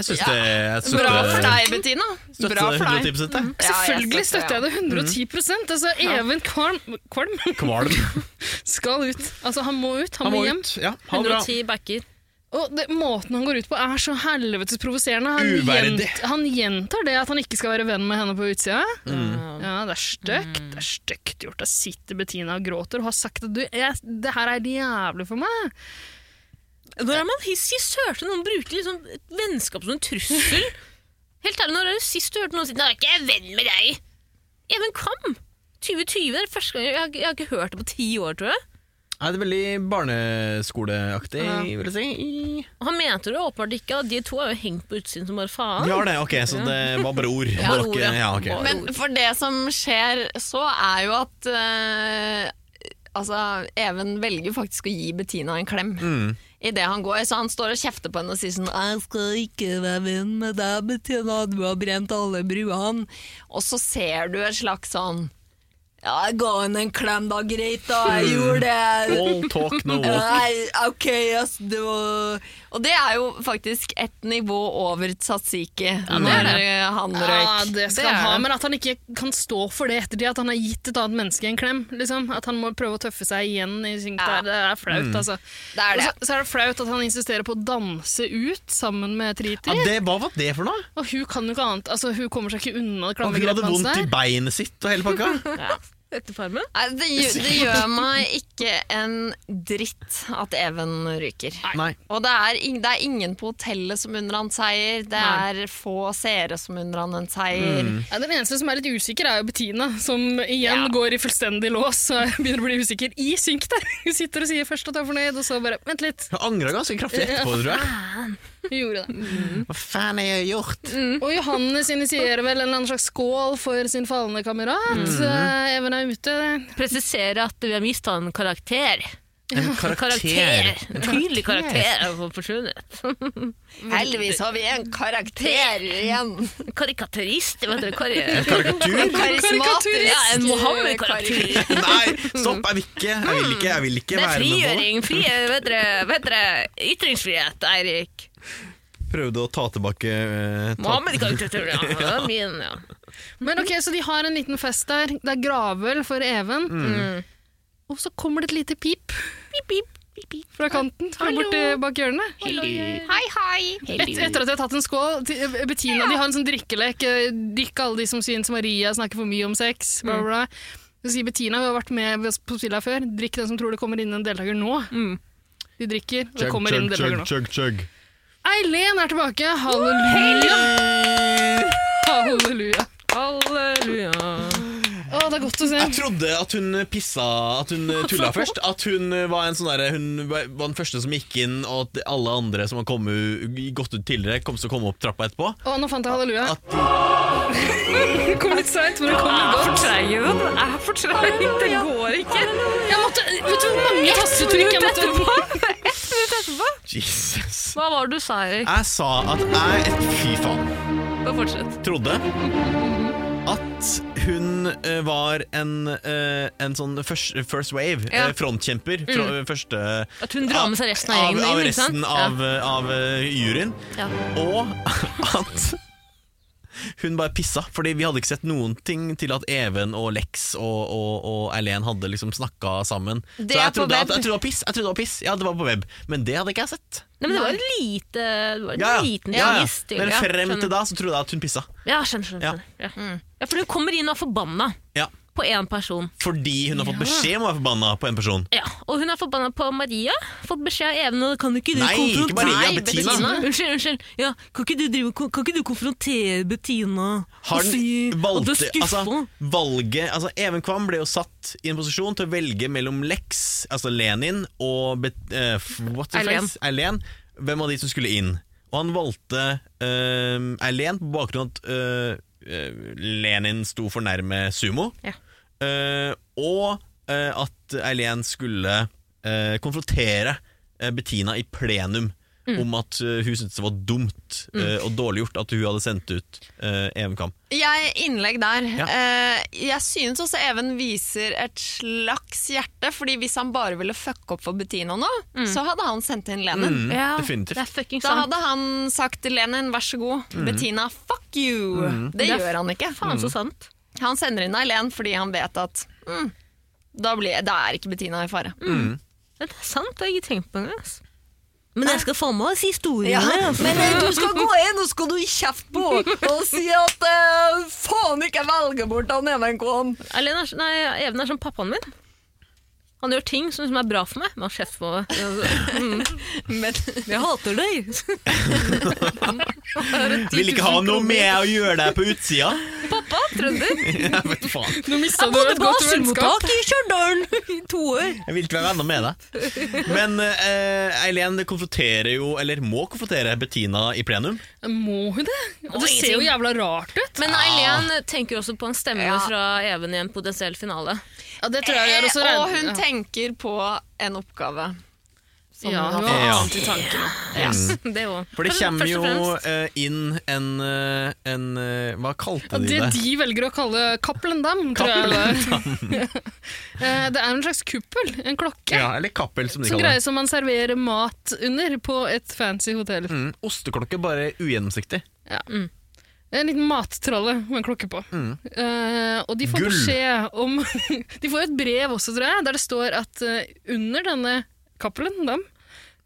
Speaker 3: Jeg syns det jeg støtter-
Speaker 2: Bra for deg, Bettina.
Speaker 3: støtter
Speaker 2: Bra for deg. Mm.
Speaker 3: 110%,
Speaker 2: Ja,
Speaker 3: jeg.
Speaker 2: jeg
Speaker 4: Selvfølgelig støtter jeg det
Speaker 3: Mm.
Speaker 4: 110 altså, Even Kvalm, Kvalm
Speaker 3: Kvalm.
Speaker 4: skal ut. Altså, han må ut, han,
Speaker 3: Han
Speaker 4: må
Speaker 3: må
Speaker 4: hjem.
Speaker 3: ut. Ja, ha det bra.
Speaker 6: 110 backer.
Speaker 4: Og det, Måten han går ut på, er så helvetes provoserende. Han,
Speaker 3: Uverdig.
Speaker 4: gjent- han gjentar det at han ikke skal være venn med henne på utsida.
Speaker 3: Mm.
Speaker 4: Ja, Det er stygt Det er stygt gjort. Da sitter Bettina og gråter og har sagt at du, jeg, det her er jævlig for meg.
Speaker 6: Når er man hissig sør til noen bruker liksom et vennskap som en trussel? Helt ærlig, når er det sist du hørte noen si 'Nei, jeg er ikke jeg venn med deg'? Even Kam! 2020 er det første gang jeg, har- jeg har ikke hørt det på ti år, tror jeg.
Speaker 3: Nei, det er veldig barneskoleaktig, vil jeg si.
Speaker 6: Og han mente det åpenbart ikke, og de to har jo hengt på utsiden som bare faen.
Speaker 3: Vi har det, ok, så det var bare ord. Det
Speaker 6: bare
Speaker 3: var
Speaker 6: ord,
Speaker 3: ikke,
Speaker 6: ja.
Speaker 3: ja, ok.
Speaker 6: Bare-
Speaker 2: Men for det som skjer så, er jo at eh, Altså, Even velger faktisk å gi Bettina en klem. I det han går, så han står og kjefter på henne og sier sånn 'Jeg skal ikke være venn med deg, Bettina, du har brent alle bruene'. Og så ser du et slags sånn 'Ja, jeg ga henne en klem, da, greit, da. Jeg gjorde det.'
Speaker 3: All talk, no walk.
Speaker 2: Nei, ok, ass, det var Og det er jo faktisk et nivå over tzatziki. når han røyk.
Speaker 4: Ja, det skal
Speaker 2: er
Speaker 4: han ha,
Speaker 2: det.
Speaker 4: Men at han ikke kan stå for det ettertid, at han har gitt et annet menneske en klem. Liksom. At han må prøve å tøffe seg igjen. I sin,
Speaker 2: Ja.
Speaker 4: det er flaut,
Speaker 3: Mm.
Speaker 4: altså.
Speaker 2: Det er det.
Speaker 4: Og Så, så er det flaut at han insisterer på å danse ut sammen med Triti.
Speaker 3: Ja, det, hva var det for noe?
Speaker 4: Og hun kan jo ikke annet. Altså, hun kommer seg ikke unna det
Speaker 3: Han
Speaker 4: klamme
Speaker 3: hadde
Speaker 4: grepet hans
Speaker 3: vondt i
Speaker 4: der.
Speaker 3: beinet sitt og hele pakka.
Speaker 6: Etter farmen.
Speaker 2: Nei, det, gjør, det gjør meg ikke en dritt at Even ryker.
Speaker 3: Nei.
Speaker 2: Og det er, ing- det er ingen på hotellet som unner han seier, det er få seere som unner han en seier.
Speaker 4: Ja, den eneste som er litt usikker, er jo Bettina, som igjen
Speaker 2: Ja.
Speaker 4: går i fullstendig lås og begynner å bli usikker i synk der. Hun sitter og sier først at hun er fornøyd, og så bare Vent litt,
Speaker 3: Hun angra ganske kraftig etterpå, tror jeg.
Speaker 4: hun gjorde det.
Speaker 3: Hva faen har jeg gjort?
Speaker 4: Og Johannes initierer vel en eller annen slags skål for sin falne kamerat. Eh, Even er ute.
Speaker 6: Presisere at vi har mista en karakter.
Speaker 3: En karakter.
Speaker 6: En tydelig karakter har forsvunnet.
Speaker 2: Heldigvis har vi en karakter igjen.
Speaker 6: En karikaturist, vet dere. Kar
Speaker 3: Karikatur?
Speaker 2: Karismatisk.
Speaker 6: ja, en Mohammed-karakter.
Speaker 3: Nei, stopp, jeg vil ikke. Jeg vil ikke, jeg vil ikke
Speaker 6: Det
Speaker 3: være med
Speaker 6: er
Speaker 3: på det.
Speaker 6: frigjøring. Fri, vet dere, vet dere, ytringsfrihet, Eirik.
Speaker 3: Prøvde å ta tilbake eh, ta-
Speaker 6: Mohammed-karikatur, ja. Det var min, ja.
Speaker 4: Men ok, Så de har en liten fest der. Det er gravøl for Even.
Speaker 3: Mm.
Speaker 4: Og så kommer det et lite pip
Speaker 6: Pip, pip, pip, pip.
Speaker 4: fra kanten, fra borti bak hjørnet.
Speaker 2: Hei, hei.
Speaker 4: Et, etter at de har tatt en skål til- eh, Bettina, De har en sånn drikkelek. eh, Drikk alle de som syns Maria snakker for mye om sex. Bla, bla, bla. Så sier Bettina, hun har vært med på spillet her før, drikk den som tror det kommer inn en deltaker nå. De drikker, og det
Speaker 3: Chug,
Speaker 4: kommer inn en
Speaker 3: chug,
Speaker 4: deltaker
Speaker 3: chug,
Speaker 4: nå.
Speaker 3: chug, chug.
Speaker 4: Eileen er tilbake! Halleluja! Halleluja.
Speaker 6: Alle
Speaker 4: er godt å se.
Speaker 3: Jeg trodde at hun pissa At hun tulla først. At hun var en sånn derre Hun var den første som gikk inn, og at alle andre som har kommet, gått ut tidligere, kom til å komme opp trappa etterpå.
Speaker 4: Å, nå fant jeg halleluja.
Speaker 3: At-
Speaker 4: Det kom litt seint, men det kom litt godt.
Speaker 2: den er for treig. Det går ikke.
Speaker 4: Jeg måtte, vet du hvor mange tastetrykk jeg måtte
Speaker 3: Jesus.
Speaker 6: Hva var det du sa, Erik?
Speaker 3: Jeg sa at jeg Fy faen.
Speaker 6: Bare fortsett.
Speaker 3: trodde at hun eh, var en, eh, en sånn first, first wave,
Speaker 6: Ja. Mm.
Speaker 3: eh, frontkjemper. Fra, Første
Speaker 6: At hun drar med seg resten av
Speaker 3: av,
Speaker 6: gjengen
Speaker 3: av
Speaker 6: inn, ikke sant?
Speaker 3: resten av, eh, av eh, juryen.
Speaker 6: Ja.
Speaker 3: Og at hun bare pissa, Fordi vi hadde ikke sett noen ting til at Even og Lex og, og, og Erlen hadde liksom snakka sammen.
Speaker 2: Det
Speaker 3: Så
Speaker 2: er
Speaker 3: jeg
Speaker 2: på
Speaker 3: trodde, at,
Speaker 2: web.
Speaker 3: jeg trodde det var piss. Jeg trodde det var piss Ja, det var på web, men det hadde ikke jeg sett.
Speaker 6: Nei, men det var en lite Det var en
Speaker 3: Ja,
Speaker 6: liten
Speaker 3: ja, ja.
Speaker 6: twist,
Speaker 3: Men
Speaker 6: ja,
Speaker 3: frem
Speaker 6: skjønner.
Speaker 3: til da så trodde jeg at hun pissa.
Speaker 6: Ja, skjønner, skjønner.
Speaker 3: Ja. Mm.
Speaker 6: skjønner. Ja. ja, for hun kommer inn og er forbanna
Speaker 3: Ja.
Speaker 6: på én person.
Speaker 3: Fordi hun har fått beskjed om å være forbanna på en person.
Speaker 6: Ja, Og hun er forbanna på Maria. Fått beskjed av Even og kan ikke du
Speaker 3: Nei,
Speaker 6: konfrontere
Speaker 3: ikke Maria,
Speaker 6: Nei,
Speaker 3: Bettina.
Speaker 6: Unnskyld, unnskyld. Ja, kan, ikke du drive, kan, kan ikke du konfrontere Bettina
Speaker 3: Har
Speaker 6: og si
Speaker 3: den
Speaker 6: at du er
Speaker 3: valgte,
Speaker 6: skuffa?
Speaker 3: altså, valget, altså Even Kvam ble jo satt i en posisjon til å velge mellom Lex, altså Lenin, og Bet, eh, f- what's her
Speaker 6: Eileen.
Speaker 3: face? Eileen. Hvem av de som skulle inn? Og han valgte eh, Eileen på bakgrunn av at eh, eh, Lenin sto for nærme sumo.
Speaker 6: Ja.
Speaker 3: Eh, og eh, at Eileen skulle eh, konfrontere eh, Bettina i plenum
Speaker 6: Mm.
Speaker 3: om at eh, hun syntes det var dumt eh, og dårlig gjort at hun hadde sendt ut uh, Even Kam.
Speaker 2: Jeg innlegg der.
Speaker 3: Ja.
Speaker 2: Eh, jeg synes også Even viser et slags hjerte, fordi hvis han bare ville fucke opp for Bettina nå, så hadde han sendt inn Lenin.
Speaker 6: Ja,
Speaker 3: definitivt.
Speaker 6: Det er fucking
Speaker 2: Da
Speaker 6: sant. Mhm.
Speaker 2: hadde han sagt til Lenin 'vær så god', Bettina 'fuck you'. Det
Speaker 6: Det er
Speaker 2: gjør han ikke. Mhm.
Speaker 6: Faen så sant.
Speaker 2: Han sender inn Eileen fordi han vet at mm, da, blir, da er ikke Bettina i fare.
Speaker 6: Mm. Ja, det er sant, det har jeg ikke tenkt på engang. ass. Men jeg skal få med oss historiene.
Speaker 2: Ja,
Speaker 6: altså.
Speaker 2: men eh, du skal gå inn og skal du gi kjeft på og si at eh, faen ikke velge bort han MNK-en.
Speaker 6: Alene er, nei, Even er som pappaen min. Han gjør ting som, som er bra for meg. Men han kjefter på meg.
Speaker 2: Men
Speaker 6: Altså, mm. Jeg hater deg!
Speaker 3: Vil ikke ha noe med å gjøre deg på utsida.
Speaker 6: Pappa, trønder.
Speaker 3: Jeg vet faen.
Speaker 4: Nå mista
Speaker 6: Jeg
Speaker 4: du
Speaker 6: bodde
Speaker 4: et
Speaker 6: på
Speaker 4: godt vennskap.
Speaker 6: asylmottak i Stjørdal i to år.
Speaker 3: Jeg vil ikke være venner med deg. Men eh, Eileen konfronterer jo, eller må konfrontere, Bettina i plenum.
Speaker 4: Må hun det? Det ser jo jævla rart ut.
Speaker 6: Men
Speaker 3: Ah.
Speaker 6: Eileen tenker også på en stemme
Speaker 2: Ja.
Speaker 6: fra Even i en potensiell finale.
Speaker 4: Ja, det tror jeg hun gjør også.
Speaker 2: Eh, Og hun
Speaker 4: ja.
Speaker 2: tenker på en oppgave. Som
Speaker 4: Ja, hun
Speaker 2: hun har.
Speaker 4: har
Speaker 3: Ja.
Speaker 4: annet i tankene.
Speaker 6: Det òg.
Speaker 3: Mm. For det kommer
Speaker 6: Først
Speaker 3: jo
Speaker 6: og fremst.
Speaker 3: eh, inn en, eh, en eh, Hva kalte de
Speaker 4: Det
Speaker 3: det?
Speaker 4: de velger å kalle Cappelendam, tror jeg det er. Eh, Det er en slags kuppel, en klokke,
Speaker 3: Ja, eller Kappel, som de
Speaker 4: som
Speaker 3: kaller det.
Speaker 4: greier som man serverer mat under på et fancy hotell.
Speaker 3: Mm, osteklokke, bare ugjennomsiktig.
Speaker 4: En liten mattralle med en klokke på. Eh, og de får
Speaker 3: Gull.
Speaker 4: beskjed om De får et brev også, tror jeg, der det står at eh, under denne Cappelen Dam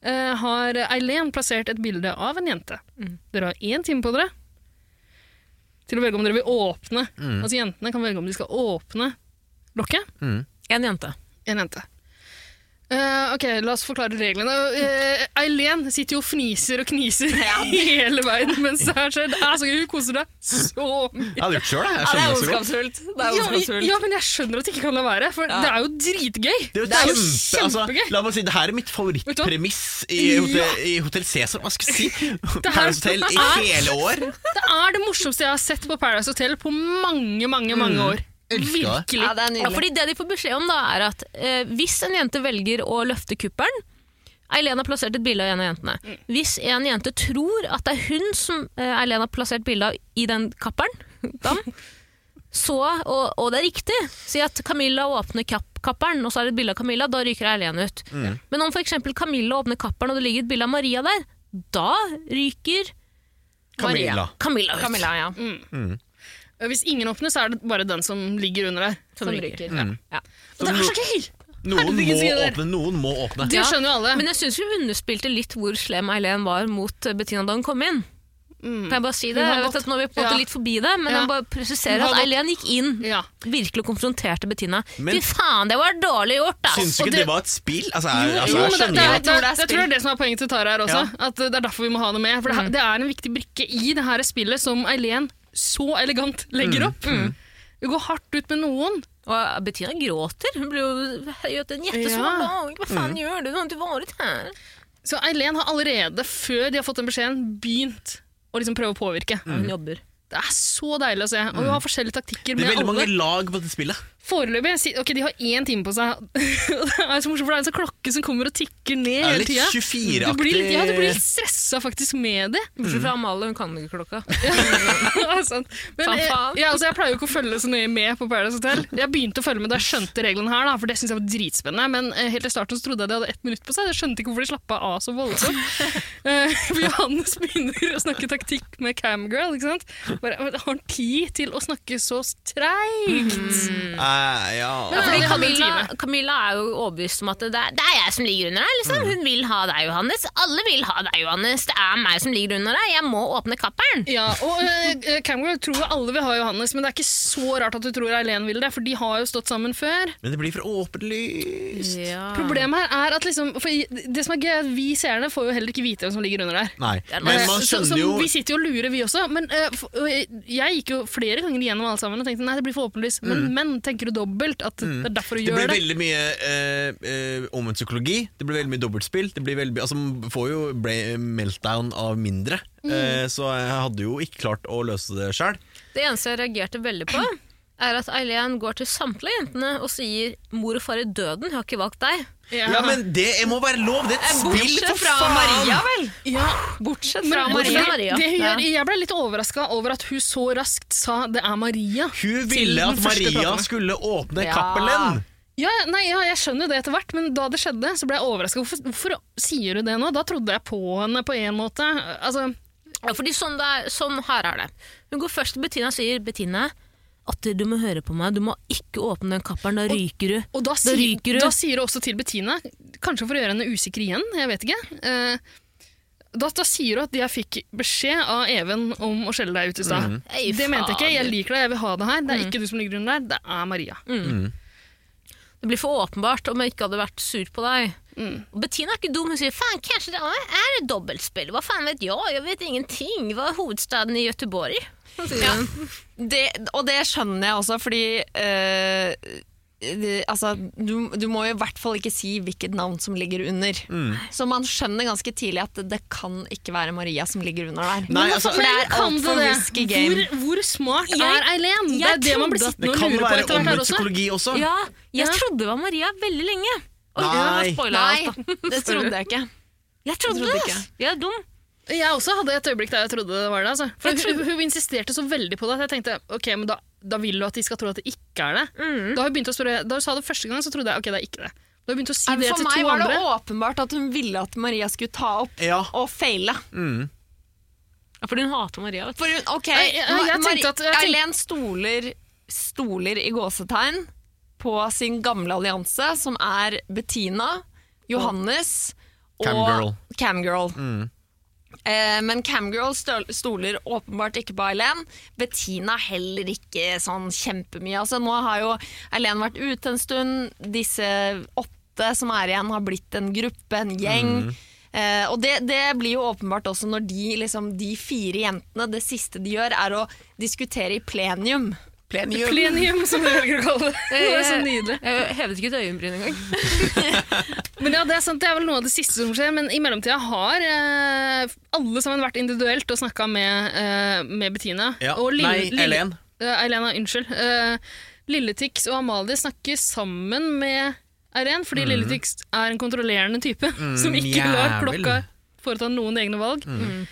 Speaker 4: eh, har Eileen plassert et bilde av en jente. Dere har én time på dere til å velge om dere vil åpne. Altså Jentene kan velge om de skal åpne lokket.
Speaker 6: En jente.
Speaker 4: En jente. Eh, ok, la oss forklare reglene. Eh, Eileen sitter jo og fniser og kniser hele veien mens det her skjer. Det er så gøy, hun koser seg så mye.
Speaker 3: Jeg hadde gjort det sjøl, jeg.
Speaker 2: Ja, det er
Speaker 3: skjønner det så godt.
Speaker 2: ondskapsfullt. Det er
Speaker 4: Ja,
Speaker 2: ondskapsfullt.
Speaker 4: ja, men jeg skjønner at det ikke kan la være, for det er jo dritgøy.
Speaker 3: Det er jo kjempe, altså, la meg si, det her er mitt
Speaker 4: du hva?
Speaker 3: favorittpremiss i, Hotel- i Hotell Cæsar. Hva skal jeg si?
Speaker 4: er-
Speaker 3: Paradise Hotel i hele år.
Speaker 4: Det er det morsomste jeg har sett på Paradise Hotel på mange, mange mange år.
Speaker 3: elsker det.
Speaker 4: Virkelig.
Speaker 2: Ja, det er
Speaker 6: Ja,
Speaker 2: nydelig.
Speaker 6: fordi det de får beskjed om, da, er at eh, hvis en jente velger å løfte kuppelen Eileen har plassert et bilde av en av jentene. Hvis en jente tror at det er hun som eh, Eileen har plassert bilde av i den kapperen, dam, så, og, og det er riktig, si at Camilla åpner kapp, kapperen, og så er det et bilde av Camilla, da ryker Eileen ut. Men om f.eks. Camilla åpner kapperen, og det ligger et bilde av Maria der, da ryker
Speaker 3: Camilla.
Speaker 6: Camilla ut. Mm.
Speaker 2: Camilla, ja.
Speaker 4: Hvis ingen åpner, så er det bare den som ligger under der.
Speaker 6: Som ryker. Ja.
Speaker 4: Og det er så gøy!
Speaker 3: Noen
Speaker 4: Herregud,
Speaker 3: må
Speaker 4: sier dere.
Speaker 3: åpne, noen må åpne.
Speaker 4: Det
Speaker 6: Ja,
Speaker 4: skjønner jo alle.
Speaker 6: Men jeg syns hun underspilte litt hvor slem Eileen var mot eh, Bettina da hun kom inn. Kan jeg bare si
Speaker 4: Mm. Hun
Speaker 6: det?
Speaker 4: har
Speaker 6: Jeg vet
Speaker 4: gått-
Speaker 6: at nå er vi på en måte
Speaker 4: Ja.
Speaker 6: litt forbi det, men
Speaker 4: Ja.
Speaker 6: jeg bare presiserer
Speaker 4: Hun har
Speaker 6: at
Speaker 4: gått-
Speaker 6: Eileen gikk inn
Speaker 4: Ja.
Speaker 6: virkelig og konfronterte Bettina.
Speaker 3: Men-
Speaker 6: Fy faen, det var dårlig gjort, da!
Speaker 3: Syns du
Speaker 4: og
Speaker 3: ikke det,
Speaker 4: det-
Speaker 3: var et spill? Altså, jeg,
Speaker 4: Jo,
Speaker 3: altså,
Speaker 4: jo,
Speaker 3: jeg
Speaker 4: men det,
Speaker 3: skjønner
Speaker 4: det,
Speaker 3: jo
Speaker 4: er, det,
Speaker 2: tror
Speaker 3: at-
Speaker 2: det
Speaker 4: jeg
Speaker 2: er
Speaker 4: tror det er det som er poenget til Tara her også. At det er derfor vi må ha henne med. For det, det er en viktig brikke i det her spillet som Eileen så elegant legger opp. Hun går hardt ut med noen,
Speaker 6: Og Bettina gråter. Hun blir jo høyt en
Speaker 4: Ja.
Speaker 6: jettesvår dag. Hva faen gjør du? Du har ikke vært her.
Speaker 4: Så Eileen har allerede, før de har fått den beskjeden, begynt å liksom prøve å påvirke.
Speaker 6: Hun jobber.
Speaker 4: Det er så deilig å se. Og hun har forskjellige taktikker
Speaker 3: Mm. Det
Speaker 4: med
Speaker 3: er veldig
Speaker 4: alle.
Speaker 3: mange lag på dette spillet.
Speaker 4: Foreløpig si- Ok, de har én time på seg. Og det er så morsomt, for det er en sånn klokke som kommer og tikker ned
Speaker 3: Det er
Speaker 4: hele
Speaker 3: litt
Speaker 4: tida. Du
Speaker 3: 24-aktig.
Speaker 4: blir litt, ja, du blir litt stressa faktisk med det.
Speaker 6: Bortsett fra Amalie, hun kan ikke klokka.
Speaker 4: Ja, sant. Men,
Speaker 6: Faen,
Speaker 4: eh,
Speaker 6: faen.
Speaker 4: ja, altså, jeg pleier jo ikke å følge så nøye med på Paradise Hotel. Jeg begynte å følge med da jeg skjønte reglene her, da, for det syntes jeg var dritspennende. Men eh, helt i starten så trodde jeg de hadde ett minutt på seg. Jeg skjønte ikke hvorfor de slappa av så voldsomt. Eh, For Johannes begynner å snakke taktikk med camgirl. ikke sant? Bare, har han tid til å snakke så
Speaker 6: Mm.
Speaker 4: treigt?
Speaker 3: Eh, ja.
Speaker 4: Ja,
Speaker 6: Fordi
Speaker 4: de hadde en
Speaker 6: Camilla,
Speaker 4: time.
Speaker 6: Camilla er jo overbevist om at det er, det er jeg som ligger under deg.
Speaker 3: Mm.
Speaker 6: Liksom. Hun vil ha deg, Johannes. Alle vil ha deg, Johannes. Det er meg som ligger under deg. Jeg må åpne kapperen.
Speaker 4: Ja, og eh, Camgirl tror jo alle vil ha Johannes, men det er ikke så rart at du tror Eileen vil det, for de har jo stått sammen før.
Speaker 3: Men det blir for åpent lys.
Speaker 4: Problemet her er at liksom, for i- det som er gøy, er at vi seerne får jo heller ikke vite hvem som ligger under der.
Speaker 3: Nei, men
Speaker 4: Eh,
Speaker 3: man
Speaker 4: så,
Speaker 3: skjønner
Speaker 4: som
Speaker 3: jo
Speaker 4: Vi sitter jo og lurer, vi også. Men eh, f- og jeg- jeg gikk jo flere ganger gjennom alle sammen og tenkte nei, det blir for åpenlyst. Men, men tenker du dobbelt at det er derfor du
Speaker 3: Mm. Det
Speaker 4: gjør
Speaker 3: blir
Speaker 4: det?
Speaker 3: veldig mye eh, eh, omvendt psykologi, det blir veldig mye dobbeltspill. Det blir veldig, mye- altså, man får jo bra- meltdown av mindre,
Speaker 4: Mm.
Speaker 3: eh, så jeg hadde jo ikke klart å løse det sjøl.
Speaker 6: Det eneste jeg reagerte veldig på, er at Eileen går til samtlige jentene og sier 'mor og far i døden, jeg har ikke valgt deg'.
Speaker 4: Ja.
Speaker 3: Ja, men det må være lov! Det er et spill, for faen!
Speaker 6: vel?
Speaker 4: Ja,
Speaker 6: Bortsett
Speaker 4: men
Speaker 6: fra Maria.
Speaker 4: det- Det hun
Speaker 6: Ja.
Speaker 4: gjør, jeg ble litt overraska over at hun så raskt sa 'det er Maria'.
Speaker 3: Hun
Speaker 4: Til
Speaker 3: ville
Speaker 4: den
Speaker 3: at
Speaker 4: første
Speaker 3: Maria
Speaker 4: platen.
Speaker 3: skulle åpne
Speaker 6: Ja.
Speaker 3: Cappelen!
Speaker 4: Ja, ja, nei, ja, jeg skjønner jo det etter hvert, men da det skjedde, så ble jeg overraska. Hvorfor, hvorfor sier du det nå? Da trodde jeg på henne på en måte. Altså,
Speaker 6: Ja, fordi sånn, det er, sånn her er det. Hun går først til Bettina og sier 'Bettina, Atte, du må høre på meg. Du må ikke åpne den kapperen, da ryker du'.
Speaker 4: og da,
Speaker 6: Da
Speaker 4: sier-
Speaker 6: ryker du.
Speaker 4: da sier du også til Bettina, kanskje for å gjøre henne usikker igjen, jeg vet ikke. eh, da, da sier du at jeg fikk beskjed av Even om å skjelle deg ut i stad.
Speaker 6: Ei,
Speaker 4: Det mente jeg ikke. Jeg
Speaker 6: fader.
Speaker 4: liker deg, jeg vil ha det her. Det er ikke du som ligger under der, det er Maria.
Speaker 6: Det blir for åpenbart om jeg ikke hadde vært sur på deg. Og Bettina er ikke dum. Hun sier faen, kanskje det er er et dobbeltspill. Hva faen vet jeg? Jeg vet ingenting. Hva er hovedstaden i Göteborg? Ja.
Speaker 3: Mm.
Speaker 2: det, og det skjønner jeg også, fordi eh, det, altså, du, du må jo i hvert fall ikke si hvilket navn som ligger under.
Speaker 3: Mm.
Speaker 2: Så man skjønner ganske tidlig at det, det kan ikke være Maria som ligger under der.
Speaker 3: Nei, altså,
Speaker 2: for det er
Speaker 4: kan
Speaker 2: altfor
Speaker 4: det?
Speaker 2: risky game.
Speaker 4: Hvor, hvor smart
Speaker 6: Jeg-
Speaker 4: er Eileen? Det
Speaker 6: jeg
Speaker 4: er det man blir
Speaker 6: trodde-
Speaker 4: sittende
Speaker 3: Det
Speaker 4: og
Speaker 3: kan
Speaker 4: lurer på etter
Speaker 3: være
Speaker 4: hvert her
Speaker 3: omvendt
Speaker 4: også.
Speaker 3: psykologi også.
Speaker 6: ja, jeg
Speaker 4: Ja.
Speaker 6: trodde det var Maria veldig lenge. Oi,
Speaker 3: Nei.
Speaker 6: nå spoiler jeg alt, da.
Speaker 2: Nei, det trodde jeg ikke.
Speaker 6: Jeg trodde
Speaker 2: trodde
Speaker 6: det.
Speaker 2: ikke.
Speaker 6: ass. Jeg er dum.
Speaker 4: Jeg også hadde et øyeblikk der jeg trodde det var det. Altså. For hun, hun insisterte så veldig på det at jeg tenkte ok, men da, da vil du at de skal tro at det ikke er det.
Speaker 2: Mm.
Speaker 4: Da hun begynte å spørre, da hun sa det første gang, så trodde jeg ok, det er ikke det. Da hun begynte å si det
Speaker 2: For
Speaker 4: til
Speaker 2: meg
Speaker 4: to
Speaker 2: var det
Speaker 4: andre
Speaker 2: åpenbart at hun ville at Maria skulle ta opp
Speaker 3: Ja.
Speaker 2: og feile.
Speaker 6: Ja, fordi hun hater Maria. Vet du.
Speaker 2: For hun, ok,
Speaker 4: Nei, jeg- jeg
Speaker 2: Ma-
Speaker 4: tenkte
Speaker 2: Mari-
Speaker 4: at- jeg tenkte-
Speaker 2: Eileen stoler, stoler i gåsetegn på sin gamle allianse, som er Bettina, Johannes og
Speaker 3: Camgirl.
Speaker 2: Camgirl. Eh, men Camgirl støl- stoler åpenbart ikke på Eileen. Bettina heller ikke sånn kjempemye. Altså, nå har jo Eileen vært ute en stund. Disse åtte som er igjen, har blitt en gruppe, en gjeng. Eh, og det, det blir jo åpenbart også når de, liksom, de fire jentene, det siste de gjør, er å diskutere i plenium.
Speaker 3: Plenium.
Speaker 4: Plenium, som vi velger å kalle det. Det er
Speaker 2: Eh.
Speaker 4: så nydelig.
Speaker 6: Jeg hevet ikke et øyenbryn engang.
Speaker 4: Men ja, Det er sant, det er vel noe av det siste som skjer, men i mellomtida har eh, alle sammen vært individuelt og snakka med, eh, med Bettina.
Speaker 3: Ja.
Speaker 4: Og Lille-
Speaker 3: Nei,
Speaker 4: Lille-
Speaker 3: Eileen.
Speaker 4: Eh, Eileen, ja, unnskyld. Eh, Lilletix og Amalie snakker sammen med Eileen, fordi Lilletix er en kontrollerende type som ikke lar
Speaker 3: Mhm. Mm, jævel. Mm.
Speaker 4: klokka foreta noen egne valg. Mm.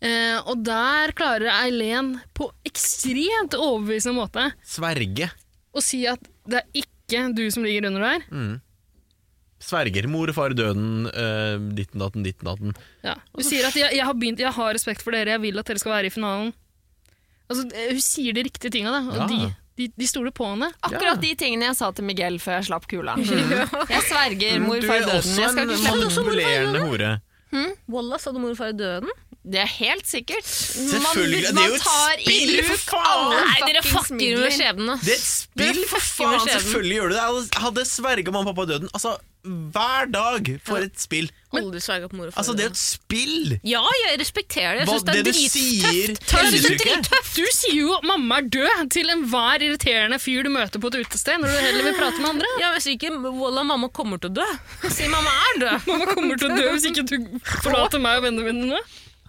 Speaker 4: Eh, og der klarer Eileen på ekstremt overbevisende måte
Speaker 3: Sverge.
Speaker 4: å si at det er ikke du som ligger under
Speaker 3: Mm.
Speaker 4: der.
Speaker 3: Sverger. Mor og far i døden, eh, ditten datten, ditten datten.
Speaker 4: Ja. Hun sier at jeg, jeg, har begynt, 'jeg har respekt for dere, jeg vil at dere skal være i finalen'. Altså, eh, hun sier de riktige tinga, da, og
Speaker 3: Ja.
Speaker 4: de, de, de stoler på henne.
Speaker 2: Akkurat de tingene jeg sa til Miguel før jeg slapp kula. Jeg sverger, mor, far døden. Jeg skal ikke slippe
Speaker 3: manipulerende hore.
Speaker 6: Walla, sa du mor og far i døden?
Speaker 2: Det er helt sikkert.
Speaker 3: Selvfølgelig, det er jo et spill, for faen!
Speaker 6: Nei, dere fucker med skjebnen. ass.
Speaker 3: Det er et spill,
Speaker 6: Det er
Speaker 3: for
Speaker 6: fucking med
Speaker 3: faen!
Speaker 6: skjebnen.
Speaker 3: Selvfølgelig gjør du det. Jeg hadde- Hadde sverga mamma og pappa døden. Altså, hver dag for et spill. Men,
Speaker 9: Aldri sverga på mor og far.
Speaker 3: altså, det er jo et spill!
Speaker 6: Ja, jeg respekterer det. Jeg
Speaker 3: Hva,
Speaker 6: syns det er
Speaker 3: det du sier
Speaker 6: drittøft.
Speaker 3: Tøft.
Speaker 6: Jeg synes det er
Speaker 3: Tøft.
Speaker 6: drittøft.
Speaker 4: Du sier jo 'mamma er død' til enhver irriterende fyr du møter på et utested, når du heller vil prate med andre.
Speaker 6: Ja, hvis ikke Walla, mamma kommer til å dø. Sier mamma er død.
Speaker 4: Mamma kommer til å dø hvis ikke du forlater meg og vennene mine nå.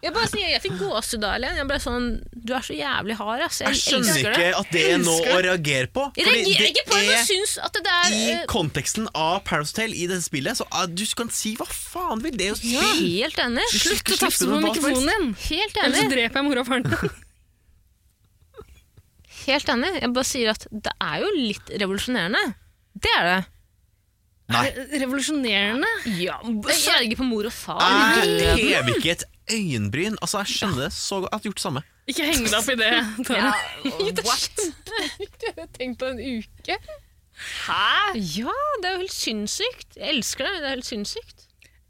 Speaker 6: Jeg bare sier, jeg fikk gåsehud da, Elen. Jeg ble sånn Du er så jævlig hard, ass. Jeg,
Speaker 3: Jeg skjønner
Speaker 6: elsker
Speaker 3: ikke
Speaker 6: det.
Speaker 3: at det er noe å reagere på.
Speaker 6: Jeg
Speaker 3: fordi
Speaker 6: reagerer
Speaker 3: det
Speaker 6: ikke på det, men jeg
Speaker 3: er-
Speaker 6: syns at det der
Speaker 3: I
Speaker 6: eh,
Speaker 3: konteksten av Paradise Hotel i dette spillet, så ah, du kan si hva faen du vil. Det er jo
Speaker 6: ja,
Speaker 3: spill!
Speaker 6: Helt enig.
Speaker 3: Du skal
Speaker 4: Slutt å
Speaker 3: ikke slippe
Speaker 4: tafse på
Speaker 3: noe bak
Speaker 4: mikrofonen din,
Speaker 6: Helt
Speaker 4: ellers så
Speaker 6: enig.
Speaker 4: dreper jeg mora og faren din.
Speaker 6: Helt enig. Jeg bare sier at det er jo litt revolusjonerende. Det er det.
Speaker 3: Nei.
Speaker 4: Revolusjonerende.
Speaker 6: Ja, Sverge på mor og far.
Speaker 3: Jeg hever ikke et øyenbryn. Altså, jeg skjønner det så godt. Jeg hadde gjort det samme.
Speaker 4: Ikke heng deg opp i det. Tara.
Speaker 2: What?
Speaker 9: Tenk på en uke.
Speaker 6: Ja, det er jo helt sinnssykt. Jeg elsker det. men Det er helt sinnssykt.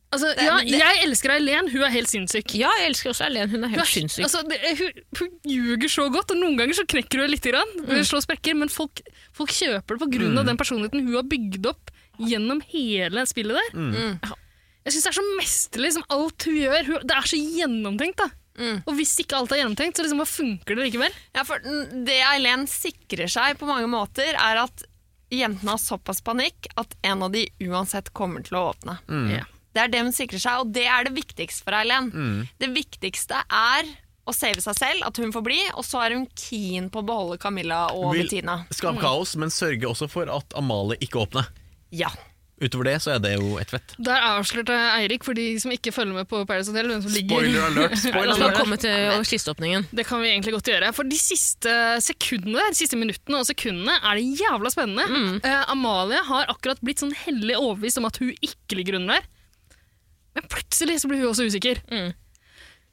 Speaker 4: Altså, ja, jeg elsker Eileen, hun er helt sinnssyk.
Speaker 6: Ja, jeg elsker også Erlend. Hun er
Speaker 4: Hun,
Speaker 6: helt
Speaker 4: er,
Speaker 6: sinnssyk.
Speaker 4: altså, det, hun, hun ljuger så godt, og noen ganger så knekker hun litt, grann,
Speaker 6: Mm.
Speaker 4: slår sprekker, men folk, folk kjøper det på grunn av den personligheten hun har bygd opp gjennom hele spillet der.
Speaker 6: Mm.
Speaker 4: Ja. Jeg synes det er så mesterlig som alt hun gjør. Hun, det er så gjennomtenkt, da.
Speaker 6: Mm.
Speaker 4: Og hvis ikke alt er gjennomtenkt, så liksom, hva funker det likevel?
Speaker 2: Ja, for n- det Eileen sikrer seg på mange måter, er at jentene har såpass panikk at en av de uansett kommer til å åpne.
Speaker 3: Mm.
Speaker 4: Ja.
Speaker 2: Det er det hun sikrer seg, og det er det viktigste for Eileen.
Speaker 3: Mm.
Speaker 2: Det viktigste er å save seg selv, at hun får bli, og så er hun keen på å beholde Camilla og
Speaker 3: Vil
Speaker 2: Bettina.
Speaker 6: Mm.
Speaker 3: skape kaos, men sørge også for at Amalie ikke åpner.
Speaker 2: Ja.
Speaker 3: Utover det så er det jo et vett.
Speaker 4: Der avslørte Eirik, for de som ikke følger med på Paradise Hotel, hvem som ligger
Speaker 3: Spoiler alert!
Speaker 6: La
Speaker 3: Spoiler
Speaker 6: meg
Speaker 3: alert.
Speaker 6: komme til over kisteåpningen.
Speaker 4: Det kan vi egentlig godt gjøre. For de siste sekundene der, de siste minuttene og sekundene er det jævla spennende.
Speaker 2: Mm.
Speaker 4: Eh, Amalie har akkurat blitt sånn hellig overbevist om at hun ikke ligger under der. Men plutselig så blir hun også usikker.
Speaker 6: Mm.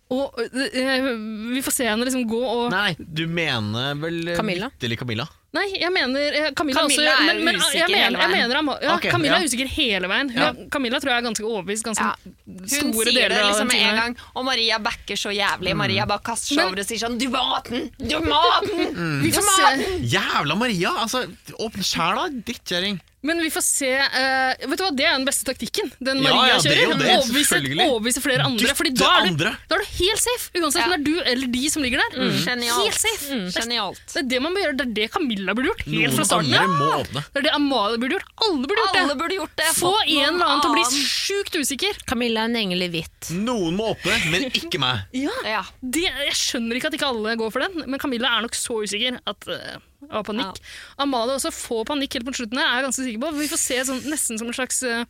Speaker 4: Og eh, vi får se henne liksom gå og Nei,
Speaker 3: Nei, du mener vel eh,
Speaker 6: Camilla?
Speaker 3: vitterlig Camilla?
Speaker 4: jeg mener eh, Camilla,
Speaker 2: Camilla
Speaker 4: også.
Speaker 2: er
Speaker 4: Men, men,
Speaker 2: usikker
Speaker 4: jeg
Speaker 2: hele
Speaker 4: mener,
Speaker 2: veien.
Speaker 4: jeg mener Ama ja,
Speaker 3: Ok,
Speaker 4: Camilla
Speaker 3: ja.
Speaker 4: er usikker hele veien. Hun,
Speaker 3: Ja.
Speaker 4: er- Camilla tror jeg er ganske overbevist ganske
Speaker 2: Ja. Hun
Speaker 4: store
Speaker 2: sier det
Speaker 4: deler av den
Speaker 2: liksom med
Speaker 4: tiden.
Speaker 2: en
Speaker 4: her.
Speaker 2: gang, og Maria backer så jævlig.
Speaker 3: Mm.
Speaker 2: Maria bare kaster seg
Speaker 4: Men-
Speaker 2: over og sier sånn Du må ha den! Du må ha den!
Speaker 4: Vi får se.
Speaker 3: Jævla Maria! Altså, åpne sjæla, drittkjerring!
Speaker 4: Men vi får se eh, Vet du hva, Det er jo den beste taktikken. Den
Speaker 3: Ja,
Speaker 4: Maria
Speaker 3: ja, det er
Speaker 4: kjører.
Speaker 3: jo
Speaker 4: Hun
Speaker 3: det,
Speaker 4: overbeviser,
Speaker 3: selvfølgelig.
Speaker 4: overbeviser flere andre.
Speaker 3: Dytte
Speaker 4: Fordi da er, du,
Speaker 3: andre.
Speaker 4: da er du helt safe, uansett om det er du eller de som ligger der. Mm. Helt
Speaker 2: Mm. Genialt. Mm.
Speaker 4: safe.
Speaker 2: Genialt.
Speaker 4: Det er det man bør gjøre, det er det Camilla burde gjort. Helt fra
Speaker 3: Noen
Speaker 4: starten
Speaker 3: andre
Speaker 4: av.
Speaker 3: må åpne.
Speaker 4: Det er det Amalie burde gjort. Alle burde gjort
Speaker 2: Alle
Speaker 4: det.
Speaker 2: burde gjort det.
Speaker 4: Få
Speaker 2: Fått
Speaker 4: en
Speaker 2: noen
Speaker 4: eller annen til å bli
Speaker 2: annen.
Speaker 4: sjukt usikker.
Speaker 6: Camilla er en engel i hvitt.
Speaker 3: Noen må åpne, men ikke meg.
Speaker 2: Ja.
Speaker 4: Det, jeg skjønner ikke at ikke alle går for den, men Camilla er nok så usikker at eh, av panikk. Amalie også får panikk helt på slutten, her, er jeg ganske sikker på. Vi får se sånn, nesten som en slags eh,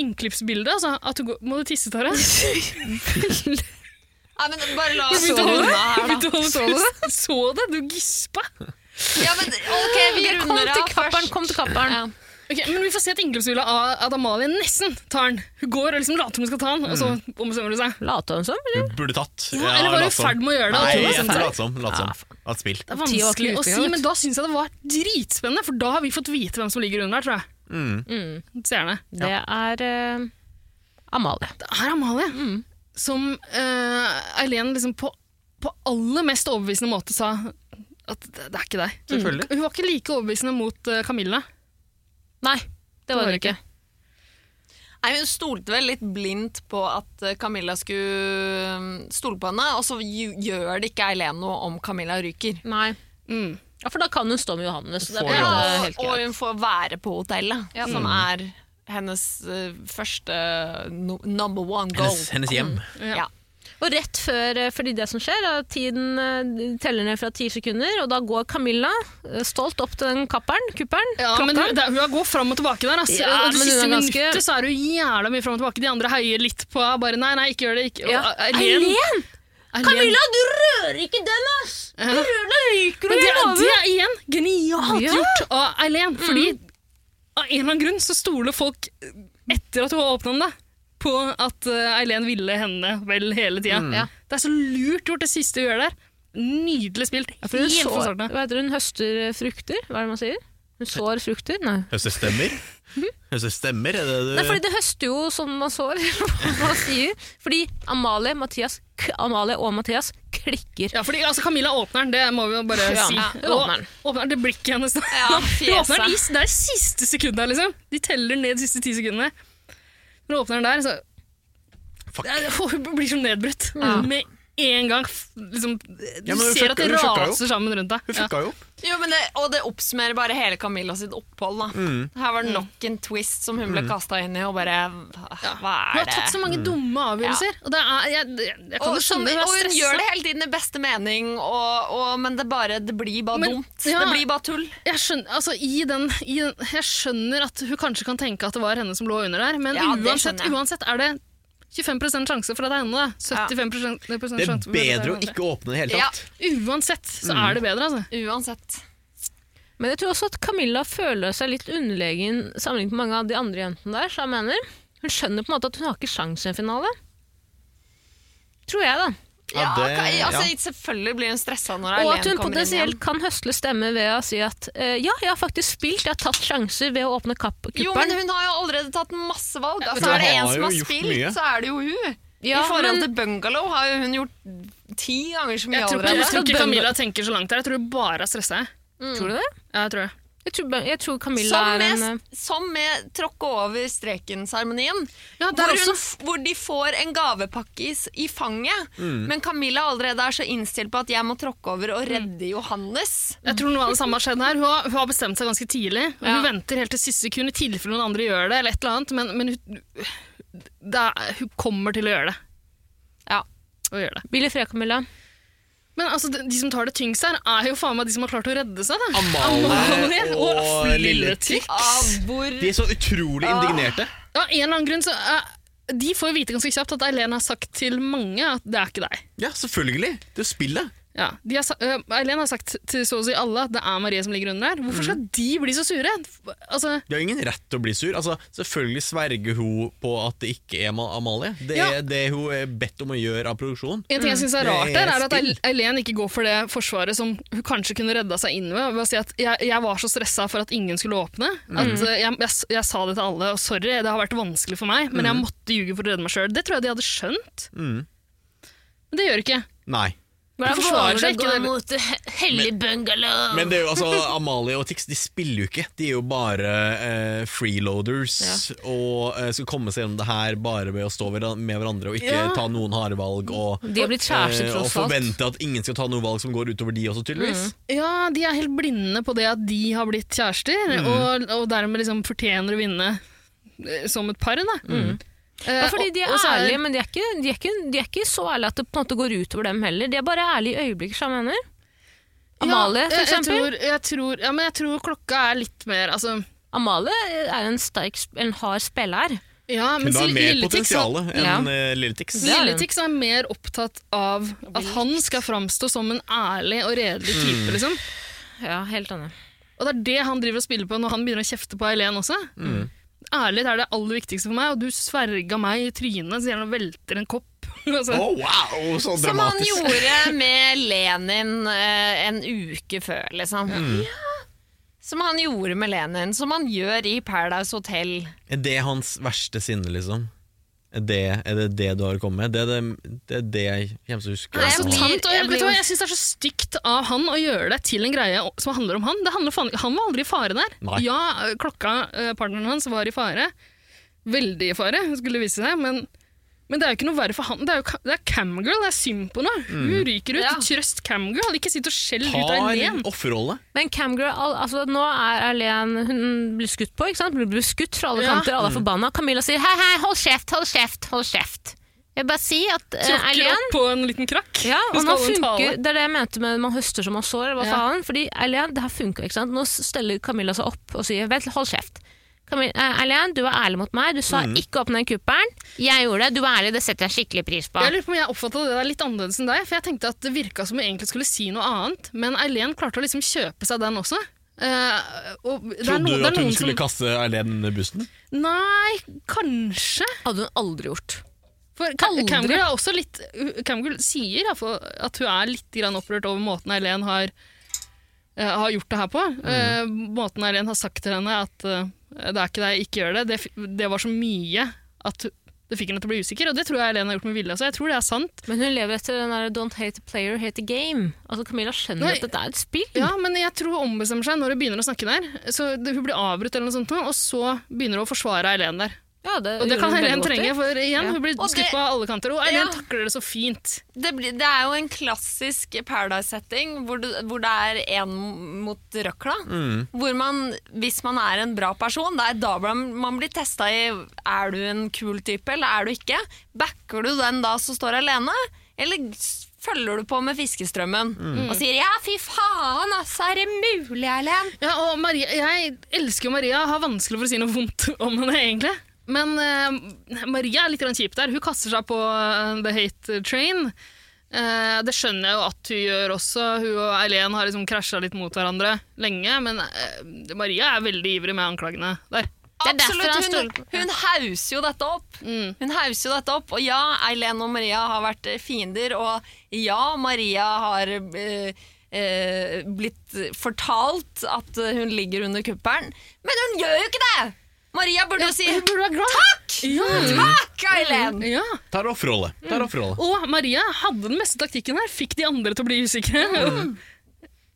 Speaker 4: innklippsbilde. Altså, at du går, må du tisse, Tara?
Speaker 2: Nei, men bare la oss
Speaker 4: Så
Speaker 2: runde
Speaker 4: det?
Speaker 2: her, da.
Speaker 4: Begynte å holde pust. Så det? Du gispa.
Speaker 2: Ja, men ok, vi
Speaker 6: Kom
Speaker 2: runder
Speaker 6: til
Speaker 2: av
Speaker 6: kapperen,
Speaker 2: først.
Speaker 6: kom til kapperen.
Speaker 2: Ja.
Speaker 4: Ok, men Vi får se et inngrepshule av at Amalie nesten tar den. Hun går og liksom later som hun skal ta den, og så
Speaker 3: Mm.
Speaker 4: ombestemmer hun seg.
Speaker 6: Lata hun som, eller?
Speaker 3: Burde tatt.
Speaker 4: Ja, eller var hun i ferd med å gjøre det? og
Speaker 3: sånn. Nei,
Speaker 4: tror Ah, det
Speaker 3: jeg
Speaker 4: stemte?
Speaker 3: lat som. Lat som. At spill.
Speaker 4: det er
Speaker 6: Ti år til
Speaker 4: vanskelig å
Speaker 6: utengang,
Speaker 4: si,
Speaker 6: vet
Speaker 4: men da syns jeg det var dritspennende, for da har vi fått vite hvem som ligger under der, tror jeg.
Speaker 3: Mm.
Speaker 4: Mm. Seerne.
Speaker 6: Det er eh, Amalie.
Speaker 4: Det er Amalie
Speaker 6: Mm.
Speaker 4: som eh, Eileen liksom på, på aller mest overbevisende måte sa at det, det er ikke deg. Mm.
Speaker 3: Selvfølgelig.
Speaker 4: Hun var ikke like overbevisende mot eh, Camilla.
Speaker 6: Nei, det var hun ikke.
Speaker 2: Nei, hun stolte vel litt blindt på at eh, Camilla skulle mm, stole på henne, og så ju- gjør det ikke Eileen noe om Camilla ryker.
Speaker 6: Nei.
Speaker 4: Mm.
Speaker 6: Ja, For da kan hun stå med Johannes. Så det
Speaker 3: Får
Speaker 6: er
Speaker 3: Johannes.
Speaker 6: helt
Speaker 2: og
Speaker 6: greit.
Speaker 2: hun får være på hotellet, som
Speaker 4: Mm.
Speaker 2: er hennes eh, første eh, no number one goal.
Speaker 3: Hennes, hennes hjem.
Speaker 4: Mm.
Speaker 2: Ja.
Speaker 6: Og rett før, eh, fordi det som skjer, er at tiden eh, teller ned fra ti sekunder, og da går Camilla eh, stolt opp til den kapperen, kupperen.
Speaker 4: Ja, men hun, det, hun har gått fram og tilbake der. Altså.
Speaker 6: Ja,
Speaker 4: og det
Speaker 6: men
Speaker 4: siste
Speaker 6: hun er ganske-
Speaker 4: minuttet så er hun jævla mye fram og tilbake. De andre heier litt på henne, bare nei, nei, ikke gjør det. Ikke. Og,
Speaker 6: Ja.
Speaker 4: Eileen-
Speaker 6: Eileen!
Speaker 4: Eileen-
Speaker 6: Camilla, du rører ikke den, ass! Du
Speaker 4: Ja.
Speaker 6: rører den, ryker
Speaker 4: Men
Speaker 6: du
Speaker 4: det, er-
Speaker 6: i
Speaker 4: det
Speaker 6: hodet!
Speaker 4: er igjen genialt
Speaker 6: Ja. Mm.
Speaker 4: gjort av Eileen, fordi av en eller annen grunn så stoler folk, etter at hun har åpna den, da, på at eh, Eileen ville henne vel hele tida.
Speaker 6: Mm. Ja.
Speaker 4: Det er så lurt gjort, det siste hun gjør der. Nydelig spilt.
Speaker 6: For hun,
Speaker 4: Helt
Speaker 6: så,
Speaker 4: fra starten av.
Speaker 6: hva heter det, hun høster eh, frukter, hva er det man sier? Du sår frukter? Nei.
Speaker 3: Høste stemmer?
Speaker 4: Mhm.
Speaker 3: Høste stemmer, er det
Speaker 4: Eh.
Speaker 3: du
Speaker 6: Nei, fordi det høster jo som man sår. hva man sier. Fordi Amalie, Mathias, k Amalie og Mathias klikker.
Speaker 4: Ja, fordi altså, Camilla åpner den, det må vi jo bare
Speaker 6: Ja,
Speaker 4: si.
Speaker 6: ja, hun
Speaker 4: Og
Speaker 6: åpner den.
Speaker 4: åpner den, Det blikket hennes da.
Speaker 2: Ja,
Speaker 4: Hun åpner den i,
Speaker 2: fjeset.
Speaker 4: det er siste sekundet, liksom. De teller ned de siste ti sekundene. Når hun åpner den der, så
Speaker 3: Fuck.
Speaker 4: Ja, Hun blir som nedbrutt. Med en gang. f- Liksom, du
Speaker 3: Ja, men hun
Speaker 4: ser at det
Speaker 3: fucka- hun fucka jo.
Speaker 4: raser sammen rundt deg.
Speaker 3: Hun
Speaker 4: Ja.
Speaker 3: fucka jo opp.
Speaker 2: Jo, men det, og det oppsummerer bare hele Camilla sitt opphold. Da.
Speaker 4: Mm.
Speaker 2: Her var det nok en twist som hun ble kasta inn i, og bare Hva
Speaker 4: Hun har
Speaker 2: er det?
Speaker 4: tatt så mange dumme avgjørelser. Og det er, jeg, jeg, jeg kan
Speaker 2: Mm. Og,
Speaker 4: jo
Speaker 2: som,
Speaker 4: skjønne hun er
Speaker 2: og hun
Speaker 4: stressa.
Speaker 2: gjør det hele tiden i beste mening, og, og, men det, bare, det blir bare
Speaker 4: Men-
Speaker 2: dumt.
Speaker 4: ja.
Speaker 2: Det blir bare tull.
Speaker 4: Jeg skjønner, altså, i den, i den, jeg skjønner at hun kanskje kan tenke at det var henne som lå under der, men
Speaker 2: Ja, det
Speaker 4: uansett,
Speaker 2: skjønner jeg.
Speaker 4: uansett er det 25 sjanse for at det er henne. da. 75 sjanse
Speaker 3: Det er
Speaker 4: for at det er
Speaker 3: bedre å
Speaker 4: henne.
Speaker 3: ikke Mm. åpne i det hele
Speaker 2: Ja.
Speaker 3: tatt.
Speaker 4: Uansett så er det bedre, altså.
Speaker 2: Uansett.
Speaker 6: Men jeg tror også at Camilla føler seg litt underlegen sammenlignet med mange av de andre jentene der. Så jeg mener. Hun skjønner på en måte at hun har ikke sjans i en finale. Tror jeg, da.
Speaker 2: Ja,
Speaker 3: Ja, det-
Speaker 2: ka- altså,
Speaker 3: ja.
Speaker 2: Selvfølgelig blir hun stressa når
Speaker 6: Og
Speaker 2: Eileen
Speaker 6: at hun
Speaker 2: kommer inn igjen.
Speaker 6: potensielt kan høsle stemme ved å si at eh, ja, jeg har faktisk spilt, jeg har tatt sjanser ved å åpne kapp
Speaker 2: Jo, men
Speaker 6: kuppelen.
Speaker 2: hun har jo allerede tatt masse valg. Altså,
Speaker 3: hun
Speaker 2: er det en
Speaker 3: har
Speaker 2: som
Speaker 3: jo
Speaker 2: har
Speaker 3: gjort
Speaker 2: spilt,
Speaker 3: mye.
Speaker 2: så er det jo hun.
Speaker 6: Ja,
Speaker 2: I forhold
Speaker 6: men-
Speaker 2: til Bungalow har jo hun gjort ti ganger så mye
Speaker 4: Jeg tror, ikke-
Speaker 2: allerede.
Speaker 4: jeg tror
Speaker 6: Ja,
Speaker 4: ikke
Speaker 6: den-
Speaker 4: Camilla tenker så langt der. Jeg tror hun bare er stressa. jeg.
Speaker 6: Tror du det?
Speaker 4: Ja, jeg tror det.
Speaker 6: Jeg tror, jeg tror Camilla
Speaker 2: Som
Speaker 6: er
Speaker 2: med,
Speaker 6: en eh,
Speaker 2: som med tråkke over streken-seremonien.
Speaker 4: Ja, der
Speaker 2: hvor, hun-
Speaker 4: også.
Speaker 2: hvor de får en gavepakke i, s- i fanget,
Speaker 6: Mm.
Speaker 2: men Camilla allerede er så innstilt på at jeg må tråkke over og redde
Speaker 6: Mm.
Speaker 2: Johannes.
Speaker 4: Jeg tror noe av det samme har skjedd her. Hun har, hun har bestemt seg ganske tidlig. Og
Speaker 2: Ja.
Speaker 4: Hun venter helt til siste sekund i tilfelle noen andre gjør det, eller et eller annet, men, men hun, det er- hun kommer til å gjøre det.
Speaker 2: Ja.
Speaker 4: Og gjør det.
Speaker 6: Billy Frey, Camilla.
Speaker 4: Men altså, de, de som tar det tyngst her, er jo faen meg de som har klart å redde seg. Da.
Speaker 3: Amalie og
Speaker 4: Afle
Speaker 3: Lille
Speaker 4: Tix.
Speaker 2: Av hvor
Speaker 3: De er så utrolig
Speaker 4: Ah.
Speaker 3: indignerte.
Speaker 4: Av en eller annen grunn så eh, De får jo vite ganske kjapt at Eileen har sagt til mange at det er ikke deg.
Speaker 3: Ja, selvfølgelig. Det er jo spillet.
Speaker 4: Ja, de har, sa- eh, Eileen har sagt til så å si alle at det er Marie som ligger under der. Hvorfor skal de bli så sure? Altså,
Speaker 3: De har ingen rett til å bli sur. Altså, selvfølgelig sverger hun på at det ikke er Ma- Amalie. Det er
Speaker 4: Ja.
Speaker 3: det hun er bedt om å gjøre av produksjonen.
Speaker 4: En ting jeg synes er
Speaker 3: Det
Speaker 4: rart
Speaker 3: er
Speaker 4: der, er at
Speaker 3: spill.
Speaker 4: Eileen ikke går for det forsvaret som hun kanskje kunne redda seg inn ved. ved å si at jeg, jeg var så stressa for at ingen skulle åpne. At eh, jeg, jeg, s- jeg sa det til alle, og sorry, det har vært vanskelig for meg, men jeg måtte ljuge for å redde meg sjøl. Det tror jeg de hadde skjønt. Men det gjør ikke.
Speaker 3: Nei.
Speaker 4: Hun forsvarer seg ikke. det-
Speaker 6: mot hellig bungalow?
Speaker 3: Men det er jo altså Amalie og Tix de spiller jo ikke. De er jo bare eh, freeloaders og eh, skal komme seg gjennom det her bare ved å stå hver- med hverandre og ikke
Speaker 4: Ja.
Speaker 3: ta noen harde valg. Og,
Speaker 6: De har blitt kjærester,
Speaker 3: eh, og
Speaker 6: tross alt.
Speaker 3: forvente at ingen skal ta noe valg som går utover de også, tydeligvis.
Speaker 4: Ja, de er helt blinde på det at de har blitt kjærester, og, og dermed liksom fortjener å vinne eh, som et par. Da. Eh,
Speaker 6: Ja, fordi de
Speaker 4: og-
Speaker 6: er
Speaker 4: og så
Speaker 6: ærlige, men de er, ikke, de, er ikke, de er ikke så ærlige at det på en måte går utover dem heller. De er bare ærlige i øyeblikker, som jeg mener.
Speaker 4: Ja,
Speaker 6: Amalie,
Speaker 4: eh,
Speaker 6: for
Speaker 4: jeg- Jeg
Speaker 6: eksempel.
Speaker 4: tror, jeg tror, ja, men jeg tror klokka er litt mer altså,
Speaker 6: Amalie er en, sterk, sp- en hard spiller.
Speaker 4: ja, men
Speaker 3: Hun har
Speaker 4: Lille
Speaker 3: mer
Speaker 4: Tix
Speaker 3: potensial
Speaker 4: er-
Speaker 3: enn
Speaker 6: Ja.
Speaker 3: eh, Lille Tix.
Speaker 6: Det er
Speaker 4: Lille
Speaker 6: hun.
Speaker 4: Tix er mer opptatt av at han skal framstå som en ærlig og redelig type.
Speaker 3: Mm.
Speaker 4: Liksom.
Speaker 6: Ja, helt enig.
Speaker 4: Og det er det han driver og spiller på når han begynner å kjefte på Eileen også.
Speaker 3: Mm.
Speaker 4: Ærlighet er det aller viktigste for meg, og du sverga meg i trynet så jeg velter en kopp. altså,
Speaker 3: Å, wow, så
Speaker 2: Som han
Speaker 3: dramatisk.
Speaker 2: gjorde med Lenin eh, en uke før, liksom.
Speaker 6: Mm.
Speaker 2: Ja. Som han gjorde med Lenin, som han gjør i Paradise Hotel.
Speaker 3: Er det hans verste sinne, liksom? Er det er det, det du har kommet med? Det er det, det, er det jeg kommer til å huske.
Speaker 2: Nei,
Speaker 4: Så
Speaker 2: jeg
Speaker 3: Altså.
Speaker 2: blir-
Speaker 4: tant, og, jeg,
Speaker 2: jeg
Speaker 4: vet
Speaker 2: blir
Speaker 4: du hva,
Speaker 2: jo-
Speaker 4: jeg synes det er så stygt av han å gjøre det til en greie som handler om han. Det handler faen, han var aldri i fare der.
Speaker 3: Nei.
Speaker 4: Ja, klokka, eh, partneren hans, var i fare. Veldig i fare, skulle det vise seg. Men, men det er jo ikke noe verre for han. Det er, jo, ka- det er camgirl, det er synd på henne. Hun ryker ut.
Speaker 2: Ja.
Speaker 4: Trøst camgirl, ikke sitt og skjell ut av
Speaker 3: Tar
Speaker 4: Eileen.
Speaker 3: offerrolle.
Speaker 6: Men Camgirl, al- altså, nå er Erlen Hun blir skutt på, ikke sant? Hun blir skutt fra alle
Speaker 4: Ja.
Speaker 6: kanter, alle er forbanna. Camilla sier hei, hei, hold kjeft, hold kjeft, hold kjeft. Jeg vil bare si at eh,
Speaker 4: Tråkker
Speaker 6: Erlen
Speaker 4: opp på en liten krakk.
Speaker 6: Ja,
Speaker 4: Hun
Speaker 6: og nå
Speaker 4: skal holde en tale.
Speaker 6: funker, Det er det jeg mente med man høster som man sår. eller Hva
Speaker 4: Ja.
Speaker 6: faen? Fordi Eileen, det her funker, ikke sant? Nå steller Camilla seg opp og sier vent, hold kjeft. Camilla, eh, Eileen, du var ærlig mot meg. Du
Speaker 4: Mm.
Speaker 6: sa ikke åpne den kuppelen. Jeg gjorde det. Du var ærlig, det setter jeg skikkelig pris på.
Speaker 4: Jeg lurer på om jeg oppfattet det der litt annerledes enn deg, for jeg tenkte at det virka som hun egentlig skulle si noe annet, men Eileen klarte å liksom kjøpe seg den også. Eh, og det er noen-
Speaker 3: Trodde du
Speaker 4: det er
Speaker 3: at hun
Speaker 4: noen som-
Speaker 3: skulle kaste Erlend under bussen?
Speaker 4: Nei, kanskje.
Speaker 6: hadde hun aldri gjort.
Speaker 4: For Ka-
Speaker 6: Aldri.
Speaker 4: Camgirl er også litt Camgirl sier i hvert fall at hun er litt grann opprørt over måten Eileen har eh, har gjort det her på.
Speaker 3: Mm.
Speaker 4: Eh, måten Eileen har sagt til henne at eh, det er ikke deg, ikke gjør det. det, f- det var så mye at det fikk henne til å bli usikker, og det tror jeg Eileen har gjort med vilje. Altså. Jeg tror det er sant.
Speaker 6: Men hun lever etter den der 'don't hate the player, hate the game'. Altså Camilla skjønner
Speaker 4: Nei.
Speaker 6: at dette er et spill.
Speaker 4: Ja, men jeg tror hun ombestemmer seg når hun begynner å snakke der. Så det, Hun blir avbrutt, eller noe sånt, nå, og så begynner hun å forsvare Eileen der.
Speaker 6: Ja, det,
Speaker 4: Og det
Speaker 6: gjorde
Speaker 4: kan
Speaker 6: hun veldig
Speaker 4: Eileen
Speaker 6: godt i.
Speaker 4: trenge, for igjen,
Speaker 6: Ja.
Speaker 4: hun blir
Speaker 2: Og det-
Speaker 4: skutt på alle kanter. Og Eileen
Speaker 2: Ja.
Speaker 4: takler det så fint.
Speaker 2: Det, blir, det er jo en klassisk Paradise-setting hvor, du- hvor det er én mot røkla. Hvor man, hvis man er en bra person, det er da blir man- man blir testa i er du en kul type eller er du ikke. Backer du den da som står alene, eller s- følger du på med fiskestrømmen og sier 'ja, fy faen, altså, er det mulig, Erlend'?
Speaker 4: Ja, og Maria, jeg elsker jo Maria, har vanskelig for å si noe vondt om henne, egentlig. Men eh, Maria er litt grann kjip der. Hun kaster seg på eh, the hate train. Eh, det skjønner jeg jo at hun gjør også. Hun og Eileen har liksom krasja litt mot hverandre lenge, men eh, Maria er veldig ivrig med anklagene der.
Speaker 6: Det er derfor han
Speaker 2: hun,
Speaker 6: stoler på- Mm.
Speaker 2: hun hauser jo dette opp. Hun hauser jo dette opp. Og ja, Eileen og Maria har vært eh, fiender, og ja, Maria har eh, eh, blitt fortalt at eh, hun ligger under kuppelen, men hun gjør jo ikke det! Maria burde jo si
Speaker 4: Hun burde være glad.
Speaker 2: takk! Takk,
Speaker 6: Mm.
Speaker 2: Eileen!
Speaker 4: Ja.
Speaker 3: Tar offerrolle.
Speaker 4: Mm.
Speaker 3: Tar offerrolle.
Speaker 4: Og Maria hadde den beste taktikken her. Fikk de andre til å bli usikre.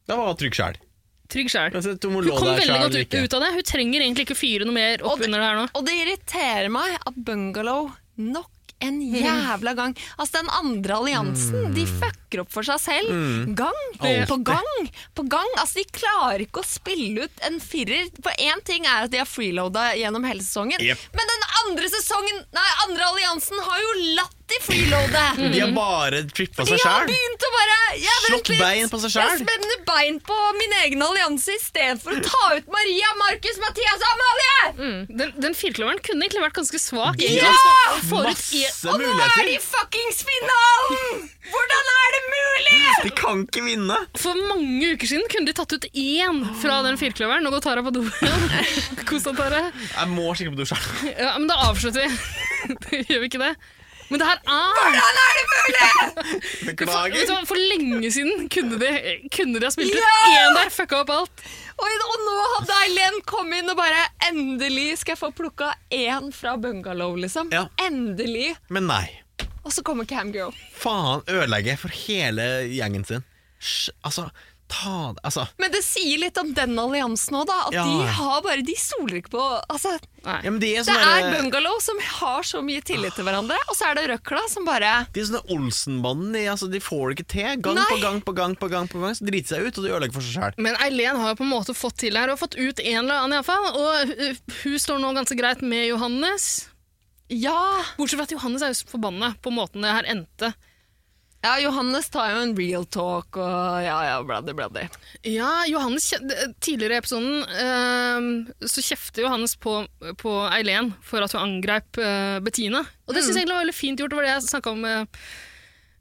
Speaker 3: Da var hun trygg sjæl.
Speaker 4: Trygg sjæl.
Speaker 3: Altså, du må
Speaker 4: Hun
Speaker 3: lå
Speaker 4: kom
Speaker 3: der
Speaker 4: veldig
Speaker 3: selv,
Speaker 4: godt ut,
Speaker 3: ikke?
Speaker 4: ut av det. Hun trenger egentlig ikke fyre noe mer
Speaker 2: Og
Speaker 4: opp
Speaker 2: det-
Speaker 4: under det her nå.
Speaker 2: Og det irriterer meg at Bungalow nok en jævla gang Altså Den andre alliansen
Speaker 3: Mm.
Speaker 2: De fucker opp for seg selv. Gang på gang på gang. Altså De klarer ikke å spille ut en firer. For én ting er at de har freeloada gjennom hele sesongen,
Speaker 3: Jep.
Speaker 2: men den andre sesongen Nei, andre alliansen har jo latt de freeloade!
Speaker 3: De har bare trippa
Speaker 2: De
Speaker 3: seg
Speaker 2: har
Speaker 3: sjæl.
Speaker 2: begynt å bare ja,
Speaker 3: Slått
Speaker 2: vent litt.
Speaker 3: bein på seg
Speaker 2: Jeg
Speaker 3: selv.
Speaker 2: spenner bein på min egen allianse istedenfor å ta ut Maria, Markus, Mathias og Amalie!
Speaker 4: Den, den firkløveren kunne egentlig vært ganske svak.
Speaker 2: Ja!
Speaker 4: Får ut i-
Speaker 3: Masse
Speaker 2: Og nå er
Speaker 3: muligheter.
Speaker 2: de i fuckings finalen! Hvordan er det mulig?!
Speaker 3: De kan ikke vinne!
Speaker 4: For mange uker siden kunne de tatt ut én fra den firkløveren. Nå går Tara på do igjen. Kos deg, Tara.
Speaker 3: Jeg må skikkelig på do sjæl.
Speaker 4: Ja, men da avslutter vi. Det Gjør vi ikke det? Men det her er
Speaker 2: Hvordan er det mulig?!
Speaker 4: for, vet du
Speaker 3: Beklager.
Speaker 4: hva, for lenge siden kunne de, kunne de ha spilt ut
Speaker 2: Ja!
Speaker 4: én der, fucka opp alt.
Speaker 2: Og, og nå hadde Eileen kommet inn og bare Endelig skal jeg få plukka én fra bungalow, liksom.
Speaker 3: Ja.
Speaker 2: Endelig.
Speaker 3: Men nei.
Speaker 2: Og så kommer Camgirl.
Speaker 3: Faen ødelegge for hele gjengen sin. Sj, altså, ta det Altså.
Speaker 2: Men det sier litt om den alliansen òg, da. At
Speaker 3: Ja.
Speaker 2: de har bare De soler ikke på Altså,
Speaker 3: Ja, men de er sånn
Speaker 2: det
Speaker 3: sånne,
Speaker 2: er bungalow som har så mye tillit til hverandre, og så er det røkla som bare
Speaker 3: de er sånne Olsenbanden. De, altså, de får det ikke til. Gang
Speaker 2: Nei.
Speaker 3: på gang på gang på gang. på gang Så driter de seg ut, og de ødelegger for seg sjæl.
Speaker 4: Men Eileen har jo på en måte fått til det her, og fått ut en eller annen iallfall. Og uh, hun står nå ganske greit med Johannes.
Speaker 2: Ja!
Speaker 4: Bortsett fra at Johannes er jo forbanna på måten det her endte.
Speaker 2: Ja, Johannes tar jo en real talk og ja, ja, bladdy, bladdy.
Speaker 4: Ja, Johannes, kje- d- tidligere i episoden ehm, så kjefter Johannes på, på Eileen for at hun angreip eh, Bettina. Og det
Speaker 2: Mm.
Speaker 4: synes jeg egentlig var veldig fint gjort, det var det jeg snakka om eh,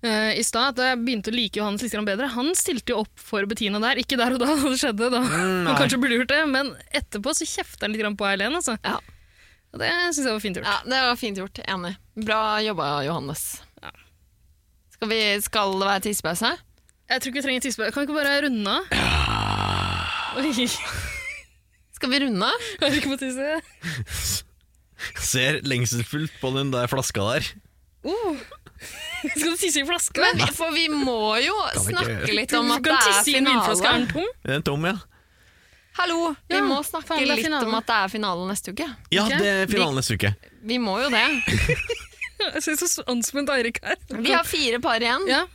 Speaker 4: eh, i stad. At jeg begynte å like Johannes litt grann bedre. Han stilte jo opp for Bettina der, ikke der og da da det skjedde,
Speaker 2: Mm,
Speaker 4: da han kanskje burde gjort det, men etterpå så kjefter han litt grann på Eileen, altså.
Speaker 2: Ja.
Speaker 4: Og det syns jeg var fint gjort.
Speaker 2: Ja, det var fint gjort. Enig. Bra jobba, Johannes. Skal, vi, skal det være tissepause?
Speaker 4: Jeg tror ikke vi trenger tissepause. Kan vi ikke bare runde av? Oi, jeg
Speaker 2: Skal vi runde?
Speaker 4: hører ikke på tisse.
Speaker 3: Ser lengselsfullt på den der flaska der.
Speaker 4: Skal du tisse i flaska?
Speaker 2: Men, for vi må jo
Speaker 3: vi ikke
Speaker 2: snakke
Speaker 3: gjøre.
Speaker 2: litt om at
Speaker 4: du
Speaker 2: det
Speaker 4: kan
Speaker 2: er
Speaker 4: tisse i en vinflaske. Er
Speaker 2: finale.
Speaker 4: den tom?
Speaker 3: Den er tom, ja.
Speaker 2: Hallo! Vi
Speaker 4: Ja,
Speaker 2: må snakke
Speaker 4: faen, det er
Speaker 2: litt
Speaker 4: finale.
Speaker 2: om at det er finale neste uke.
Speaker 3: Ja,
Speaker 4: Ok.
Speaker 3: det er finalen neste uke.
Speaker 2: Vi må jo det.
Speaker 4: Jeg ser så anspent Eirik er.
Speaker 2: Vi har fire par igjen.
Speaker 4: Ja.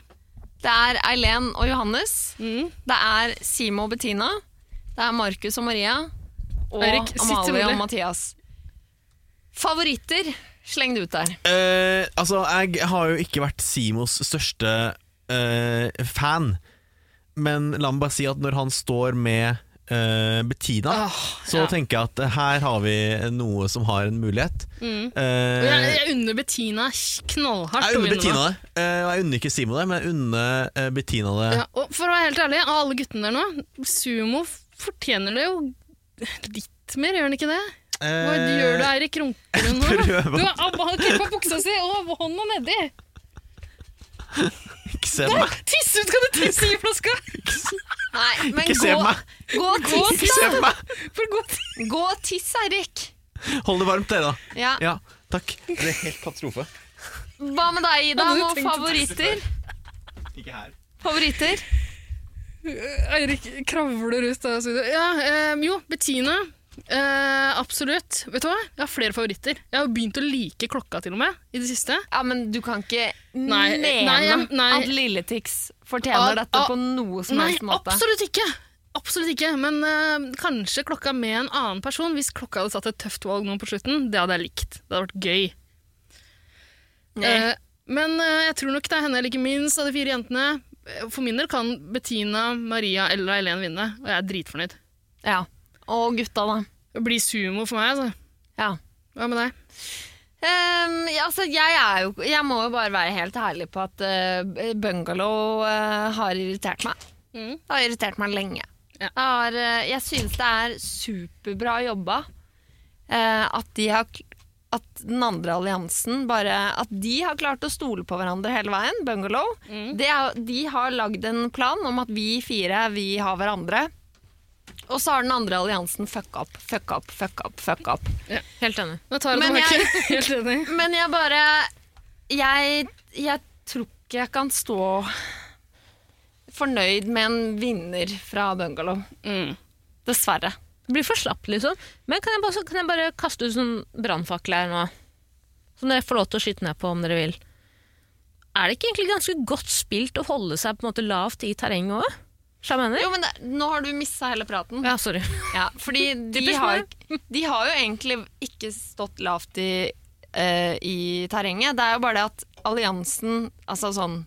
Speaker 2: Det er Eileen og Johannes.
Speaker 4: Mm.
Speaker 2: Det er Simo og Bettina. Det er Markus og Maria. Og
Speaker 4: Eirik, sitt
Speaker 2: Amalie
Speaker 4: rolig.
Speaker 2: og Mathias. Favoritter, sleng det ut der.
Speaker 3: Eh, altså, jeg har jo ikke vært Simos største eh, fan, men la meg bare si at når han står med eh, Bettina,
Speaker 4: Åh,
Speaker 3: så
Speaker 4: ja.
Speaker 3: tenker jeg at her har vi noe som har en mulighet.
Speaker 4: Mm.
Speaker 3: Eh,
Speaker 4: Jeg, jeg unner Bettina knallhardt.
Speaker 3: jeg
Speaker 4: å
Speaker 3: unner
Speaker 4: vinne
Speaker 3: Bettina
Speaker 4: nå.
Speaker 3: det. Eh, og jeg unner ikke Simo det, men jeg unner eh, Bettina det.
Speaker 4: Ja, og for å være helt ærlig, av alle guttene der nå, Sumo fortjener det jo litt mer, gjør han ikke det? Hva gjør du, Eirik? Runker du nå? da?
Speaker 3: Eh, prøver.
Speaker 4: Du har abba- han klippa buksa si og hånda nedi!
Speaker 3: Ikke se meg.
Speaker 4: Tisse ut! Skal du tisse i flaska?
Speaker 2: Nei, men
Speaker 3: Ikke se på
Speaker 2: gå,
Speaker 3: meg!
Speaker 2: gå tiss,
Speaker 3: Ikke se
Speaker 2: da!
Speaker 3: på meg!
Speaker 2: For gå tiss, gå tiss Eirik.
Speaker 3: Hold det varmt, dere, da.
Speaker 2: Ja.
Speaker 3: Ja, takk. Det er helt katastrofe.
Speaker 2: Hva med deg,
Speaker 9: Hadde
Speaker 2: Ida?
Speaker 9: du
Speaker 2: Noen
Speaker 9: tenkt å tisse
Speaker 2: favoritter?
Speaker 3: Ikke her.
Speaker 2: Favoritter?
Speaker 4: Eirik kravler ut av studioet. Ja, eh, jo, Bettina. Eh, absolutt. Vet du hva? Jeg har flere favoritter. Jeg har begynt å like klokka til og med i det siste.
Speaker 2: Ja, men du kan ikke
Speaker 4: Nei,
Speaker 2: mene
Speaker 4: nei, jeg- nei.
Speaker 2: at Lilletix fortjener
Speaker 4: Ah,
Speaker 2: dette
Speaker 4: ah,
Speaker 2: på noe som
Speaker 4: Nei,
Speaker 2: helst måte.
Speaker 4: absolutt ikke! Absolutt ikke, Men eh, kanskje klokka med en annen person. Hvis klokka hadde tatt et tøft valg nå på slutten, det hadde jeg likt. Det hadde vært gøy. Eh, men eh, jeg tror nok det er henne jeg liker minst av de fire jentene. Eh, For min del kan Bettina, Maria eller Eileen vinne, og jeg er dritfornøyd.
Speaker 2: Ja. Og gutta, da.
Speaker 4: Det blir sumo for meg, altså.
Speaker 2: Ja.
Speaker 4: Hva med deg?
Speaker 2: Ehm, ja, altså, jeg, er jo, jeg må jo bare være helt ærlig på at eh, bungalow eh, har irritert meg.
Speaker 4: Mm.
Speaker 2: Det har irritert meg lenge.
Speaker 4: Ja.
Speaker 2: Jeg, har, eh, jeg synes det er superbra jobba eh, at de har kl- at den andre alliansen bare At de har klart å stole på hverandre hele veien, bungalow.
Speaker 4: Mm.
Speaker 2: Det er, de har lagd en plan om at vi fire, vi har hverandre. Og så har den andre alliansen fucka opp, fucka opp, fucka opp. fucka opp.
Speaker 6: Helt enig.
Speaker 4: Nå tar jeg
Speaker 2: Men
Speaker 4: det tilbake. Helt enig.
Speaker 2: Men jeg bare jeg, jeg tror ikke jeg kan stå fornøyd med en vinner fra Bungalow.
Speaker 4: Mm.
Speaker 2: Dessverre.
Speaker 6: Det blir for slapp, liksom. Men kan jeg bare, kan jeg bare kaste ut sånn brannfakkel her nå? Som dere får lov til å skyte ned på om dere vil. Er det ikke egentlig ganske godt spilt å holde seg på en måte lavt i terrenget òg? Sjamener?
Speaker 2: Jo, men det, Nå har du missa hele praten.
Speaker 6: Ja, sorry.
Speaker 2: Ja, fordi de
Speaker 6: Typisk
Speaker 2: har, de har jo egentlig ikke stått lavt i, eh, i terrenget. Det er jo bare det at alliansen, altså sånn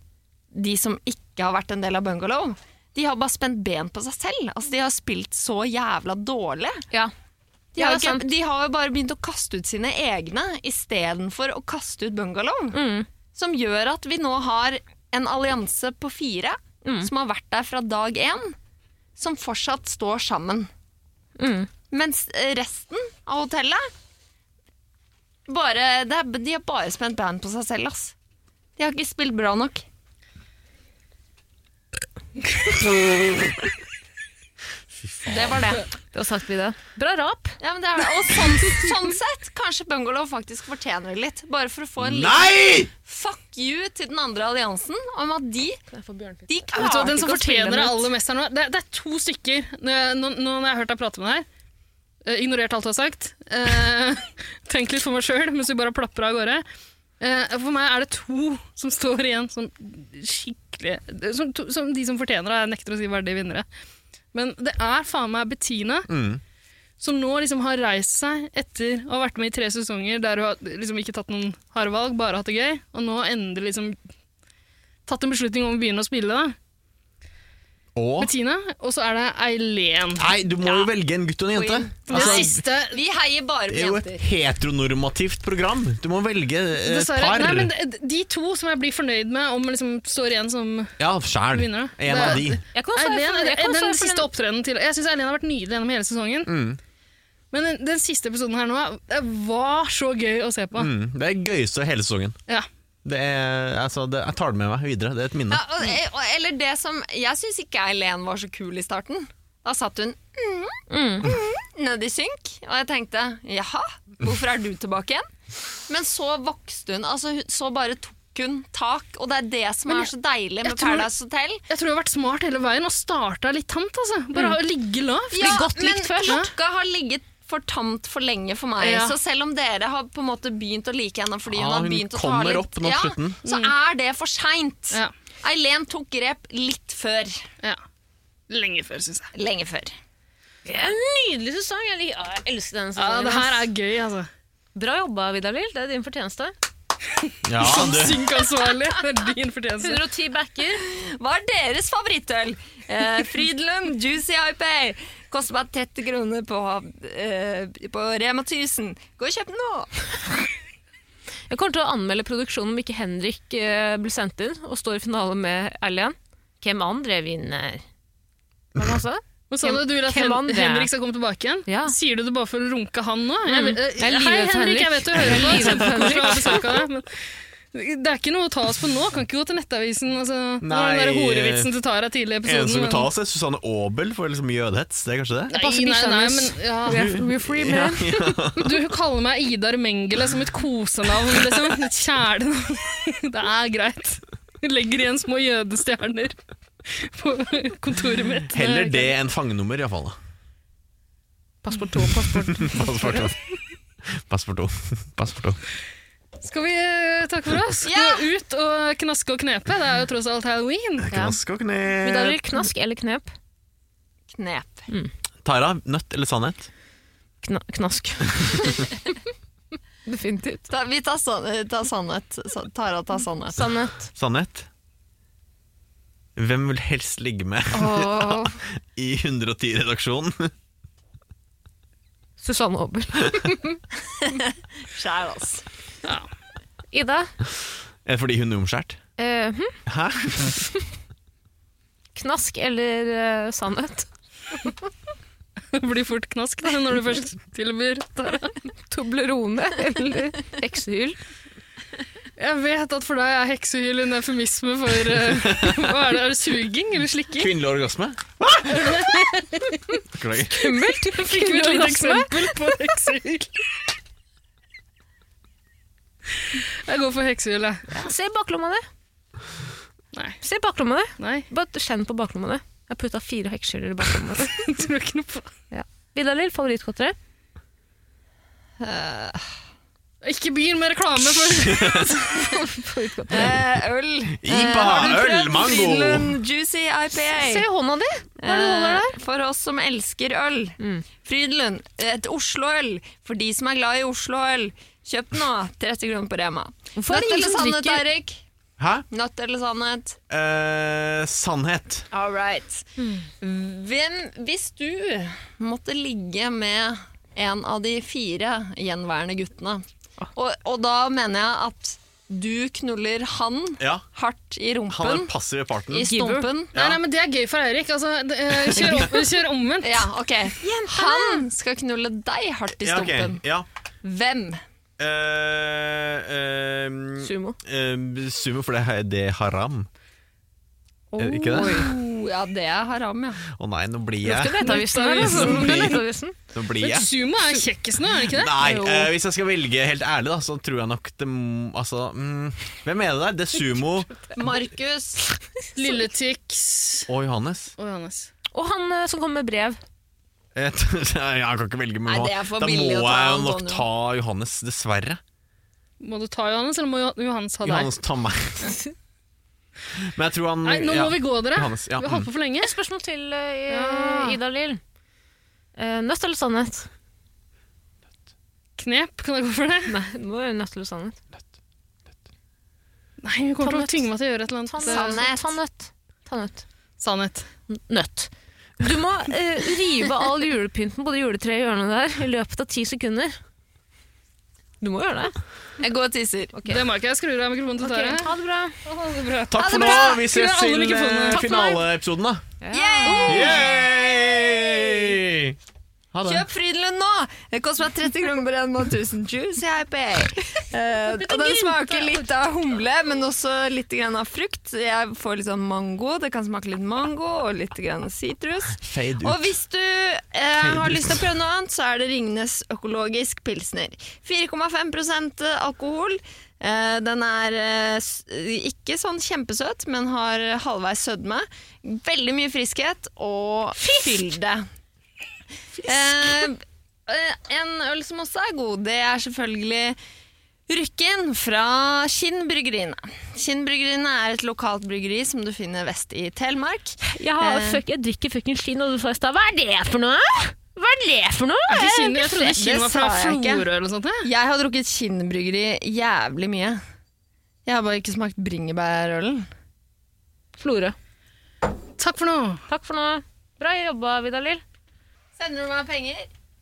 Speaker 2: De som ikke har vært en del av Bungalow, de har bare spent ben på seg selv. Altså, De har spilt så jævla dårlig.
Speaker 6: Ja.
Speaker 2: De
Speaker 6: Ja,
Speaker 2: har,
Speaker 6: det er
Speaker 2: jo ikke, de har jo bare begynt å kaste ut sine egne istedenfor å kaste ut bungalow.
Speaker 6: Mm.
Speaker 2: Som gjør at vi nå har en allianse på fire
Speaker 6: Mm.
Speaker 2: som har vært der fra dag én, som fortsatt står sammen.
Speaker 6: Mm.
Speaker 2: Mens resten av hotellet bare, det er, De har bare spent band på seg selv, ass. De har ikke spilt bra nok. Det var det.
Speaker 6: Det var sagt vi det. Bra rap.
Speaker 2: Ja, men det er det. Og sånn, sånn sett, kanskje Bungalow faktisk fortjener det litt. Bare for å få en liten
Speaker 3: Nei!
Speaker 2: fuck you til den andre alliansen om at de, de
Speaker 4: Vet du hva,
Speaker 2: klarer
Speaker 4: den som
Speaker 2: ikke å spille
Speaker 4: fortjener det
Speaker 2: dem ut.
Speaker 4: aller mest her nå, det, det er to stykker. Nå, nå, nå når jeg har hørt deg prate med deg her, eh, ignorert alt du har sagt, eh, tenk litt for meg sjøl mens vi bare plapper av gårde. Eh, for meg er det to som står igjen som skikkelig Som, to, som de som fortjener det. Jeg nekter å si verdige vinnere. Men det er faen meg Bettina. Som nå liksom har reist seg etter å ha vært med i tre sesonger der hun har liksom ikke tatt noen harde valg, bare hatt det gøy, og nå endelig liksom tatt en beslutning om å begynne å spille. da.
Speaker 3: Og
Speaker 4: Bettina, og så er det Eileen.
Speaker 3: Nei, du må jo velge en gutt og en jente.
Speaker 4: Det siste
Speaker 3: eh,
Speaker 2: Vi heier bare på
Speaker 3: det er jo et
Speaker 2: jenter.
Speaker 3: heteronormativt program. Du må velge eh, et
Speaker 4: Dessverre.
Speaker 3: par.
Speaker 4: Nei, men de, de to som jeg blir fornøyd med om liksom står igjen som
Speaker 3: Ja, sjæl.
Speaker 4: Vinner, da.
Speaker 3: En av
Speaker 4: Det-
Speaker 3: de.
Speaker 6: Jeg kan svare
Speaker 4: Eileen,
Speaker 6: for, jeg kan
Speaker 4: den,
Speaker 6: svare for
Speaker 4: siste opptredenen til Jeg syns Eileen har vært nydelig gjennom hele sesongen.
Speaker 3: Mm.
Speaker 4: Men den, den siste episoden her nå det var så gøy å se på.
Speaker 3: Mm, det er gøyeste hele sesongen.
Speaker 4: Ja.
Speaker 3: Det er, altså, det, jeg tar det med meg videre. Det er et minne.
Speaker 2: Ja, og, og, eller det som Jeg syns ikke Eileen var så kul i starten. Da satt hun
Speaker 6: Mm.
Speaker 2: nedi synk, og jeg tenkte jaha, hvorfor er du tilbake igjen? Men så vokste hun, altså hun- så bare tok hun tak, og det er det som
Speaker 4: Men
Speaker 2: er så deilig med
Speaker 4: jeg tror-
Speaker 2: Paradise Hotel.
Speaker 4: Jeg tror jeg har vært smart hele veien og starta litt tamt. altså. Bare å ligge lavt.
Speaker 2: Ja,
Speaker 6: godt likt
Speaker 2: men
Speaker 6: først.
Speaker 2: klokka har ligget for tamt for lenge for meg.
Speaker 4: Ja.
Speaker 2: Så selv om dere har på en måte begynt å like henne fordi hun
Speaker 3: Ja,
Speaker 2: har
Speaker 3: hun
Speaker 2: begynt å ta
Speaker 3: kommer
Speaker 2: litt
Speaker 3: opp nå på slutten.
Speaker 2: Så er det for seint.
Speaker 4: Ja.
Speaker 2: Eileen tok grep litt før.
Speaker 4: Ja. Lenge før, syns jeg.
Speaker 2: Lenge før.
Speaker 6: Det er en nydelig sesong. Jeg, lik- ja, jeg elsker
Speaker 4: Ja,
Speaker 6: denne sesongen.
Speaker 4: Det her
Speaker 6: ass.
Speaker 4: er gøy, altså.
Speaker 6: Bra jobba, Vidar Lill. Det er din fortjeneste.
Speaker 3: Ja, du,
Speaker 4: Synkansvarlig. Det er din fortjeneste.
Speaker 6: 110 backer.
Speaker 2: Hva er deres favorittøl? Eh, Frydenlund Juicy IPA. Koster bare 30 kroner på, eh, på Rema 1000. Gå og kjøp den nå!
Speaker 6: Jeg kommer til å anmelde produksjonen om ikke Henrik eh, blir sendt inn og står i finale med Erlend. Hvem andre vinner? Hva var det han sa?
Speaker 4: Hva sa du? Du vil at
Speaker 6: Hvem
Speaker 4: Hen
Speaker 6: andre?
Speaker 4: Henrik skal komme tilbake igjen?
Speaker 6: Ja.
Speaker 4: Sier du det bare for å runke han nå?
Speaker 6: Mm.
Speaker 4: Jeg, eh,
Speaker 6: Jeg er
Speaker 4: hei,
Speaker 6: livredd
Speaker 4: Henrik,
Speaker 6: for Henrik.
Speaker 4: jeg vet du hører på.
Speaker 6: livredd for
Speaker 4: Kjempekoselig å ha besøk av deg. Men Det er ikke noe å ta oss på nå. Kan ikke gå til Nettavisen. Altså, det var
Speaker 3: Nei.
Speaker 4: den der horevitsen til Tara tidlig i episoden.
Speaker 3: En som
Speaker 4: men-
Speaker 3: vil ta oss, er Susanne Aabel for liksom jødehets. Det er kanskje det?
Speaker 4: Nei, nei, nei, men ja.
Speaker 9: We're free,
Speaker 3: Ja,
Speaker 9: man.
Speaker 3: ja.
Speaker 4: Du kaller meg Idar Mengele som et kosenavn, liksom. Et kjælenavn. Det er greit. Jeg legger igjen små jødestjerner på kontoret mitt.
Speaker 3: Heller det enn fangenummer, iallfall.
Speaker 4: Passport 2, passport.
Speaker 3: Passord to. Passord to. Passord to.
Speaker 4: Skal vi eh, takke for oss?
Speaker 2: Ja.
Speaker 4: Gå ut og knaske og knepe. Det er jo tross alt halloween.
Speaker 3: Knask og
Speaker 6: Men
Speaker 3: knep.
Speaker 6: da blir det knask eller knep.
Speaker 2: Knep.
Speaker 3: Tara, nøtt eller sannhet?
Speaker 6: Kna knask.
Speaker 9: Definitivt.
Speaker 2: Ta, vi tar, sann- ta sannhet. Sa- Tara tar sannhet.
Speaker 6: Sannhet.
Speaker 3: Sannhet? Hvem vil helst ligge med
Speaker 9: Og
Speaker 3: i 110-redaksjonen?
Speaker 9: Susanne Aabel.
Speaker 2: Skjær, altså.
Speaker 6: Ida.
Speaker 3: Er det fordi hun er omskjært?
Speaker 6: eh, hm?
Speaker 3: Hæ?
Speaker 6: Knask eller eh, sannhet?
Speaker 4: Det blir fort knask da, når du først tilbyr.
Speaker 6: Toblerone eller heksehyll?
Speaker 4: Jeg vet at for deg er heksehyl en eufemisme for eh, Hva er det? Er det suging eller slikking?
Speaker 3: Kvinnelig orgasme? Beklager.
Speaker 4: Kummelt! Fikk vi et lite eksempel på heksehyl? Jeg går for heksehyl, jeg.
Speaker 6: Se baklomma di.
Speaker 4: Nei.
Speaker 6: Se baklomma di.
Speaker 4: Nei,
Speaker 6: Bare kjenn på baklomma di. Jeg har putta fire heksehyller i baklomma. di.
Speaker 4: jeg tror ikke noe på
Speaker 6: Vidar-Lill, favorittgodteri?
Speaker 4: Ikke begynn med reklame for
Speaker 2: Eh, øl.
Speaker 3: Ipa, øl, mango!
Speaker 2: Frydenlund Juicy
Speaker 6: Se
Speaker 2: IPA.
Speaker 6: hånda di! Hva er det du holder der? Mm.
Speaker 2: Eh, For oss som elsker øl. Frydenlund, et Oslo-øl. For de som er glad i Oslo-øl, kjøp den nå. 30 kroner på Rema.
Speaker 6: Hvorfor er
Speaker 2: Nødt
Speaker 6: det ingen
Speaker 2: eller
Speaker 6: som
Speaker 2: sannhet,
Speaker 6: drikker?
Speaker 2: Eirik?
Speaker 3: Hæ?
Speaker 2: Nødt eller sannhet?
Speaker 3: Eh, sannhet.
Speaker 2: All right.
Speaker 6: Mm.
Speaker 2: Hvem, hvis du måtte ligge med en av de fire gjenværende guttene,
Speaker 6: Ah.
Speaker 2: og, og da mener jeg at du knuller han
Speaker 3: Ja.
Speaker 2: hardt i
Speaker 3: Han er
Speaker 2: rumpen,
Speaker 3: den passive parten.
Speaker 2: i stumpen
Speaker 4: Nei, nei, men Det er gøy for Eirik. Altså, det, eh, kjør, om, kjør omvendt.
Speaker 2: Ja, ok. Han skal knulle deg hardt i
Speaker 3: Ja, ok.
Speaker 2: stumpen.
Speaker 3: Ja.
Speaker 2: Hvem?
Speaker 3: Eh, eh,
Speaker 6: Sumo.
Speaker 3: eh, sumo, for det er, det er haram. Er det ikke det?
Speaker 2: Oh, ja, det er haram, ja.
Speaker 3: Å nei, nå blir
Speaker 6: Skal
Speaker 3: jeg
Speaker 6: Nettavisen, eller?
Speaker 3: Nettavisen.
Speaker 6: Skal Nettavisen?
Speaker 3: Nå blir
Speaker 4: Men
Speaker 3: jeg
Speaker 4: liksom- Sumo er kjekkest nå, er det ikke det?
Speaker 3: Nei, eh, hvis jeg skal velge helt ærlig, da, så tror jeg nok det m- Altså, mm, hvem er det der? Det er Sumo
Speaker 2: Markus.
Speaker 4: Lille Tix
Speaker 3: og Johannes.
Speaker 4: og Johannes.
Speaker 6: Og han eh, som kommer med brev.
Speaker 3: Eh, Nei, jeg kan ikke velge med
Speaker 2: Nei,
Speaker 3: Johan-
Speaker 2: det er for
Speaker 3: Da må
Speaker 2: billig
Speaker 3: jeg
Speaker 2: å ta
Speaker 3: jo nok
Speaker 2: Antonio.
Speaker 3: ta Johannes, dessverre.
Speaker 4: Må du ta Johannes, eller må Jo- Johannes ha deg?
Speaker 3: Johannes, ta meg. Men jeg tror han
Speaker 4: Nei, nå
Speaker 3: ja.
Speaker 4: må vi gå, dere.
Speaker 3: Johannes, ja, mm.
Speaker 4: Vi har holdt på for lenge.
Speaker 6: Et spørsmål til eh,
Speaker 4: Ja.
Speaker 6: Ida Lill. Eh, nødt eller sannhet?
Speaker 4: Knep, kan jeg gå for det?
Speaker 6: Nei, nå er det nødt eller sannhet.
Speaker 4: Nei, hun kommer til å
Speaker 6: Tannøtt.
Speaker 4: tvinge meg til å gjøre et eller annet. Eh,
Speaker 2: Sannhet.
Speaker 6: Tannøtt. Tannøtt.
Speaker 4: Sannhet.
Speaker 6: Nøtt. Du må eh, rive all julepynten på det juletreet i hjørnet der i løpet av ti sekunder. Du må gjøre det.
Speaker 2: Jeg går og tisser.
Speaker 4: Det må jeg ikke. Jeg skrur av mikrofonen til Tara.
Speaker 6: Mm, Ha det bra.
Speaker 4: Å, ha det bra.
Speaker 3: Takk for
Speaker 2: det
Speaker 3: nå.
Speaker 2: bra.
Speaker 3: Vi
Speaker 4: Skrur
Speaker 3: ses
Speaker 4: av alle
Speaker 3: til
Speaker 4: mikrofonene.
Speaker 3: eh,
Speaker 4: Takk for meg.
Speaker 3: finaleepisoden, da.
Speaker 2: Yay!
Speaker 3: Yay! Ha det.
Speaker 2: Kjøp Frydenlund nå! Det koster meg 30 kroner på den måten. Tusen juice, jeg pay. Eh, og den smaker litt av humle, men også litt grann av frukt. Jeg får litt sånn mango. Det kan smake litt mango og litt grann sitrus.
Speaker 3: Fade ut.
Speaker 2: Og hvis du eh, har lyst til å prøve noe annet, så er det Ringnes økologisk pilsner. 4,5 alkohol. Eh, den er eh, s- ikke sånn kjempesøt, men har halvveis sødme. Veldig mye friskhet og fylde. Eh, eh, en øl som også er god, det er selvfølgelig Rykken fra Kinn bryggeriene. Kinn bryggeriene er et lokalt bryggeri som du finner vest i Telemark.
Speaker 6: Jeg, har,
Speaker 2: Eh.
Speaker 6: fuck, jeg drikker fucking skinn, og du sa i stad Hva er det for noe? Hva er det for noe?
Speaker 4: Er ikke Kinn- Jeg trodde
Speaker 2: Det
Speaker 4: Kinn var fra
Speaker 2: sa jeg ikke.
Speaker 4: Florø eller noe sånt. jeg.
Speaker 2: Jeg har drukket kinnbryggeri jævlig mye. Jeg har bare ikke smakt bringebærølen.
Speaker 6: Florø.
Speaker 4: Takk for nå.
Speaker 6: Takk for nå. Bra jobba, Vidar Lill.
Speaker 2: Sender du meg penger,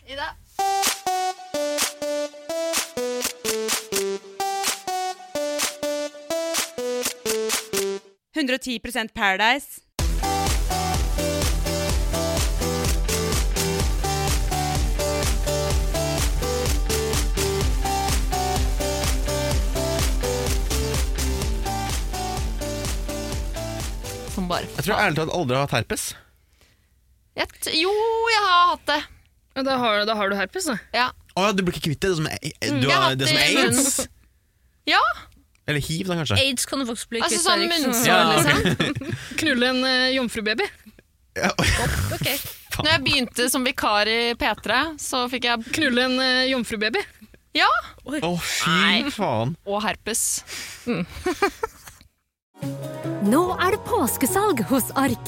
Speaker 2: Ida? for
Speaker 3: Jeg tror jeg ærlig talt aldri har hatt herpes.
Speaker 2: jeg, t- Jo, jeg har hatt det.
Speaker 4: Ja, Da har, da har du herpes, da.
Speaker 2: Ja.
Speaker 3: Å ja, du blir ikke kvitt det? Det som er, du
Speaker 2: Mm. jeg har
Speaker 3: har,
Speaker 2: hatt
Speaker 3: det som
Speaker 2: det
Speaker 3: er
Speaker 2: i
Speaker 3: aids?
Speaker 2: ja.
Speaker 3: Eller hiv, da, kanskje?
Speaker 10: Aids kan du faktisk bli
Speaker 2: Altså
Speaker 10: kvitt.
Speaker 2: sånn
Speaker 10: Erik, så-
Speaker 2: munnsår,
Speaker 3: Ja, ok.
Speaker 2: liksom.
Speaker 4: Knulle en eh, jomfrubaby.
Speaker 10: Ok.
Speaker 2: Når jeg begynte som vikar i P3, så fikk jeg
Speaker 4: Knulle en eh, jomfrubaby.
Speaker 2: Ja!
Speaker 3: Å, fy faen.
Speaker 2: Og herpes.
Speaker 6: Nå er det påskesalg hos Ark.